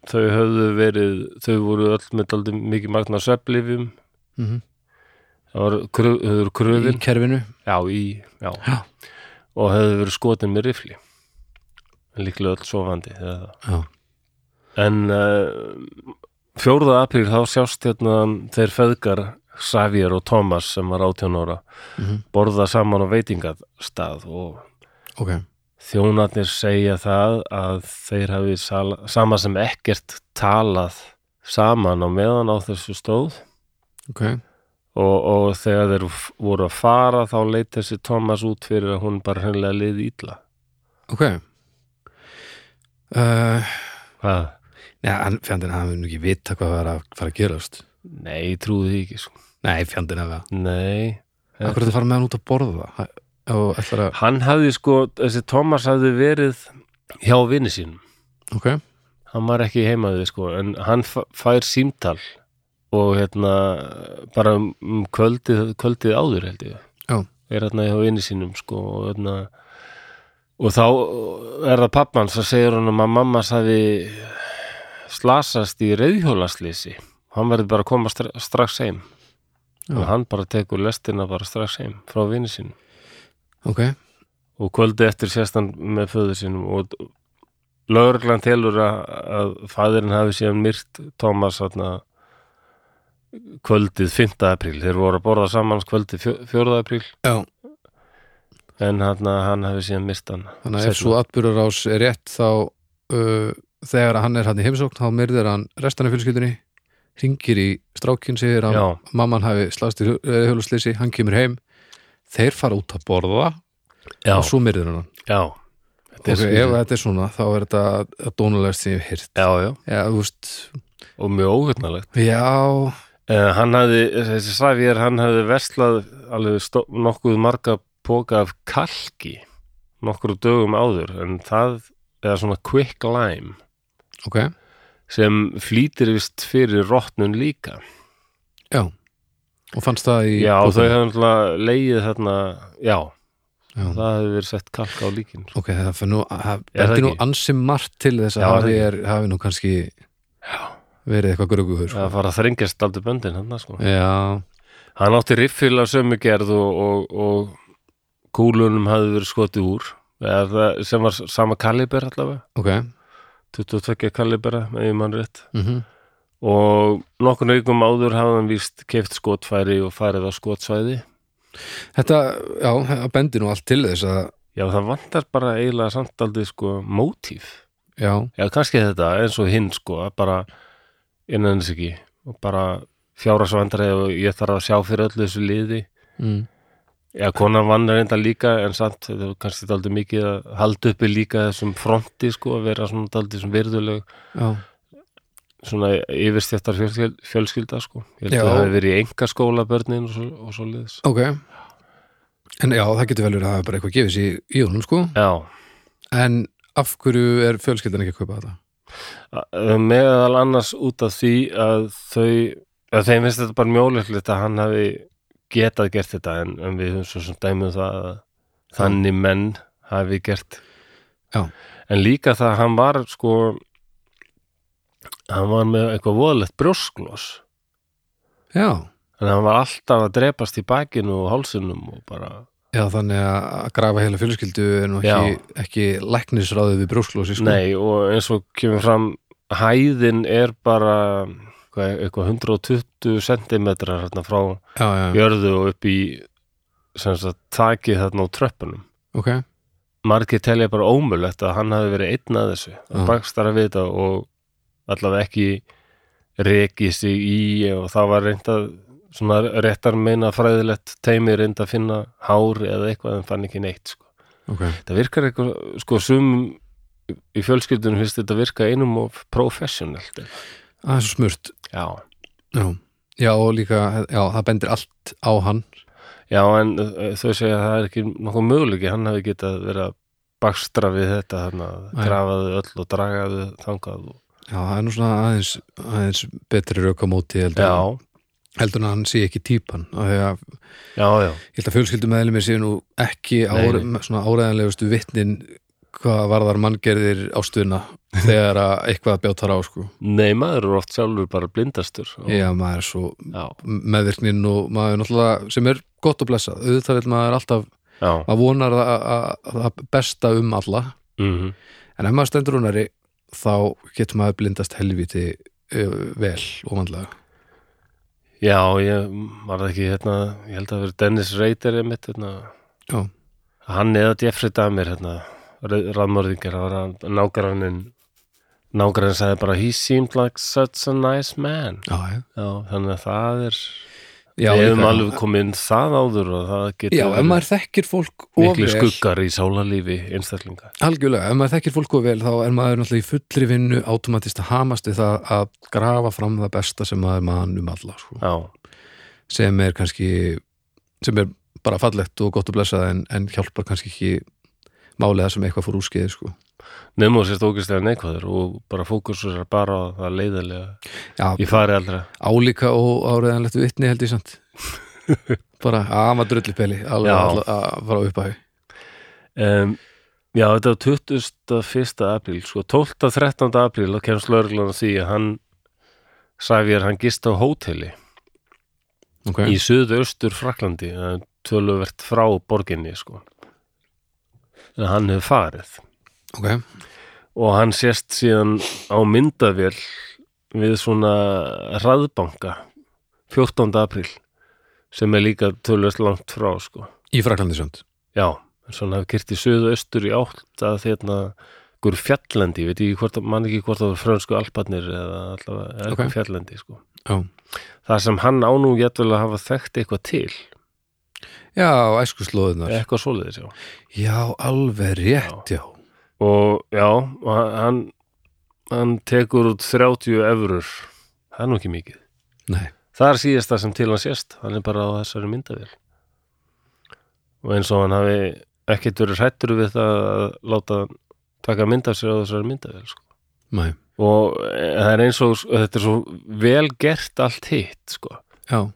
Speaker 1: þau höfðu verið þau voru öll með daldið mikið magna svepplifjum,
Speaker 2: mm
Speaker 1: það var kröf, höfður kröfin
Speaker 2: í kerfinu
Speaker 1: Já, í, já.
Speaker 2: Já.
Speaker 1: Og hefðu verið skotin með rifli. En líklega öll sofandi. eða það.
Speaker 2: Já,
Speaker 1: En uh, 4. apríl þá sjást hérna þeir feðgar Xavier og Thomas sem var 18 ára
Speaker 2: Mhm.
Speaker 1: borða saman á veitingastað og
Speaker 2: ok
Speaker 1: þjónarnir segja það að þeir hafi sala, sama sem ekkert talað saman á meðan á þessu stóð
Speaker 2: Ok,
Speaker 1: og, og þegar þeir f- voru að fara þá leit þessi Thomas út fyrir að hún bara hennilega liði ítla
Speaker 2: ok uh,
Speaker 1: Hvað?
Speaker 2: Nei, hann, fjandinn, hann hefur nú ekki vita hvað var að fara að gerast
Speaker 1: Nei, ég trúi því ekki sko.
Speaker 2: Nei, fjandinn hefur það
Speaker 1: Nei, Já.
Speaker 2: Akkur þetta fara með hann út að borða Hæ- og ætlar að,
Speaker 1: hann hafði sko þessi Thomas hafði verið hjá vini sínum
Speaker 2: ok
Speaker 1: hann var ekki heima við sko, en hann fa- fær símtal og hérna bara um um kvöldið, kvöldið áður held ég
Speaker 2: Já.
Speaker 1: er hérna hjá vini sínum sko og hérna og þá er það pappan svo segir hann um að mamma sagði slasast í reyðhjólaslýsi hann verður bara að koma stra strax heim
Speaker 2: Já.
Speaker 1: og hann bara tekur lestina bara strax heim frá vini sínum
Speaker 2: ok,
Speaker 1: og kvöldi eftir sérstann með föður sínum og lögreglan telur að, að fæðirinn hafi síðan myrt Thomas þarna, kvöldið 5. apríl þeir voru að borða saman kvöldið fjó- 4. apríl
Speaker 2: já
Speaker 1: en hann, hann hafi síðan myrt hann
Speaker 2: þannig að ef
Speaker 1: Seinna.
Speaker 2: svo atbyrðarás er rétt þá uh, þegar hann er hann í heimsókn þá myrðir hann restan af fjölskyldunni ringir í strákinn segir að
Speaker 1: Já.
Speaker 2: mamman hafi slast í hölusleysi hann kemur heim, þeir fara út að borða
Speaker 1: já,
Speaker 2: og svo myrðir hann
Speaker 1: já
Speaker 2: ok,
Speaker 1: Þetta er skrítið.
Speaker 2: ef þetta er svona þá er þetta að dónulegast sem ég hef hýrt
Speaker 1: já, já,
Speaker 2: já, þú veist,
Speaker 1: og mjög óhugnalegt
Speaker 2: já
Speaker 1: uh, hann hafi, þessi Savir hann hafi verslað alveg stó, nokkuð marga póka af kalki nokkru dögum áður en það, eða svona quick lime
Speaker 2: ok,
Speaker 1: sem flýtir vist fyrir rottnun líka.
Speaker 2: já og fannst það í
Speaker 1: já, þau
Speaker 2: bókinni?
Speaker 1: hefðu náttúrulega leið þarna, já,
Speaker 2: Já.
Speaker 1: það hefur verið sett kalk á líkin.
Speaker 2: ok, það fyrir nú það
Speaker 1: Er það
Speaker 2: bendir nú
Speaker 1: ekki?
Speaker 2: ansi margt til þess að
Speaker 1: Já,
Speaker 2: hafi,
Speaker 1: það
Speaker 2: er, hafi nú kannski verið eitthvað grögugur sko.
Speaker 1: Það fara að þrengjast aldrei böndin hann, sko.
Speaker 2: já,
Speaker 1: Hann átti riffil af sömu gerð og, og, og kúlunum hafði verið skotið úr, eða það- sem var sama kaliber allavega,
Speaker 2: ok
Speaker 1: 22 kalibera, ef ég mann rétt.
Speaker 2: mm
Speaker 1: Og nokkur naukum áður hafði hann víst keift skotfæri og farið á skotsvæði.
Speaker 2: Þetta, já, það bendir nú allt til þess að,
Speaker 1: Já, það vantar bara eiginlega samt aldrei, sko, mótíf.
Speaker 2: já,
Speaker 1: Já, kannski þetta eins og hinn sko að bara innan þess ekki og bara fjárasvandri og ég þarf að sjá fyrir öllu þessu liði
Speaker 2: mm,
Speaker 1: Já, konan vann reynda líka en samt þetta var kannski daldið mikið að halda uppi líka þessum fronti sko að vera svona daldið sem virðuleg
Speaker 2: já,
Speaker 1: svona yfirstjættar fjölskylda sko ég held
Speaker 2: Já.
Speaker 1: að það hafi verið í enga skóla börnin og svo, og svo liðis
Speaker 2: ok. En já, það getur vel verið að það er bara eitthvað gefið sér í honum, sko.
Speaker 1: Já,
Speaker 2: En af hverju er fjölskyldan ekki að kaupa þetta?
Speaker 1: Að- meðal annars út af því að þau að þeim finnst þetta bara mjóleiklegt að hann hafi getað gert þetta en, en við höfum svo sem dæmið það að þannig menn hafi gert
Speaker 2: Já.
Speaker 1: en líka það að hann var sko hann var með eitthvað voðalegt brjósklos
Speaker 2: Já,
Speaker 1: en hann var alltaf að drepast í bakinu og hálsinum og bara
Speaker 2: já, þannig að að grafa heila fjölskyldu er nú ekki, ekki læknisráðið við brjósklósi, sko.
Speaker 1: nei og eins og kemur fram hæðin er bara hvað, eitthvað 120 sentimetrar hérna frá
Speaker 2: Já, já,
Speaker 1: jörðu og upp í sem sagt takið þarna á tröppunum
Speaker 2: ok,
Speaker 1: margir telja bara ómulegt að hann hafi verið einn að þessu
Speaker 2: Já.
Speaker 1: að bakstara við þetta og allavega ekki rekið sig í og það var reynd að svona réttar meina fræðilegt teimi reynd að finna hár eða eitthvað en fann ekki neitt sko.
Speaker 2: ok.
Speaker 1: það virkar eitthvað sko sumum í fjölskyldunum finnst þetta virka einum of professionalt
Speaker 2: Það er svo smurt.
Speaker 1: já
Speaker 2: Já, já, og líka, já, það bendir allt á hann.
Speaker 1: Já, en uh, þau segja að það er ekki nokkuð möguleiki, hann hafi getað verið að bakstra við þetta þarna,
Speaker 2: Nei.
Speaker 1: grafaðu öll og dragaðu þangað og...
Speaker 2: Já, það er nú svona aðeins, aðeins betri raukamóti heldur, en-
Speaker 1: Já,
Speaker 2: heldur en að hann sé ekki típan. af því að
Speaker 1: já, já,
Speaker 2: Ég held að fjölskyldum meðlum séu nú ekki
Speaker 1: Nei,
Speaker 2: ára,
Speaker 1: nei.
Speaker 2: svona áræðanlegustu vittnin hvað varðar manngerðir ástuna þegar að eitthvað bjátar á sko.
Speaker 1: nei, maður er oft sjálfur bara blindastur og...
Speaker 2: Já, maður er svo
Speaker 1: Já,
Speaker 2: meðvirknin og maður er náttúrulega sem er gott að blessa. Auðvitað vil maður alltaf
Speaker 1: já,
Speaker 2: maður vonar að, að, að það besta um alla
Speaker 1: mhm,
Speaker 2: en ef maður stendur húnari þá getur maður blindast helviti uh, vel og vandlega.
Speaker 1: já, ég var það ekki hérna, ég held að vera Dennis Reiter einmitt, hérna,
Speaker 2: Já.
Speaker 1: hann eða Jeffrey Dahmer, hérna, raðmörðingar, það var að nágrannin, nágrannin sagði bara, he seemed like such a nice man,
Speaker 2: Já, já.
Speaker 1: já, þannig að það er...
Speaker 2: Já,
Speaker 1: við hefum
Speaker 2: líka-
Speaker 1: alveg komið inn það áður og það getur
Speaker 2: já, ef
Speaker 1: verið
Speaker 2: maður þekkir fólk of
Speaker 1: miklu
Speaker 2: vel
Speaker 1: skuggar í sálarlífi einstaklinga.
Speaker 2: Algjörlega, ef maður þekkir fólk og vel þá er maður náttúrulega í fullri vinnu automatist að hamast við það að grafa fram það besta sem maður mann um alla sko.
Speaker 1: Já,
Speaker 2: sem er kannski sem er bara fallegt og gott að blessa en, en hjálpar kannski ekki máliða sem eitthvað fór úrskeið sko.
Speaker 1: nefnum þú sérst ógæslega neikvæður og bara fókusur bara á það leiðilega
Speaker 2: Já,
Speaker 1: í fari aldra
Speaker 2: álíka og áriðanlegt vitni held ég samt bara, að hann var drullipeli alveg
Speaker 1: Já.
Speaker 2: alla- að fara upp að hau
Speaker 1: um, Já, þetta var 21. apríl sko 12. 13. apríl þá kemst lögreglan að því að hann Savjar, hann gist á hóteli í
Speaker 2: okay.
Speaker 1: suðaustur Fraklandi það er töluvert frá borginni sko en hann hefur farið
Speaker 2: ok,
Speaker 1: og hann sést síðan á myndavél við svona hraðbanka 14. apríl sem er líka tölvöld langt frá sko.
Speaker 2: í Fraklandi samt
Speaker 1: já, svona hafði kyrt í söðu-östur í átt að þérna einhver fjallendi, ég veit ekki hvort mann ekki hvort það var frönsku alparnir eða allavega eða
Speaker 2: Ok.
Speaker 1: einhver fjallendi sko.
Speaker 2: Já.
Speaker 1: það sem hann á nú getvel að hafa þekkt eitthvað til,
Speaker 2: já, æskuslóðunar
Speaker 1: eitthvað svoleiðis já
Speaker 2: já, alveg rétt, Eh. já,
Speaker 1: og já, og hann hann tekur út 30 eurur það er nú ekki mikið
Speaker 2: nei,
Speaker 1: Það er síðasta sem til hann sést, hann er bara á þessari myndavél. Og eins og hann hafi ekkert verið hrættur við það að láta taka mynd af sér á þessari myndavél. Sko.
Speaker 2: nei
Speaker 1: Og eh, það er eins og, þetta er svo vel gert allt hitt, sko.
Speaker 2: já,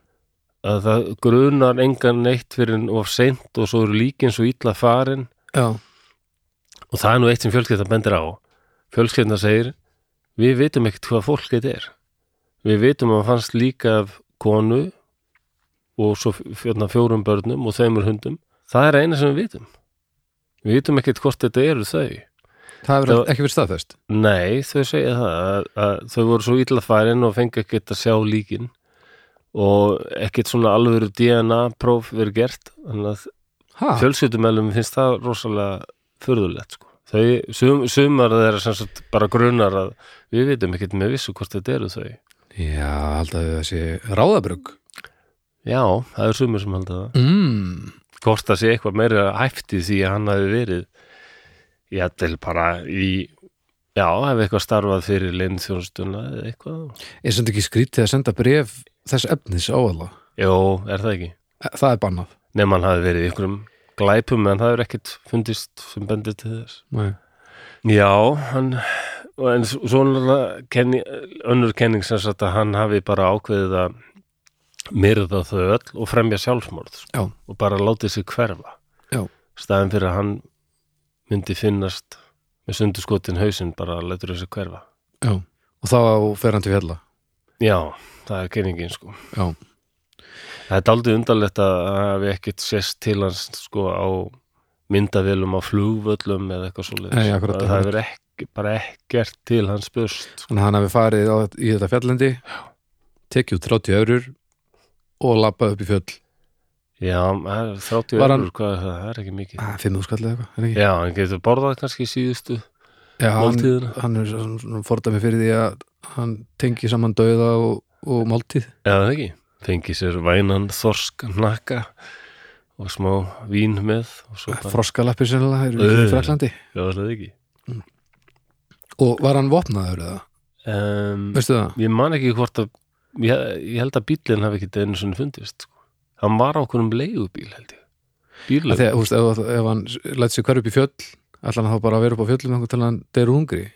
Speaker 1: Að það grunar engan neitt fyrir en of seint og svo eru líkin svo illa farin
Speaker 2: já,
Speaker 1: og það er nú eitt sem fjölskeittan bendir á fjölskeittan segir við vitum ekkert hvað fólk þetta er við vitum að hann fannst líka af konu og svo fjörna fjórum börnum og þeimur hundum það er eina sem við vitum við vitum ekkert hvort þetta eru þau
Speaker 2: það hefur
Speaker 1: Það-
Speaker 2: ekki verið staðfest
Speaker 1: nei, þau segja það að, að þau voru svo illa farin og fengi ekkert að sjá líkin og ekkert svona alvöru DNA próf verið gert þannig að
Speaker 2: ha,
Speaker 1: fjölskyldumælum finnst það rosalega furðulegt sko. þau, sum, sumar þeirra sem sagt bara grunar að við vitum ekkert með vissu hvort þetta eru þau
Speaker 2: já, alltaf þessi ráðabrug
Speaker 1: já, það eru sumir sem held að það
Speaker 2: mm.
Speaker 1: hvort það sé eitthvað meira hæfti því að hann hafi verið já, til bara í já, hefði eitthvað starfað fyrir lindþjónstuna eða eitthvað
Speaker 2: er sem ekki skrítið að senda bref þess efnis á alla
Speaker 1: jó, er það ekki?
Speaker 2: það er bannað
Speaker 1: nema hann hafi verið í einhverjum glæpum en það er ekkert fundist sem bendir til þess
Speaker 2: nei.
Speaker 1: Já, hann og en s- svo náttúrulega kenni, önnur kenning sem sagt að hann hafi bara ákveðið að myrða þau öll og fremja sjálfsmorð sko,
Speaker 2: já,
Speaker 1: og bara látið sig hverfa
Speaker 2: Já.
Speaker 1: staðin fyrir að hann myndi finnast með sundurskotin hausinn bara að letur þessu hverfa
Speaker 2: já, og þá fer hann til fjalla
Speaker 1: Já, það er kenningin sko
Speaker 2: já,
Speaker 1: Það er daldið undarlegt að að hafi ekkit sést til hans sko á myndavélum á flugvöllum eða eitthvað svoleiðis
Speaker 2: Nei, akkurat,
Speaker 1: það hefur ekki, bara ekkert til hans börst
Speaker 2: Þannig að hann hafi farið á, í þetta fjallendi tekið út 30 eurur og labbað upp í fjöll
Speaker 1: Já, það er 30
Speaker 2: Var
Speaker 1: eurur,
Speaker 2: hann-
Speaker 1: hvað er það, það er ekki mikið.
Speaker 2: ah, 5 skallið eitthvað, er ekki?
Speaker 1: Já, hann getur borðað kannski síðustu
Speaker 2: Já, hann,
Speaker 1: máltíðina.
Speaker 2: hann er svona- svona fordæmi fyrir því að hann tengi saman dauða og, og máltíð
Speaker 1: Já, það er ekki. Fengi sér vænan þorsk nakka og smá vín með og svo bara,
Speaker 2: Froskalappi sennilega eru í
Speaker 1: Ö.
Speaker 2: Fraklandi
Speaker 1: já, það er ekki.
Speaker 2: Og var hann vopnaður eða?
Speaker 1: Um,
Speaker 2: Veistu það?
Speaker 1: ég man ekki hvort að, ég, ég held að bíllinn hafi ekki einu svona fundist. Sko. Hann var á okkurum leigubíl, held ég.
Speaker 2: Af
Speaker 1: Bíllöf.
Speaker 2: Því að, húst, ef, ef hann lætt sér hver upp í fjöll ætlar hann þá bara að vera upp á fjöllum einhvern til hann deyru hungri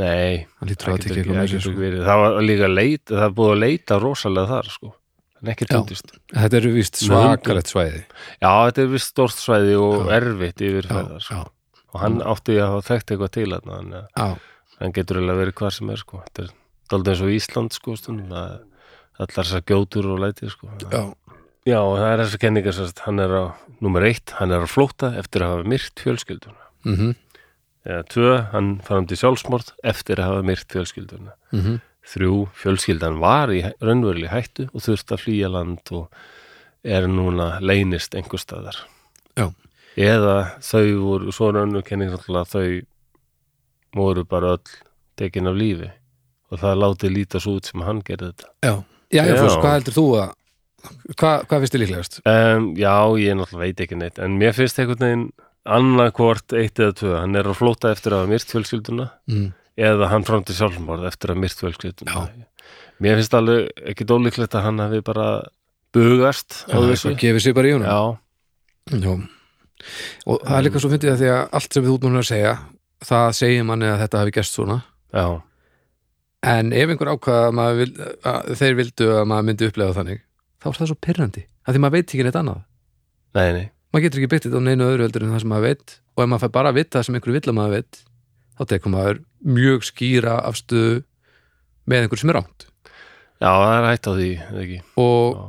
Speaker 1: Nei,
Speaker 2: Hann lítur
Speaker 1: það
Speaker 2: að tekja
Speaker 1: getur
Speaker 2: eitthvað
Speaker 1: ekki,
Speaker 2: með
Speaker 1: það
Speaker 2: sér
Speaker 1: getur ekki
Speaker 2: sko.
Speaker 1: verið. Það var líka leit, það er búið að leita rosalega þar, sko. En ekki
Speaker 2: Já.
Speaker 1: fundist.
Speaker 2: Þetta eru víst
Speaker 1: Með hundum.
Speaker 2: svakalegt svæði
Speaker 1: Já, þetta er vist stórt svæði og
Speaker 2: Já.
Speaker 1: erfitt yfir ferðar, sko.
Speaker 2: já,
Speaker 1: og hann átti að hafa þekkt eitthvað til hann þannig að
Speaker 2: já,
Speaker 1: hann getur eiginlega verið hvar sem er sko. þetta er daldið eins og Ísland sko, stundum, að allar þessar gjótur og læti sko.
Speaker 2: já,
Speaker 1: já, og það er þessar kenningar sérst, hann er á, nummer eitt, hann er að flóta eftir að hafa myrt fjölskylduna
Speaker 2: mhm,
Speaker 1: eða tvö, hann framdi sjálfsmorð eftir að hafa myrt fjölskylduna
Speaker 2: mhm
Speaker 1: þrjú, fjölskyldan var í hæ- raunveruleg hættu og þurfti að flýja land og er núna leynist einhver staðar
Speaker 2: Já.
Speaker 1: eða þau voru, svo er önnur kenning náttúrulega að þau voru bara öll tekin af lífi og það láti lítast út sem hann gerði þetta
Speaker 2: Já, já, já.
Speaker 1: Já.
Speaker 2: Fús, hvað heldur þú að hvað, hvað finnst þið líklegast?
Speaker 1: um, Já, ég náttúrulega veit ekki neitt en mér finnst einhvern veginn annarkvort eitt eða tvö, hann er að flóta eftir að hafa myrt fjölskylduna
Speaker 2: Mm.
Speaker 1: eða hann framdi sjálfmorð eftir að myrt fjölskylduna Mér finnst alveg ekki dólíklegt að hann hafi bara bugast á þessu
Speaker 2: Hvað gefið sér bara í honum?
Speaker 1: Já,
Speaker 2: Já. Og það er líka svo fyndið að því að allt sem við útmúlum að segja það segir manni að þetta hafi gerst svona
Speaker 1: já,
Speaker 2: en ef einhver ákvað að, maður vil, að þeir vildu að maður myndi upplega þannig þá er það svo pyrrandi, af því maður veit ekki neitt annað
Speaker 1: nei, nei
Speaker 2: maður getur ekki byggt þetta á neinu öðru heldur en það sem maður veit og ef maður fær bara að vita það sem einhver vill að maður veit þá tekur maður mjög skýra afstöðu með einhver sem er rámt
Speaker 1: Já, það er hætt á því, eða ekki
Speaker 2: og
Speaker 1: Já,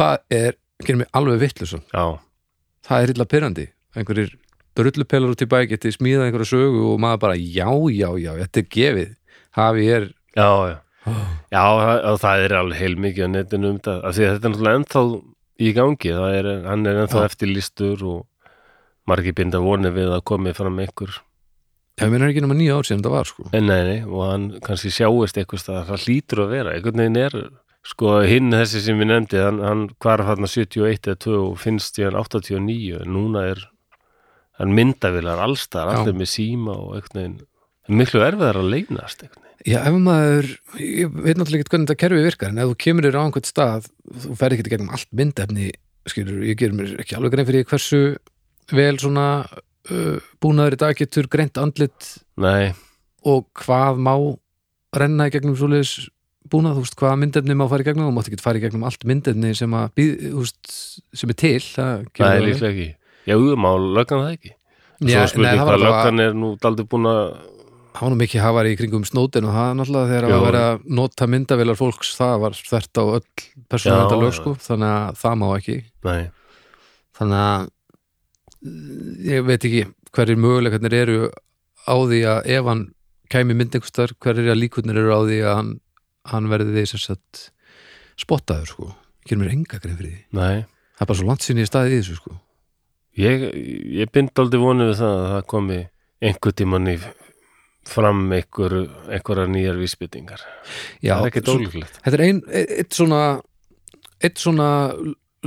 Speaker 2: það er, gerir mig alveg vittlusan
Speaker 1: já,
Speaker 2: það er illa pyrrandi einhverjir drullupelar út í bæk geti smíðað einhverja sögu og maður bara já, já, já, þetta er gefið hafi ég er
Speaker 1: já, já. já það, og það er alveg heilmikið að netinu um þetta, af því að þetta er náttúrulega ennþá í gangi, það er, hann er ennþá
Speaker 2: Já.
Speaker 1: eftirlýstur og margir binda vonir við að komi fram einhver
Speaker 2: ég meina ekki nema nýja ár síðan þetta var sko
Speaker 1: en nei, nei, og hann kannski sjáist eitthvað stað, það hlýtur að vera, einhvern veginn er sko hinn þessi sem við nefndi hann, hann hvarf hann 71 eða 2 og finnst í hann 89, en núna er hann myndavilar allstar,
Speaker 2: Já.
Speaker 1: allir með síma og einhvern veginn miklu erfiðar að leynast einhvern veginn
Speaker 2: Já, ef maður, ég veit náttúrulega ekki hvernig þetta kerfi virkar, en ef þú kemur þér á einhvern stað, þú ferð ekki gegnum allt myndefni, skilur, ég gerir mér ekki alveg grein fyrir hversu vel svona uh, búnaður í dag getur greint andlit
Speaker 1: Nei,
Speaker 2: og hvað má renna í gegnum svoleiðis búnað, þú veist, hvað myndefni má fara í gegnum, þú mátt ekki fara í gegnum allt myndefni sem, að, býð, þú veist, sem er til, það kemur
Speaker 1: það er
Speaker 2: alveg.
Speaker 1: líklega ekki Já, við má löggan það ekki Svo
Speaker 2: Já,
Speaker 1: er spurning
Speaker 2: nei, það var
Speaker 1: hvað
Speaker 2: alveg-
Speaker 1: löggan er nú daldið búin að
Speaker 2: hann var nú mikið hafari í kringum snótin og það náttúrulega þegar
Speaker 1: Já.
Speaker 2: að vera að nota myndavélar fólks það var þvert á öll
Speaker 1: Já,
Speaker 2: persónavendalög
Speaker 1: já.
Speaker 2: sko, þannig að það má ekki
Speaker 1: Nei,
Speaker 2: þannig að mm, ég veit ekki hverjir möguleikarnir eru á því að ef hann kæmi mynd einhverstar, hverjir líkurnar eru á því að hann, hann verði því sem sagt spottaður sko, gerir mér enga grein fyrir því,
Speaker 1: nei
Speaker 2: það er bara svo langt sinni í staðið í þessu sko,
Speaker 1: Ég, ég bind aldrei vonið við það að það komi einhver tímann í fram einhver, einhverjar nýjar vísbyttingar.
Speaker 2: já,
Speaker 1: það er ekki
Speaker 2: svo-
Speaker 1: dólíklegt.
Speaker 2: Þetta er ein, e- eitt svona eitt svona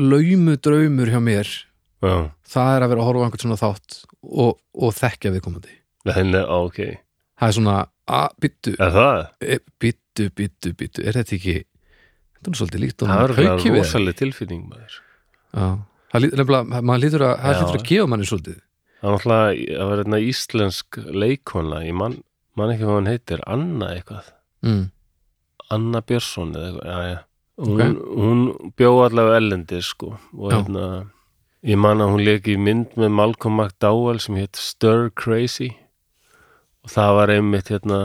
Speaker 2: laumu draumur hjá mér
Speaker 1: Já,
Speaker 2: það er að vera að horfa á einhvern svona þátt og, og þekkja viðkomandi
Speaker 1: þannig, á, ok.
Speaker 2: það er svona, að, byttu
Speaker 1: Er það?
Speaker 2: byttu, byttu, byttu, er þetta ekki þetta er nú svolítið líkt og
Speaker 1: Það er
Speaker 2: hauki
Speaker 1: alveg
Speaker 2: við það
Speaker 1: rosaleg tilfinning maður.
Speaker 2: það lít- nefnilega, maður lítur að það
Speaker 1: Já.
Speaker 2: lítur að gefa manni svolítið
Speaker 1: Það er náttúrulega, það var einna íslensk leikona, ég man, man ekki hvað hann heitir, Anna eitthvað.
Speaker 2: mm.
Speaker 1: Anna Björnsson eða eitthvað, já, já. Hún,
Speaker 2: Ok.
Speaker 1: hún bjó allavega ellendi, sko. Og
Speaker 2: Já.
Speaker 1: hérna, ég man að hún leik í mynd með Malcolm McDowell sem hétt Stir Crazy. Og það var einmitt, hérna,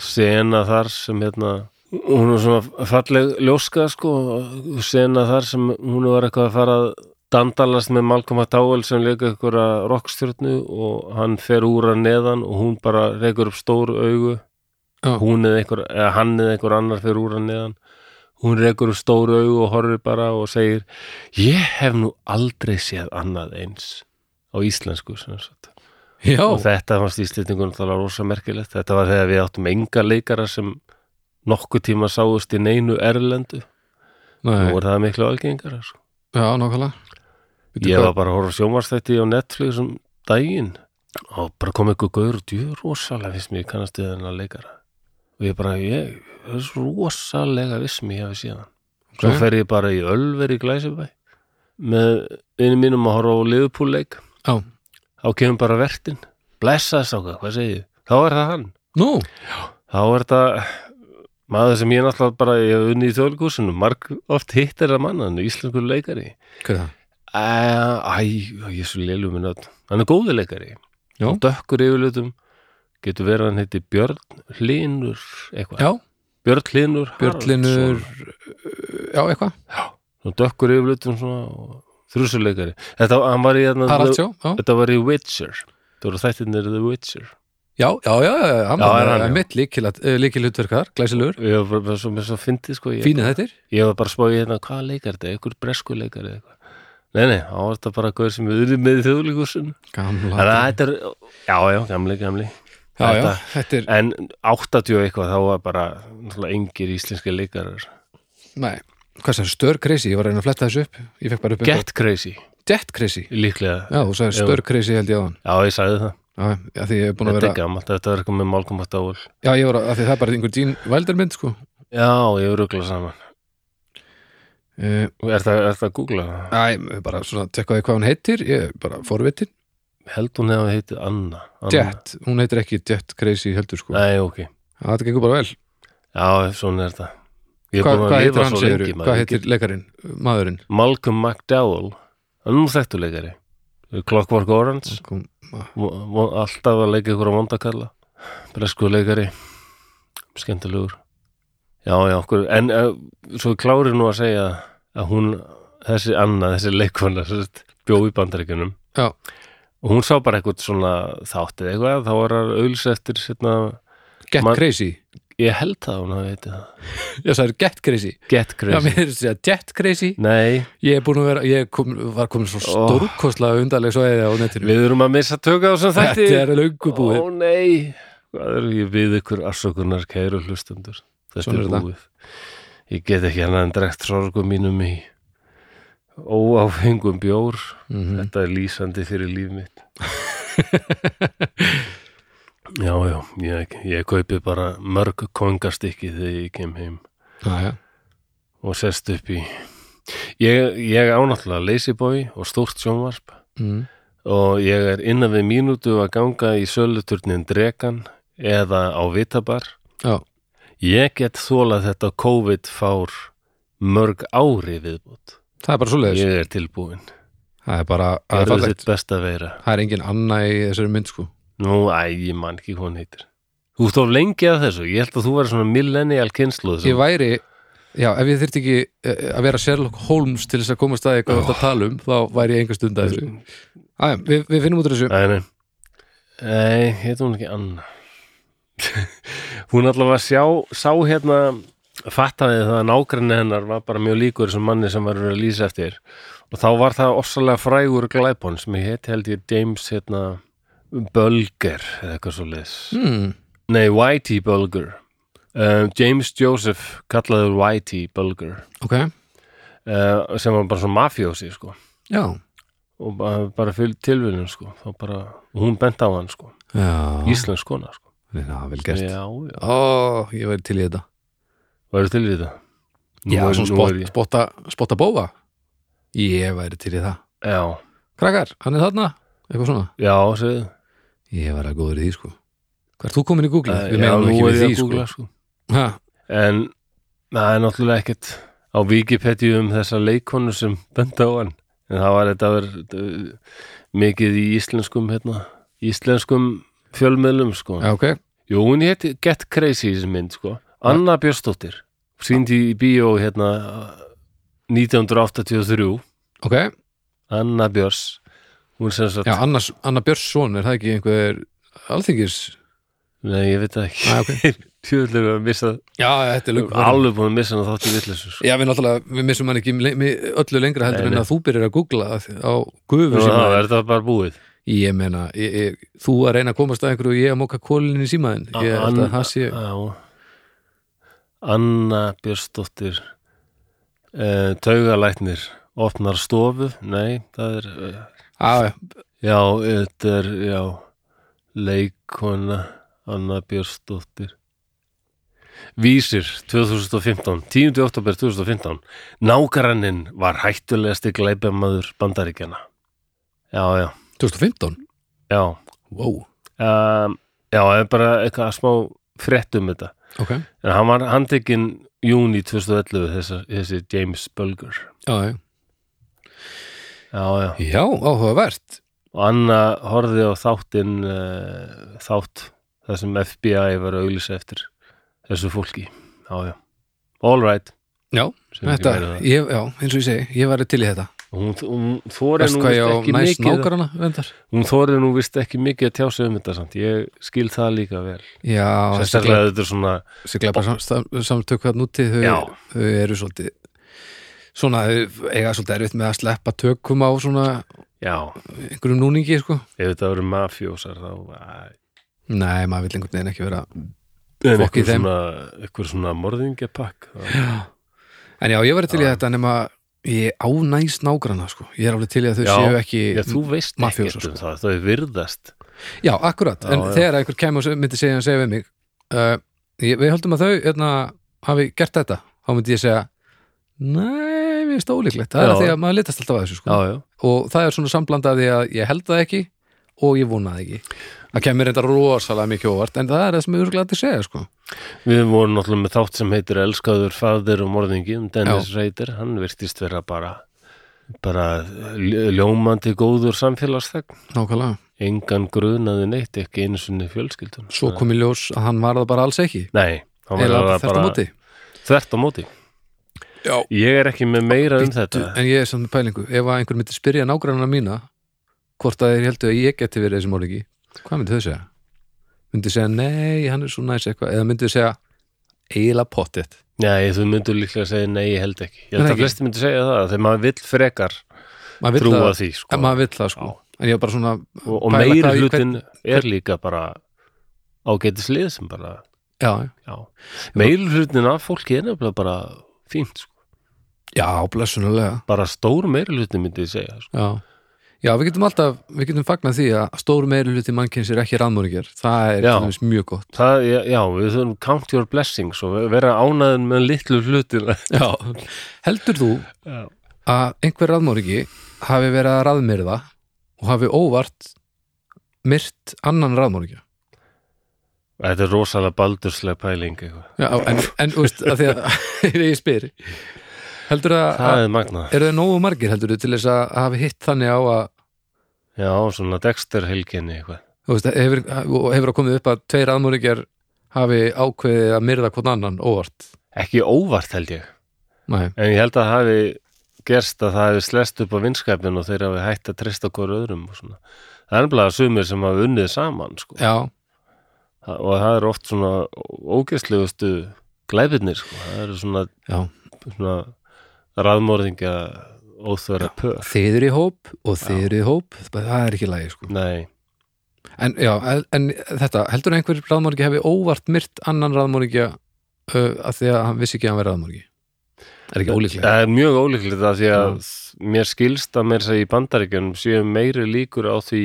Speaker 1: sena þar sem, hérna, hún var svona falleg ljóska, sko. og Sena þar sem hún var eitthvað að fara að dandalast með Malcolm McDowell sem leika einhverja rockstjörnu og hann fer úr að neðan og hún bara reykur upp stór augu
Speaker 2: Já.
Speaker 1: hún eða einhver, eða hann eða einhver annar fyrir úr hann neðan hún rekur úr stóru augu og horfir bara og segir ég hef nú aldrei séð annað eins á íslensku sem sagt.
Speaker 2: já,
Speaker 1: og þetta fannst íslendingun það var rosa merkilegt, þetta var þegar við áttum enga leikara sem nokkuð tíma sáust í neinu erlendu
Speaker 2: nei,
Speaker 1: og voru það miklu algengara sko.
Speaker 2: já, nákvæmlega Bíddu,
Speaker 1: ég
Speaker 2: hvað-
Speaker 1: var bara að horfa sjómarstætti á Netflix um daginn og bara kom eitthvað gaur og djú rosalega viss mér kannast við þennan leikara og ég bara, ég, það er svo rosalega viss mér hefði síðan svo
Speaker 2: Ok.
Speaker 1: fer ég bara í Ölver í Glæsibæ með einu mínum að horfa á liðupúleik
Speaker 2: já,
Speaker 1: þá kemur bara vertin, blessa þess ákvað, hvað segið, þið? þá er það hann
Speaker 2: nú,
Speaker 1: þá er þetta maður sem ég náttúrulega bara, ég hef unni í þjóðleikúsinu marg oft hittir það mannan, íslenskur leikari
Speaker 2: hvað er það
Speaker 1: Æ, Eh, æ, ég er svo lélum minn öll. Hann er góðuleikari.
Speaker 2: Já.
Speaker 1: Dökkur yfirlutum. Getur verið að hann heiti Björn Hlinur eitthvað.
Speaker 2: já,
Speaker 1: Björn Hlinur
Speaker 2: björlinur já, eitthvað,
Speaker 1: Haraldsson. Dökkur yfirlutum svona og þrjusuleikari. Þetta, hann var í, hérna,
Speaker 2: Haraldsjó já,
Speaker 1: þetta var í Witcher. Þú eru þættinir The Witcher.
Speaker 2: já, já, já, já, hann
Speaker 1: Já,
Speaker 2: var
Speaker 1: er hann, já.
Speaker 2: mitt líkilutverkar, glæsilegur
Speaker 1: Ég var bara- bara svo með svo fyndið sko. Ég,
Speaker 2: fínið þettir,
Speaker 1: ég var bara að spá í hérna, hvað leikar þetta? Ekkur breskuleikari eða eitthvað. Nei, nei, þá var þetta bara gauð sem við erum með í þjóðleikúsinu.
Speaker 2: gamla
Speaker 1: Þannig að þetta er, já, já, gamli, gamli.
Speaker 2: já, já,
Speaker 1: Þetta-
Speaker 2: þetta er,
Speaker 1: En 80 og eitthvað, þá var bara náttúrulega engir íslenski leikarar.
Speaker 2: nei, hvað sem stör crazy, ég var að reyna að fletta þessu upp ég fekk bara upp
Speaker 1: Get crazy,
Speaker 2: eitthvað, debt crazy
Speaker 1: líklega.
Speaker 2: já, þú sagði
Speaker 1: Já.
Speaker 2: stör crazy held ég á
Speaker 1: Já, ég sagði það.
Speaker 2: hann já, því ég er búin að
Speaker 1: Þetta
Speaker 2: vera,
Speaker 1: er gammalt, þetta er eitthvað með Malcolm McDowell.
Speaker 2: já, ég var að, að því það er bara einhver Gene Wilder mynd, sko
Speaker 1: Já, ég rugla saman.
Speaker 2: uh, Eh,
Speaker 1: Er það, er það að googla það?
Speaker 2: æ, bara svona, tekka því hvað hún heitir ég er bara forvitin
Speaker 1: held hún hefði heitið Anna, Anna.
Speaker 2: Jet, hún heitir ekki Jet Crazy heldur sko
Speaker 1: Nei, ok,
Speaker 2: Það þetta gengur bara vel
Speaker 1: já, svona er þetta Ég er
Speaker 2: Hva,
Speaker 1: búin að
Speaker 2: Hvað
Speaker 1: lifa
Speaker 2: heitir hann
Speaker 1: svo
Speaker 2: segir
Speaker 1: lengi, maður.
Speaker 2: Hvað
Speaker 1: Ég
Speaker 2: heitir leikarinn, maðurinn
Speaker 1: Malcolm McDowell hann er nú þekktuleikari Clockwork Orange
Speaker 2: Kom-
Speaker 1: vo- vo- alltaf að leika ykkur á vondakalla bresku leikari skemmtilegur já, já, okkur, en uh, svo klári nú að segja að hún þessi Anna, þessi leikona sem sagt, bjó í bandaríkunum
Speaker 2: Já.
Speaker 1: og hún sá bara eitthvað svona þáttið eitthvað, þá var hann auðlis eftir sérna,
Speaker 2: Get
Speaker 1: Man-
Speaker 2: Crazy
Speaker 1: ég held það hún að veiti það
Speaker 2: Já, það er Get Crazy
Speaker 1: Get
Speaker 2: Já,
Speaker 1: Crazy,
Speaker 2: mér er að segja Jet Crazy
Speaker 1: nei,
Speaker 2: Ég er búin að vera, ég kom, var komin svo
Speaker 1: Oh.
Speaker 2: stórkostlega undarleg svo eða á netinu
Speaker 1: við erum að missa tökka á þessum þætti
Speaker 2: Þetta er löngu búið
Speaker 1: Ó nei, hvað er ég við ykkur afsökunar kæru hlustendur Þetta
Speaker 2: Svona er
Speaker 1: er
Speaker 2: þetta.
Speaker 1: búið Ég get ekki hann en drekt sorgum mínum í óáfengum bjór
Speaker 2: Mhm.
Speaker 1: Þetta er lýsandi fyrir líf mitt Já, já, ég, ég kaupi bara mörg kongastykki þegar ég kem heim
Speaker 2: Já, já.
Speaker 1: og sest upp í Ég, ég ánáttúrulega leysibói og stórt sjónvarp
Speaker 2: Mm.
Speaker 1: og ég er innan við mínútu að ganga í söluturnin Drekan eða á Vitabar.
Speaker 2: Já.
Speaker 1: Ég get þólað þetta COVID-fár mörg ári viðbútt.
Speaker 2: Það er bara svoleiðis
Speaker 1: Ég er tilbúin.
Speaker 2: Það er bara, það er
Speaker 1: Gerðu
Speaker 2: fallegt
Speaker 1: þitt best að vera.
Speaker 2: Það er engin annað í þessari mynd sko
Speaker 1: Nú, æ, ég man ekki hvað hún heitir. Þú stóf lengi að þessu. Ég held að þú verður svona millennial kynsluð.
Speaker 2: Ég væri, já, ef ég þyrfti ekki eh, að vera Sherlock Holmes til þess að komast að eitthvað oh. að tala um, þá væri ég einhver stund að þessu Æ, við, við finnum út úr þessu
Speaker 1: Nei, nei. Nei, heitir hún ekki Anna. hún allavega sjá, sá hérna, fattaði það að nágrinni hennar var bara mjög líkur sem manni sem var verið að lýsa eftir og þá var það ofsalega frægur glæpon sem ég heiti held ég James hérna Bulger eða eitthvað svo leis.
Speaker 2: hmm.
Speaker 1: Nei, Whitey Bulger. Uh, James Joseph kallaði Whitey Bulger
Speaker 2: Ok,
Speaker 1: uh, sem var bara svo mafjósi sko
Speaker 2: já
Speaker 1: og bara, bara fyrir tilviljum sko þá bara, hún bent á hann sko
Speaker 2: Já,
Speaker 1: Íslensk kona sko.
Speaker 2: já vel gert
Speaker 1: Já, já.
Speaker 2: Ó, ég væri til í þetta
Speaker 1: Væru til í þetta? Nú
Speaker 2: Já,
Speaker 1: er-
Speaker 2: svona
Speaker 1: nú
Speaker 2: spot,
Speaker 1: er ég-
Speaker 2: spotta, spotta bófa Ég væri til í það
Speaker 1: Já,
Speaker 2: Krakkar, hann er þarna, eitthvað svona
Speaker 1: já, segðu
Speaker 2: Ég væri að góður í því sko Hvað er þú komin í Google?
Speaker 1: Eh,
Speaker 2: Við
Speaker 1: já,
Speaker 2: meðum
Speaker 1: nú
Speaker 2: ekki
Speaker 1: er
Speaker 2: við
Speaker 1: ég
Speaker 2: því
Speaker 1: að
Speaker 2: sko
Speaker 1: googla, sko.
Speaker 2: Ha,
Speaker 1: En það er náttúrulega ekkert á Wikipedia um þessa leikonu sem benda á hann en það var þetta verið mikið í íslenskum hérna, íslenskum fjölmiðlum sko.
Speaker 2: Já, ok,
Speaker 1: Jú, hún héti Get Crazy í þessi mynd sko. Anna Björstóttir síndi í bíó hérna 1983
Speaker 2: ok
Speaker 1: Anna Björs hún sem sagt
Speaker 2: Já, annars, Anna Björnsson, er það ekki einhver alþingis?
Speaker 1: Nei, ég veit það ekki.
Speaker 2: Æ, ok
Speaker 1: Tjóðlega við að missa,
Speaker 2: Já, þetta er lög
Speaker 1: alveg búin að missa hann þátt í vitleysu. Sko.
Speaker 2: Já, við náttúrulega, við missum hann ekki le- mi- öllu lengra heldur
Speaker 1: Nei,
Speaker 2: en
Speaker 1: nei.
Speaker 2: að þú byrjar að googla að- á gufu
Speaker 1: Nú, það
Speaker 2: símaðin
Speaker 1: er það bara búið.
Speaker 2: Ég meina, ég, ég, þú að reyna að komast að einhverju og ég að móka kólinni í símaðin Ég held að það sé
Speaker 1: Já. Anna Björsdóttir, uh, taugalæknir, opnar stofu, nei, það er, uh,
Speaker 2: Já, já,
Speaker 1: já, þetta er, já, leikona Anna Björsdóttir. Vísir 2015, 10. oktober 2015 Nágranninn var hættulegasti glæpjamaður bandaríkjana Já, já,
Speaker 2: 2015
Speaker 1: já
Speaker 2: Wow,
Speaker 1: um, Já, það er bara eitthvað smá frétt um þetta
Speaker 2: ok
Speaker 1: En hann var handtekinn júni 2011 þessi, þessi James Bulger
Speaker 2: Já, já,
Speaker 1: Já, já
Speaker 2: já áhugavert
Speaker 1: Og Anna horfði á þáttinn uh, þátt þar sem FBI var að auglýsa eftir þessu fólki Já, já All right
Speaker 2: Já,
Speaker 1: Sem ekki
Speaker 2: þetta,
Speaker 1: meira það.
Speaker 2: ég, já, eins og ég segi, ég væri til í þetta
Speaker 1: Hún, hún þóri
Speaker 2: Veist
Speaker 1: nú
Speaker 2: hvað ég á
Speaker 1: vist ekki
Speaker 2: næst
Speaker 1: mikið
Speaker 2: nágrana, vendar
Speaker 1: Hún þóri nú vist ekki mikið að tjá sig um þetta samt Ég skil það líka vel
Speaker 2: Já,
Speaker 1: Sérstaklega þetta er svona
Speaker 2: þessi glæpa samtök hvað núti hérna þau,
Speaker 1: Já.
Speaker 2: þau eru svolítið svona, þau eiga svolítið erfitt með að sleppa tökum á svona
Speaker 1: Já,
Speaker 2: einhverjum núningi, sko
Speaker 1: ef þetta voru mafjósar þá æ,
Speaker 2: Nei, maður vill einhvern veginn ekki vera
Speaker 1: En
Speaker 2: Fokk í
Speaker 1: eitthvað
Speaker 2: þeim.
Speaker 1: svona, eitthvað svona morðingjapakk
Speaker 2: En já, ég var til í þetta nema ég á næst nágrana, sko Ég er alveg til í að þau
Speaker 1: Já.
Speaker 2: séu ekki
Speaker 1: Já, þú veist
Speaker 2: mafíósar, sko.
Speaker 1: ekkert um það, þau virðast
Speaker 2: Já, akkurat, en
Speaker 1: Já, já.
Speaker 2: þegar einhver kemur og se- myndi segja, segja við mig uh, ég, Við höldum að þau, hérna, hafi gert þetta þá myndi ég segja Nei, mér finnst það ólíklegt, það er
Speaker 1: Já.
Speaker 2: að því að maður litast alltaf að þessu, sko
Speaker 1: Já, já,
Speaker 2: og það er svona samblandaði að ég held það ekki og ég vonaði ekki það kemur þetta rosalega mikið óvart en það er það sem ég er glæði að segja sko.
Speaker 1: Við vorum náttúrulega með þátt sem heitir Elskaður, Fadir og Morðingi um Dennis Reiter, hann virtist vera bara bara ljó- ljómandi góður samfélagsþegn
Speaker 2: nákvæmlega,
Speaker 1: engan grunaði neitt, ekki einu sinni fjölskyldun
Speaker 2: svo kom í ljós að hann var það bara alls ekki
Speaker 1: Nei, hann var
Speaker 2: eða
Speaker 1: það
Speaker 2: þetta
Speaker 1: bara
Speaker 2: móti
Speaker 1: þvert á móti
Speaker 2: Já.
Speaker 1: Ég er ekki með meira um þetta
Speaker 2: en ég er samt með pælingu, ef að einhver myndi spyrja nágrannana mína hvort að þeir heldur að ég geti verið þessi morðingi, hvað myndi þau segja? myndi segja, nei, hann er svo næs eitthvað, eða myndi þau segja eiginlega pottet
Speaker 1: Nei, þú myndur líklega að segja nei, ég held ekki Ég
Speaker 2: Nei,
Speaker 1: held að
Speaker 2: ekki.
Speaker 1: flesti myndur segja það, þegar maður vill frekar
Speaker 2: Maður vill
Speaker 1: trúa
Speaker 2: það-
Speaker 1: því sko.
Speaker 2: en maður vill það sko en ég er bara svona,
Speaker 1: og, og
Speaker 2: pæla
Speaker 1: meiri
Speaker 2: hvað í-
Speaker 1: hlutin er líka bara ágætis lið sem bara
Speaker 2: já,
Speaker 1: já, meiri hlutin af fólki er nefnilega bara fínt sko.
Speaker 2: já, blessunulega
Speaker 1: bara stór meiri hlutin myndi ég segja sko.
Speaker 2: Já, já við getum alltaf við getum fagnað því að stór meiri hluti mannkyns er ekki rannmóringjar, það er
Speaker 1: Já.
Speaker 2: til dæmis mjög gott
Speaker 1: það, já, já, við þurfum count your blessings og vera ánæðin með litlu hlutin
Speaker 2: Já. Heldur þú
Speaker 1: Já.
Speaker 2: að einhver rannmóringi hafi verið að raðmyrða og hafi óvart myrt annan rannmóringja
Speaker 1: þetta er rosalega baldurslega pæling eitthvað.
Speaker 2: Já, en, en úst, að því að ég spyr heldur að,
Speaker 1: það
Speaker 2: að
Speaker 1: er magnað
Speaker 2: eru þau nógu margir heldur til þess að hafi hitt þannig á að
Speaker 1: já, svona Dexter helginni eitthvað
Speaker 2: þú veist, hefur, og hefur að komið upp að tveir rannmóringjar hafi ákveðið að myrða hvort annan óvart
Speaker 1: ekki óvart held ég
Speaker 2: Nei.
Speaker 1: en ég held að það hafi gerst að það hafi slest upp á vinskapin og þeir hafi hætt að treysta okkur öðrum og svona. það er nefnilega sumir sem hafi unnið saman sko.
Speaker 2: Já,
Speaker 1: Þa- og það er oft svona ógeðslegustu glæbirnir sko. það eru svona,
Speaker 2: já
Speaker 1: svona raðmörðingja óþverja pör
Speaker 2: Þið eru í hóp og þið eru í hóp það er ekki lægi sko
Speaker 1: Nei,
Speaker 2: en, já, en, en þetta, heldur einhver ráðmorgi hefði óvart myrt annan ráðmorgi uh, að því að hann vissi ekki að hann verið ráðmorgi er ekki ólíklega
Speaker 1: það er mjög ólíklegt að því að mér skilst að mér segi í bandaríkjunum séu meiri líkur á því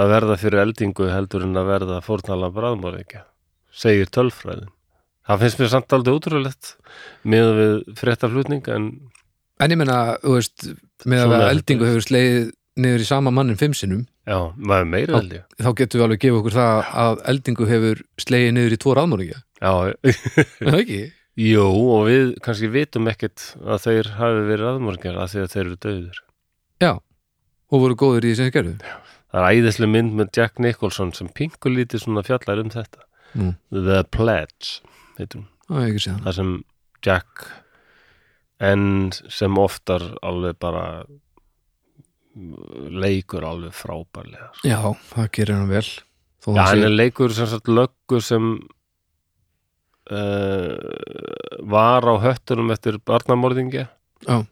Speaker 1: að verða fyrir eldingu heldur en að verða fórnala bráðmörðingja segir tölfræðin Það finnst mér samt aldrei ótrúlegt með við fréttaflutning en
Speaker 2: en ég meina, þú veist, með að
Speaker 1: Svona er
Speaker 2: eldingu hefur slegið niður í sama mannin fimm sinnum
Speaker 1: já, maður er meira
Speaker 2: Já.
Speaker 1: held ég
Speaker 2: þá getum við alveg að gefa okkur það að eldingu hefur slegið niður í tvo ráðmorgi
Speaker 1: Já,
Speaker 2: er það ekki?
Speaker 1: Jú, og við kannski vitum ekkert að þeir hafi verið raðmorgar að því að þeir eru döður.
Speaker 2: Já, og voru góður í því sem þeir gerðu
Speaker 1: Það er æðislega mynd með Jack Nicholson sem pingulítið svona fjallar um þetta.
Speaker 2: Nú.
Speaker 1: The Pledge, heitum.
Speaker 2: það er ekki séð
Speaker 1: Það sem Jack en sem oftar alveg bara leikur alveg frábærlega. sko.
Speaker 2: hann já, það gerir hann vel þó
Speaker 1: Já,
Speaker 2: hann
Speaker 1: hann
Speaker 2: sé-
Speaker 1: er leikur sem sagt löggu sem uh, var á höttunum eftir barnamorðingja
Speaker 2: Já.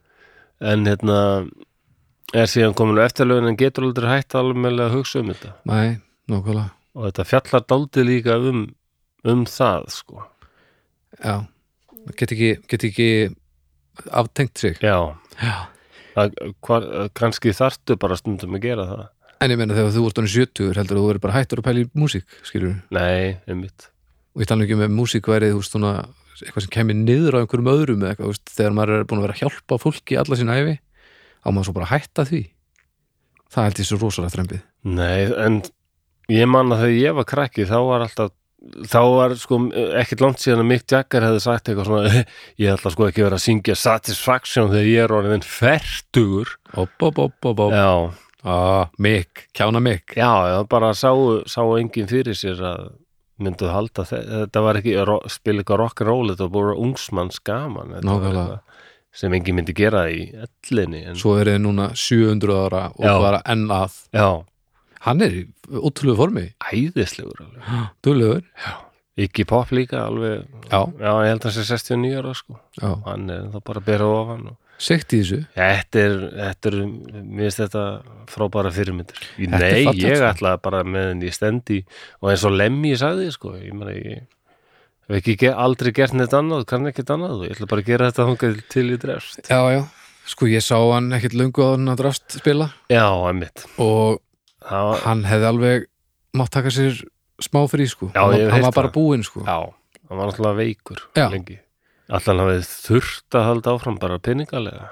Speaker 1: en hérna er síðan komin á eftirlaun en getur aldrei hægt alveg að hugsa um þetta
Speaker 2: Nei, nákvæmlega
Speaker 1: og þetta fjallar dáldi líka um, um það sko
Speaker 2: Já, get ekki, get ekki aftengt sig
Speaker 1: Já,
Speaker 2: Já.
Speaker 1: það, hvar, kannski þarftu bara stundum að gera það
Speaker 2: En ég meina þegar þú ert ánum 70 heldur að þú verður bara hættur að pæla í músík skilur
Speaker 1: Nei, einmitt
Speaker 2: og ég tala ekki um ef músík verið þú veist svona eitthvað sem kemur niður á einhverjum öðrum eða eitthvað, þú veist, þegar maður er búin að vera að hjálpa fólki alla sín æfi, á maður svo bara að hætta því Það held ég svo rosalega þrembið
Speaker 1: Nei, en ég man að þegar ég var krakki þá var alltaf þá var sko ekkert langt síðan að Mick Jagger hefði sagt eitthvað svona ég ætla sko ekki að vera að syngja Satisfaction þegar ég er orðin fertugur
Speaker 2: Opp, opp, opp, opp, opp
Speaker 1: Já,
Speaker 2: ah, Mikk, kjána Mikk
Speaker 1: já, já bara sá, sá enginn fyrir sér að mynduð halda þe- þetta var ekki ro- spila eitthvað rock'n'roll þetta var bara ungsmanns gaman þetta var
Speaker 2: Nákvæmlega.
Speaker 1: eitthvað sem enginn myndi gera í ellinni en,
Speaker 2: Svo er þið núna 700 ára og
Speaker 1: Já.
Speaker 2: bara enn að
Speaker 1: Já,
Speaker 2: Hann er í ótrúlegu formi
Speaker 1: æðislegur alveg
Speaker 2: Dúllegur
Speaker 1: Iggy Pop líka alveg
Speaker 2: Já,
Speaker 1: Já, ég held að það sé 69 ára sko
Speaker 2: já,
Speaker 1: hann er það bara að bera ofan og
Speaker 2: segt í þessu
Speaker 1: Þetta er, þetta er, mér finnst þetta frábæra fyrirmyndir. Í-
Speaker 2: Þetta er
Speaker 1: Nei,
Speaker 2: fallegt,
Speaker 1: ég
Speaker 2: sko.
Speaker 1: ætla bara meðan ég stendi og eins og Lemmy sagði, sko, ég meina ég hef ekki ge aldrei gert neitt annað, kann ekkert annað og ég ætla bara að gera þetta þangað til í drefst.
Speaker 2: Já, já, sko ég sá hann ekkit löngu að hann að drast spila
Speaker 1: Já, emmitt.
Speaker 2: og
Speaker 1: Það var,
Speaker 2: hann hefði alveg mátt taka sér smá frí sko
Speaker 1: Já,
Speaker 2: hann,
Speaker 1: ég hef
Speaker 2: var- hann
Speaker 1: heyrt
Speaker 2: var bara
Speaker 1: það.
Speaker 2: búinn sko
Speaker 1: já, hann var náttúrulega veikur
Speaker 2: Já.
Speaker 1: lengi. Alltaf hann hafið þurft að halda áfram bara peningalega.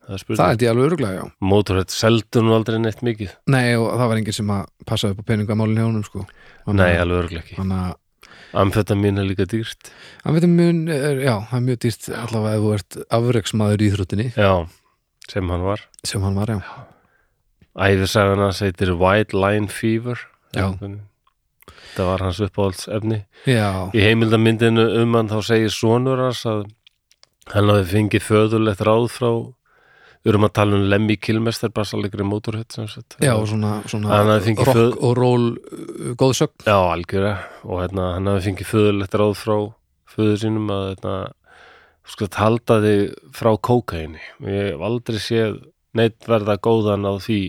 Speaker 1: það er
Speaker 2: það
Speaker 1: spurning
Speaker 2: held ég alveg öruglega, já
Speaker 1: Motorhead seldu nú aldrei neitt mikið
Speaker 2: Nei, og það var enginn sem að passa upp á peningamálinn hjá honum, sko
Speaker 1: Nei, alveg örglega ekki
Speaker 2: Þannig að
Speaker 1: Amfetamín er líka dýrt
Speaker 2: Hann veitum mun, er, já, það er mjög dýrt allavega ef þú ert afreksmaður í íþróttinni
Speaker 1: Já, sem hann var
Speaker 2: sem hann var, já.
Speaker 1: Æfisagan hans heitir White Line Fever
Speaker 2: Já.
Speaker 1: Þetta var hans uppáhalds efni
Speaker 2: Já,
Speaker 1: Í heimildamyndinu um hann þá segir sonur hans að hann hafi fengið föðulegt ráð frá við erum að tala um Lemmy Kilmester basalegri mótorhett sem sett
Speaker 2: já, og svona, svona
Speaker 1: Hann hafði fengið
Speaker 2: rock
Speaker 1: föð-
Speaker 2: og ról uh, góð sögn.
Speaker 1: Já, algjörða og hérna, hann hafi fengið föðulegt ráð frá föður sínum að hérna, sko, halda þig frá kókaini og ég hef aldrei séð neitt verða góðan á því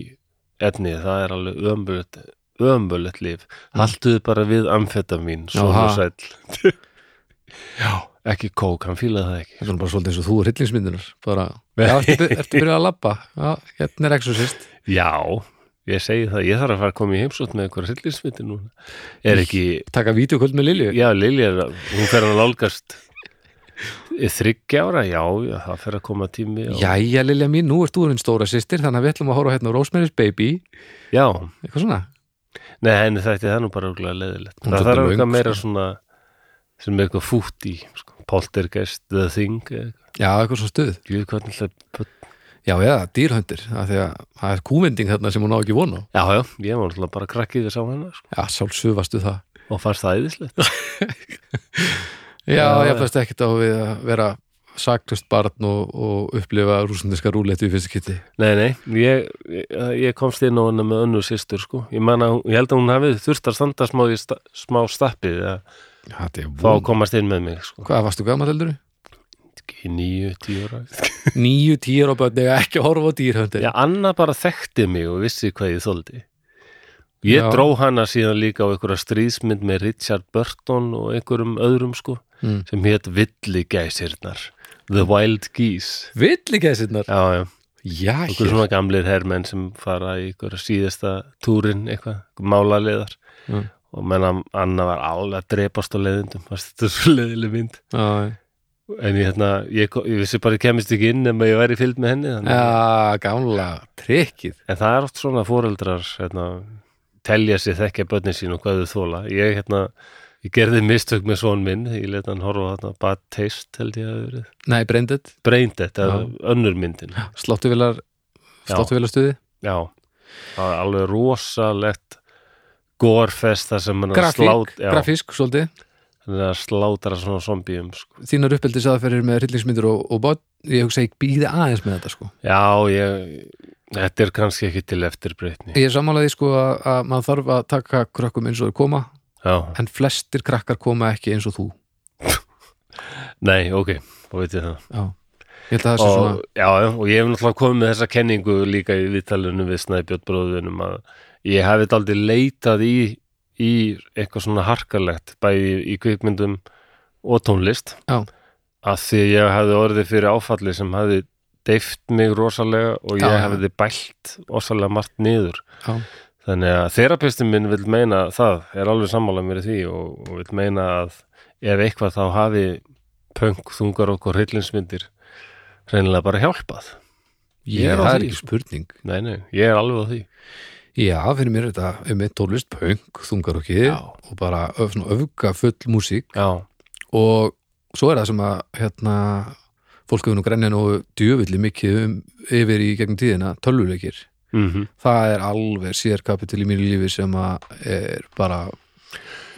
Speaker 1: efni, það er alveg ömbulett ömbulett líf, halduðu bara við amfetamín, svona
Speaker 2: Jaha.
Speaker 1: sæll Já, ekki kók hann fílaði það ekki
Speaker 2: Þetta er nú bara svolítið eins og þú er hryllingsmyndunar bara, já, ertu, by- ertu byrjað að labba já, hérna er exorcist
Speaker 1: Já, ég segi það, ég þarf að fara að koma í heimsótt með einhverja hryllinsmyndi núna Er ekki,
Speaker 2: taka vídeoköld með Lilju
Speaker 1: Já, Lilja, hún fer að nálgast þryggja ára, já, já, það fer að koma tími á,
Speaker 2: Jæja, Lilja mín, nú ert þú orðin stóra sýstir þannig að við ætlum að horfa hérna á Rosemary's Baby
Speaker 1: já,
Speaker 2: eitthvað svona
Speaker 1: nei, henni þætti það nú bara örugglega leiðilegt,
Speaker 2: Hún er
Speaker 1: það
Speaker 2: svolítið
Speaker 1: þarf eitthvað
Speaker 2: löng,
Speaker 1: meira
Speaker 2: sko.
Speaker 1: svona sem er eitthvað fútt í, sko, poltergeist the thing, eh,
Speaker 2: Já, eitthvað svona stuð
Speaker 1: ég veit hvernig það
Speaker 2: Já, já, dýrhöndir, af því að það er kúvending þarna sem hún á ekki vona
Speaker 1: já, já, ég var náttúrulega bara krakkið þess á hennar, sko,
Speaker 2: Já, sjálfsöfastu það
Speaker 1: og fannst það æðislegt
Speaker 2: Já,
Speaker 1: Já,
Speaker 2: ég fæst ekkert á við að vera saklust barn og, og upplifa rúsundinska rúletu í fyrsta kitti
Speaker 1: nei, nei, ég, ég, ég komst inn á hennar með önnu sýstur, sko, ég man að, hún- ég held að hún hafið þurft að standa smá, í sta, smá stappið að
Speaker 2: Þetta er
Speaker 1: fá að
Speaker 2: von
Speaker 1: komast inn með mig, sko,
Speaker 2: Hvað varstu gammal heldur?
Speaker 1: í nýju, tíu ára,
Speaker 2: Níu tíur á bönni, ekki að horfa á dýrhöndir
Speaker 1: Já, Anna bara þekkti mig og vissi hvað ég þóldi. Ég
Speaker 2: Já.
Speaker 1: dró hana síðan líka á einhverja stríðsmynd með Richard Burton og einhverjum öðrum sko
Speaker 2: Mm.
Speaker 1: sem hétt Villigæsirnar The Wild Geese
Speaker 2: Villigæðsinnar
Speaker 1: Já, já,
Speaker 2: Já,
Speaker 1: okkur
Speaker 2: hér
Speaker 1: svona gamlir herrmenn sem fara í einhverja síðasta túrin eitthvað, málaliðar
Speaker 2: Mm.
Speaker 1: og menn Anna var alveg að drepast á leiðindum, fannst þetta svo leiðileg mynd
Speaker 2: Já,
Speaker 1: en ég, hérna, ég, ko- ég vissi bara ég kemist ekki inn nema ég væri fylgd með henni þannig að-
Speaker 2: Já, gamla trikkið
Speaker 1: En það er oft svona fóreldrar hérna, telja sér þekkja börnin sín og hvað þau þóla. Ég, hérna, ég gerði mistök með svon minn, ég let hann horfa hérna, bad taste held ég að hafa verið.
Speaker 2: Nei, brendið,
Speaker 1: Breyndett, eða
Speaker 2: Já.
Speaker 1: önnur myndin.
Speaker 2: sláttuvilar
Speaker 1: Já.
Speaker 2: sláttuvilarstuði
Speaker 1: Já, það er alveg rosalegt gorfest þar sem hann er að
Speaker 2: Grafík,
Speaker 1: slát, já,
Speaker 2: grafísk, svolítið
Speaker 1: hann er að slátra svona zombíum. Sko.
Speaker 2: Þínar uppeldis aðferðir með hryllingsmyndir og, og bát Ég hugsa ég býði aðeins með þetta sko
Speaker 1: Já, ég, þetta er kannski ekki til eftirbreytni.
Speaker 2: Ég er sammálaði sko að, að maður þarf að taka krökkum eins og þau koma
Speaker 1: Já,
Speaker 2: en flestir krakkar koma ekki eins og þú
Speaker 1: nei, ok, þá veit ég það.
Speaker 2: já. ég held að það sé svona
Speaker 1: og, já, já, og ég hef náttúrulega komið með þessa kenningu líka í viðtalunum við Snæbjörn bróðunum að ég hef þetta aldrei leitað í, í eitthvað svona harkalegt bæði í kvikmyndum og tónlist
Speaker 2: Já.
Speaker 1: að því að ég hefði orðið fyrir áfalli sem hefði deyft mig rosalega og ég
Speaker 2: Já, já.
Speaker 1: hefði bælt rosalega margt niður
Speaker 2: já,
Speaker 1: þannig að þerapistin minn vil meina það er alveg sammála mér í því og, og vil meina að ef eitthvað þá hafi punk, þungar okkur hryllinsmyndir reynilega bara hjálpað Ég
Speaker 2: ég,
Speaker 1: er á
Speaker 2: það er
Speaker 1: því.
Speaker 2: ekki spurning
Speaker 1: nei, nei, ég er alveg á því
Speaker 2: já, fyrir mér er þetta um eitt tólist punk, þungar okki
Speaker 1: Já.
Speaker 2: og bara öf, svona, öfga full músík
Speaker 1: já,
Speaker 2: og svo er það sem að hérna, fólk hefur nú grænja nú djöfulli mikið um, yfir í gegnum tíðina tölvuleikir,
Speaker 1: mm
Speaker 2: það er alveg sérkapitil í mínu lífi sem að er bara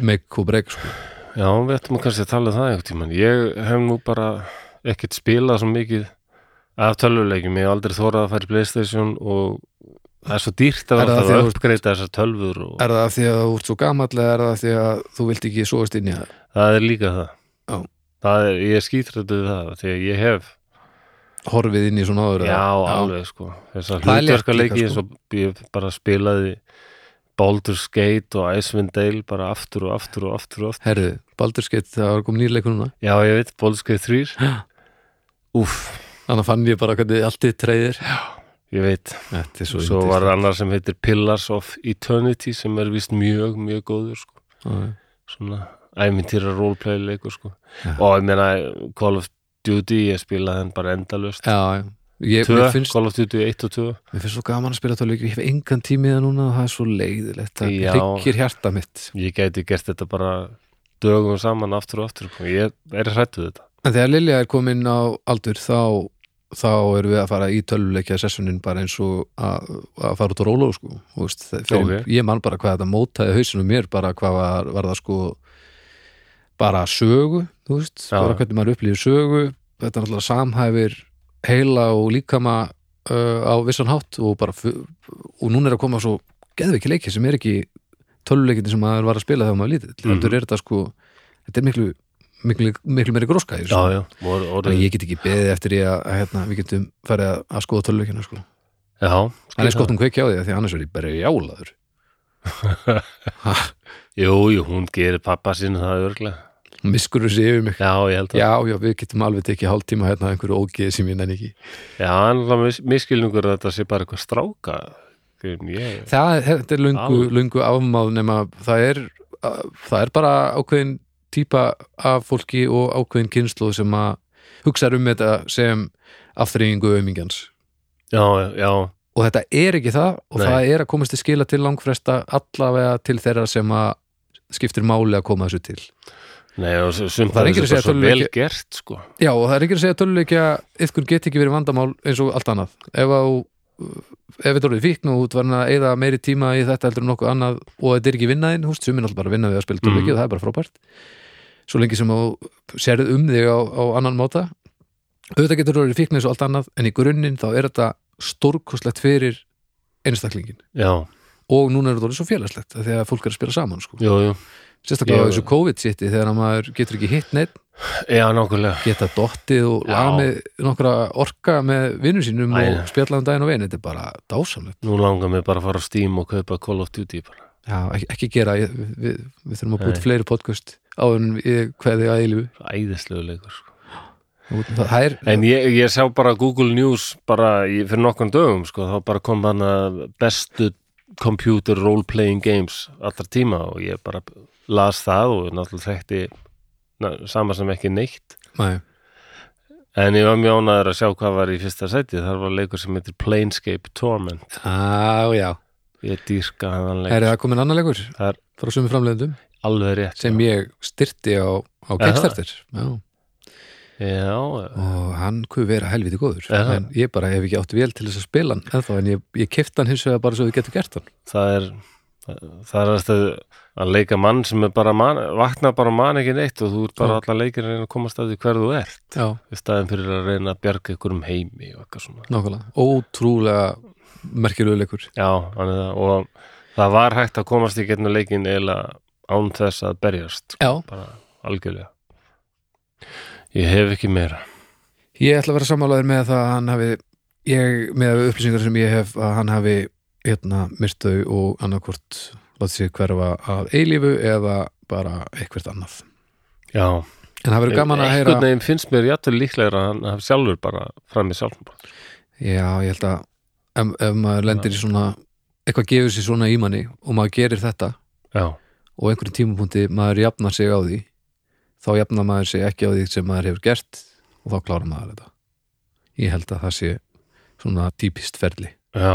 Speaker 2: make og break sko.
Speaker 1: já, við ættum að kannski að tala um það einhvern tímann ég hef nú bara ekkert spilað svo mikið af tölvuleikjum, ég hef aldrei þórað að fara í Playstation og það er svo dýrt að
Speaker 2: Er það
Speaker 1: alltaf
Speaker 2: því
Speaker 1: að
Speaker 2: að þú-
Speaker 1: uppgreita þessar tölvur og
Speaker 2: er það af því að þú ert svo gamall eða er það af því að þú vilt ekki svoast inn í það
Speaker 1: það er líka það
Speaker 2: Já.
Speaker 1: það er, ég er skítrættu við það því að ég hef
Speaker 2: horfið inn í svona áður
Speaker 1: Já,
Speaker 2: eða?
Speaker 1: alveg sko Þessar
Speaker 2: Það er létt
Speaker 1: hlutverkaleiki
Speaker 2: líka, sko.
Speaker 1: eins og ég bara spilaði Baldur's Gate og Icewind Dale bara aftur og aftur og aftur og aftur
Speaker 2: Herðu, Baldur's Gate, það var komið nýrleikur núna
Speaker 1: Já, ég veit, Baldur's Gate 3 Úff,
Speaker 2: Þannig fann ég bara hvernig allt þitt treyðir
Speaker 1: ég veit
Speaker 2: Þetta er svo,
Speaker 1: Svo var annar sem heitir Pillars of Eternity sem er vist mjög, mjög góður sko
Speaker 2: var
Speaker 1: Svona æmintýra roleplay leikur sko Og ég meina Call of Duty, ég spilaði hann bara endalust
Speaker 2: Já, já ég,
Speaker 1: Tvö,
Speaker 2: mér, finnst,
Speaker 1: Call of Duty 1 og 2
Speaker 2: mér finnst svo gaman að spila tölvleiki ég hef engan tímiða núna og það er svo leiðilegt það
Speaker 1: Já.
Speaker 2: hryggir hjarta mitt
Speaker 1: Ég gæti gert þetta bara dögum saman aftur og aftur sko. Ég er hrætt við þetta
Speaker 2: en þegar Lilja er komin á aldur þá, þá erum við að fara í tölvleikja sessunin bara eins og að, að fara út á róló sko. Þú veist, það- fyrir,
Speaker 1: Ok.
Speaker 2: ég man bara hvað þetta mótaði hausinu mér bara hvað var, var það sko bara sögu þú veist,
Speaker 1: Já.
Speaker 2: bara hvernig maður upplýður sögu þetta er náttúrulega samhæfir heila og líkama uh, á vissan hátt og bara fu- og núna er að koma svo geðveiki leiki sem er ekki töluleikinni sem maður var að spila þegar maður er lítill
Speaker 1: Mhm.
Speaker 2: heldur er þetta sko, þetta er miklu miklu, miklu meiri gróska í þessu.
Speaker 1: Já, já, voru
Speaker 2: Þannig
Speaker 1: orðið
Speaker 2: að ég get ekki beðið eftir ég að, að hérna, við getum farið að, að skoða töluleikina sko.
Speaker 1: Já,
Speaker 2: en
Speaker 1: skil
Speaker 2: er skotum kveiki á því af því að annars er ég bara jálaður Ha,
Speaker 1: Jú, jú, hún gerir pappa sinni það örglega
Speaker 2: miskur þessi yfir mig
Speaker 1: Já, ég held að Já,
Speaker 2: já, já, við getum alveg tekið hálftíma hérna af einhverju ógeði sem ég nenni ekki
Speaker 1: hann er mis miskilningur að þetta sé bara eitthvað stráka Grim, ég,
Speaker 2: það þetta er lungu,
Speaker 1: Alveg.
Speaker 2: lungu afmáð nema það er, að- það er bara ákveðin típa af fólki og ákveðin kynslu sem að hugsa um þetta sem aftreyingu ömingjans
Speaker 1: Já, já,
Speaker 2: og þetta er ekki það og
Speaker 1: Nei.
Speaker 2: það er að komast til skila til langfresta allavega til þeirra sem að skiptir máli að koma þessu til
Speaker 1: nei, og s- sumt
Speaker 2: Það er
Speaker 1: er
Speaker 2: enginn að
Speaker 1: þetta
Speaker 2: segja
Speaker 1: svo vel
Speaker 2: tölvuleiki-
Speaker 1: gert sko.
Speaker 2: Já, og það er ekki að segja töluleikja eitthvað get ekki verið vandamál eins og allt annað ef að þú- ef þetta orðið fíkn og út var hann að eyða meiri tíma í þetta heldur en nokkuð annað og þetta er ekki vinnaðin, húst, sumin alltaf bara vinna við að spila töluleiki
Speaker 1: Mhm.
Speaker 2: og það er bara frábært svo lengi sem þú sérð um þig á, á annan máta auðvitað getur orðið fíkn eins og allt annað en í grunninn þá er þetta stórkostlegt fyrir einstaklingin
Speaker 1: Já,
Speaker 2: og núna er þetta orðið svo félagslegt af því að fólk er að spila saman sko.
Speaker 1: jú, jú
Speaker 2: sérstaklega
Speaker 1: Ég-
Speaker 2: á þessu COVID-sitti þegar að maður getur ekki hitt neitt
Speaker 1: Já, nákvæmlega
Speaker 2: geta dottið og
Speaker 1: Já.
Speaker 2: lamið nokkra orka með vinnum sínum
Speaker 1: Æ,
Speaker 2: og spjalla um daginn og veginn, þetta er bara dásamlegt
Speaker 1: Nú langar mig bara að fara á Steam og kaupa Call of Duty bara.
Speaker 2: Já, ekki, ekki gera, ég, við, við, við þurfum að
Speaker 1: Nei.
Speaker 2: búið fleiri podcast áður en ég kveði að eilífu
Speaker 1: Æðislegu leikur sko.
Speaker 2: það, það er,
Speaker 1: En ég, ég sá bara Google News bara í, fyrir nokkan dögum sko, þá bara kom hann að bestu computer role-playing games allra tíma og ég bara las það og náttúrulega þekkti na, sama sem ekki neitt
Speaker 2: nei,
Speaker 1: en ég var mjög ánæður að sjá hvað var í fyrsta sæti þar var leikur sem heitir Planescape Torment
Speaker 2: á já
Speaker 1: ég dýrka hann
Speaker 2: er
Speaker 1: leik
Speaker 2: það komin annar leikur
Speaker 1: Það er-
Speaker 2: frá sömu framleiðendum
Speaker 1: alveg rétt
Speaker 2: sem ég styrti á, á Kickstarter já.
Speaker 1: Já,
Speaker 2: og hann kuð vera helviti góður
Speaker 1: Er það?
Speaker 2: en ég bara hef ekki átt vel til þess að spila hann ennþá, en ég, ég kefti hann hins vegar bara svo við getum gert hann
Speaker 1: það er það er að, að leika mann sem er bara man, vakna bara mann ekki neitt og þú ert bara
Speaker 2: Já.
Speaker 1: allar leikir að reyna að komast að því hver þú ert
Speaker 2: já,
Speaker 1: í staðin fyrir að reyna að bjarga ykkur um heimi og eitthvað svona.
Speaker 2: nákvæmlega, ótrúlega merkjulegu leikur
Speaker 1: Já, þannig það og það var hægt að komast í getnum leikin eiginlega án þess að berjast,
Speaker 2: já,
Speaker 1: bara algjörlega. Ég hef ekki meira.
Speaker 2: Ég ætla að vera sammálaður með það að hann hafi ég, með upplýsingar sem ég hef að hann hafi hérna myrtau og annarkvort látið sér hverfa að eilífu eða bara eitthvert annað
Speaker 1: Já,
Speaker 2: en það verður gaman að heyra
Speaker 1: einhvern veginn finnst mér játtur líklega að hann hafi sjálfur bara fram í sjálfnbóð.
Speaker 2: já, ég held að ef, ef maður lendir í svona eitthvað gefur sér svona í manni og maður gerir þetta
Speaker 1: Já,
Speaker 2: og á einhverjum tímapunkti maður jafnar sig á því þá jafnar maður sig ekki á því sem maður hefur gert og þá klárar maður þetta ég held að það sé svona típist ferli
Speaker 1: já.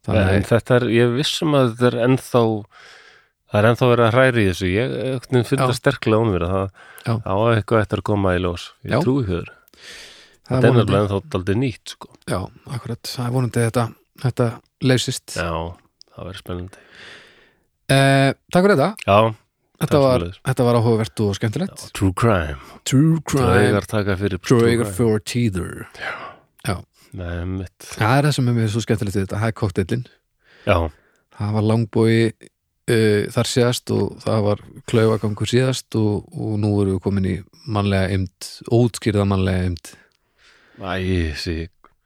Speaker 2: Þannig
Speaker 1: En þetta er, ég er vissum að þetta er ennþá það er ennþá verið að hræri í þessu. Ég einhvern veginn finn
Speaker 2: Já.
Speaker 1: það sterklega ónverið að það-
Speaker 2: Já.
Speaker 1: það á eitthvað eftir að koma í ljós.
Speaker 2: Já.
Speaker 1: Ég trúi hér.
Speaker 2: að
Speaker 1: Þetta er nefnilega ennþá aldrei nýtt, sko.
Speaker 2: Já, akkurat, það er vonandi að þetta, þetta leysist. Ja.
Speaker 1: Já, það verður spennandi
Speaker 2: takk fyrir þetta,
Speaker 1: Já,
Speaker 2: þetta var,
Speaker 1: sömuleiðis.
Speaker 2: þetta var áhugavert og skemmtilegt.
Speaker 1: True Crime
Speaker 2: True crime,
Speaker 1: Draugar taka fyrir
Speaker 2: Drager for teether.
Speaker 1: Nei, mitt
Speaker 2: Það er það sem er mér svo skemmtilegt við þetta, það er kokteillin.
Speaker 1: Já,
Speaker 2: Það var langbói uh, þar síðast og það var klaufagangur síðast og, og nú erum við komin í mannlega ymt, ótskýrða mannlega ymt.
Speaker 1: æ, sí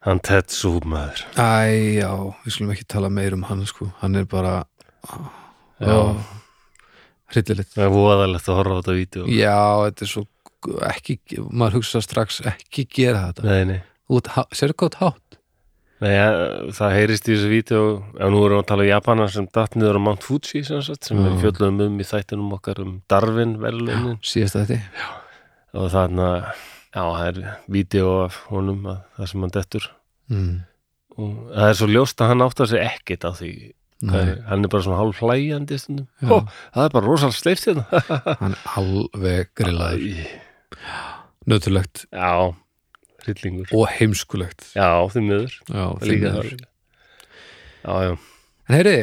Speaker 1: Hann tett súmaður
Speaker 2: Æ, já, við skulum ekki tala meir um hann, sko. Hann er bara, ah,
Speaker 1: Já,
Speaker 2: já, hryllilegt.
Speaker 1: það er voðalegt að horfa á þetta vídeo
Speaker 2: Já, þetta er svo ekki, maður hugsa strax ekki gera þetta
Speaker 1: Nei, nei
Speaker 2: Út, sérðu hvað þú ert hátt
Speaker 1: Nei, ja, það heyrist í þessu vídeo ef nú erum við að tala um Japana sem datt niður á Mount Fuji sem, sagt, sem við
Speaker 2: Já.
Speaker 1: fjöllum um í þættinum okkar um Darwin verðlunin
Speaker 2: síðast þetta
Speaker 1: og þarna Já, það er vídeo af honum að, það sem hann dettur
Speaker 2: mm.
Speaker 1: og það er svo ljóst að hann áttar sig ekkit á því Hvað er,
Speaker 2: Nei,
Speaker 1: hann er bara svona hálf hlæjandi stundum
Speaker 2: Já.
Speaker 1: Ó, það er bara rosal sleift hérna
Speaker 2: hann er alveg grillaður
Speaker 1: Æ,
Speaker 2: nötulegt
Speaker 1: Já, hryllingur
Speaker 2: og heimskulegt
Speaker 1: Já, því miður
Speaker 2: já, því
Speaker 1: Líka
Speaker 2: miður.
Speaker 1: það Já, já
Speaker 2: en heyri,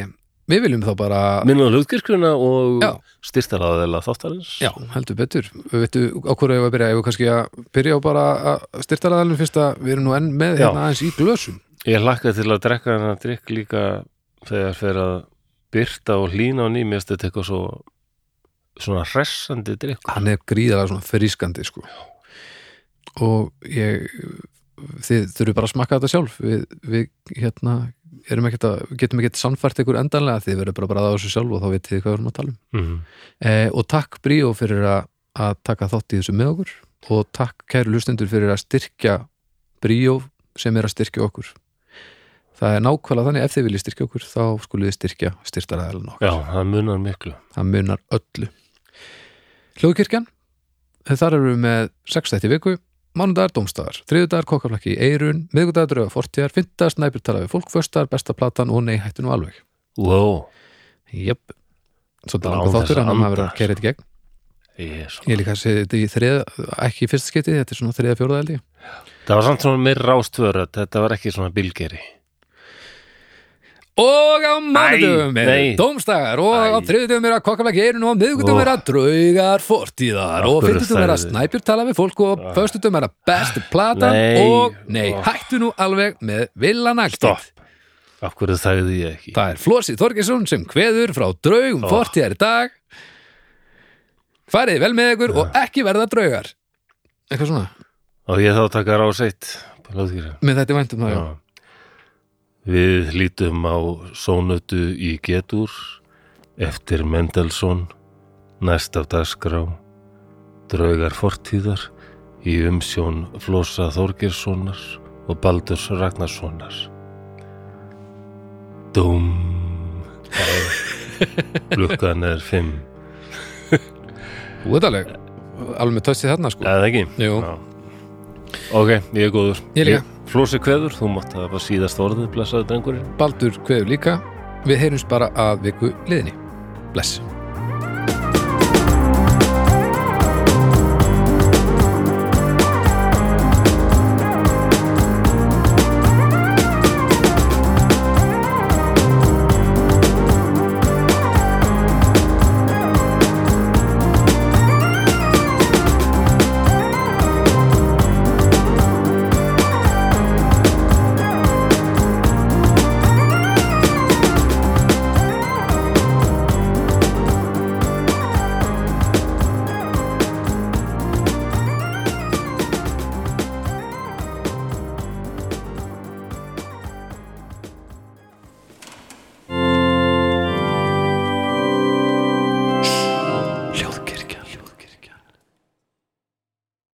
Speaker 2: við viljum þá bara
Speaker 1: Minnaðu hlutgirkuna og
Speaker 2: Já.
Speaker 1: styrtaraðilega þáttarins
Speaker 2: já, heldur betur við veitum á hverju við að byrja, ef við kannski að byrja á bara að styrtaraðalinn fyrst að við erum nú enn með
Speaker 1: Já.
Speaker 2: hérna aðeins í glösum
Speaker 1: Ég hlakka til að drekka hennar drikk líka þegar fer að byrta og hlína á nýmjast þetta eitthvað svo svona hressandi drikk
Speaker 2: hann er gríðalega svona frískandi sko. og ég þið þurfum bara að smakka þetta sjálf við, við hérna erum ekkert að, getum ekkert samfært ykkur endanlega þið verður bara að bræða á þessu sjálf og þá vitið þið hvað við erum að tala um
Speaker 1: mm -hmm.
Speaker 2: eh, og takk Bríó fyrir að, að taka þátt í þessu með okkur og takk kæru hlustendur fyrir að styrkja Bríó sem er að styrkja okkur það er nákvæmlega þannig ef þið viljið styrkja okkur þá skulið þið styrkja styrtaræðalinn okkur
Speaker 1: Já, það munar miklu
Speaker 2: það munar öllu Hljóðkirkjan þar eru við með 6 þætti í viku mánudagar dómstæðar, þriðudagar kokkaflakki í eirun, miðgudagar drauga fortíðar, fyndagar snæpir tala við fólkföstar, besta platan og nei hættu nú alveg
Speaker 1: Wow,
Speaker 2: Jöp, svolítið
Speaker 1: Lán
Speaker 2: langur
Speaker 1: þess
Speaker 2: þáttur
Speaker 1: að
Speaker 2: en hann hafa verið
Speaker 1: anda,
Speaker 2: að kæra þetta í gegn
Speaker 1: ég er svo
Speaker 2: Ég líka að segja þetta í þriða, ekki í fyrsta skipti þetta er svona þriða fjóraða held ég
Speaker 1: Það var samt svona meir rástvörð þetta var ekki svona bilgeri
Speaker 2: Og á mánudum er
Speaker 1: nei.
Speaker 2: dómstæðar og á
Speaker 1: Æ.
Speaker 2: þriðutum er að kokkaflakki í eirun og á miðgutum
Speaker 1: Ó.
Speaker 2: er að draugar fortíðar og
Speaker 1: Af hverju
Speaker 2: fyrstutum er að
Speaker 1: sagði-
Speaker 2: snæpir tala við fólk og fyrstutum er að bestu platan
Speaker 1: Nei.
Speaker 2: og nei,
Speaker 1: Ó.
Speaker 2: hættu nú alveg með villanaktitt
Speaker 1: Stopp, af hverju þægði ég ekki
Speaker 2: Það er Flósi Þorgesson sem kveður frá draugum
Speaker 1: Ó.
Speaker 2: fortíðar í dag Farið vel með ykkur og ekki verða draugar Eitthvað svona,
Speaker 1: Og ég þá að taka rás eitt bara hljóðgera.
Speaker 2: með þetta væntum um það já.
Speaker 1: Já. Við lítum á sónötu í getur eftir Mendelssohn næst af dagskrá draugar fortíðar í umsjón Flosa Þorgerssonar og Baldurs Ragnarssonar Dúm Glukkan er fimm
Speaker 2: Þú veit alveg, alveg með tössið þarna sko
Speaker 1: Eða ekki?
Speaker 2: Jú.
Speaker 1: Já. Ok, ég er góður
Speaker 2: Ég líka.
Speaker 1: Flósi kveður, þú mátt að var síðast orðið blessaði drengurinn
Speaker 2: Baldur kveður líka Við heyrums bara að viku liðni Bless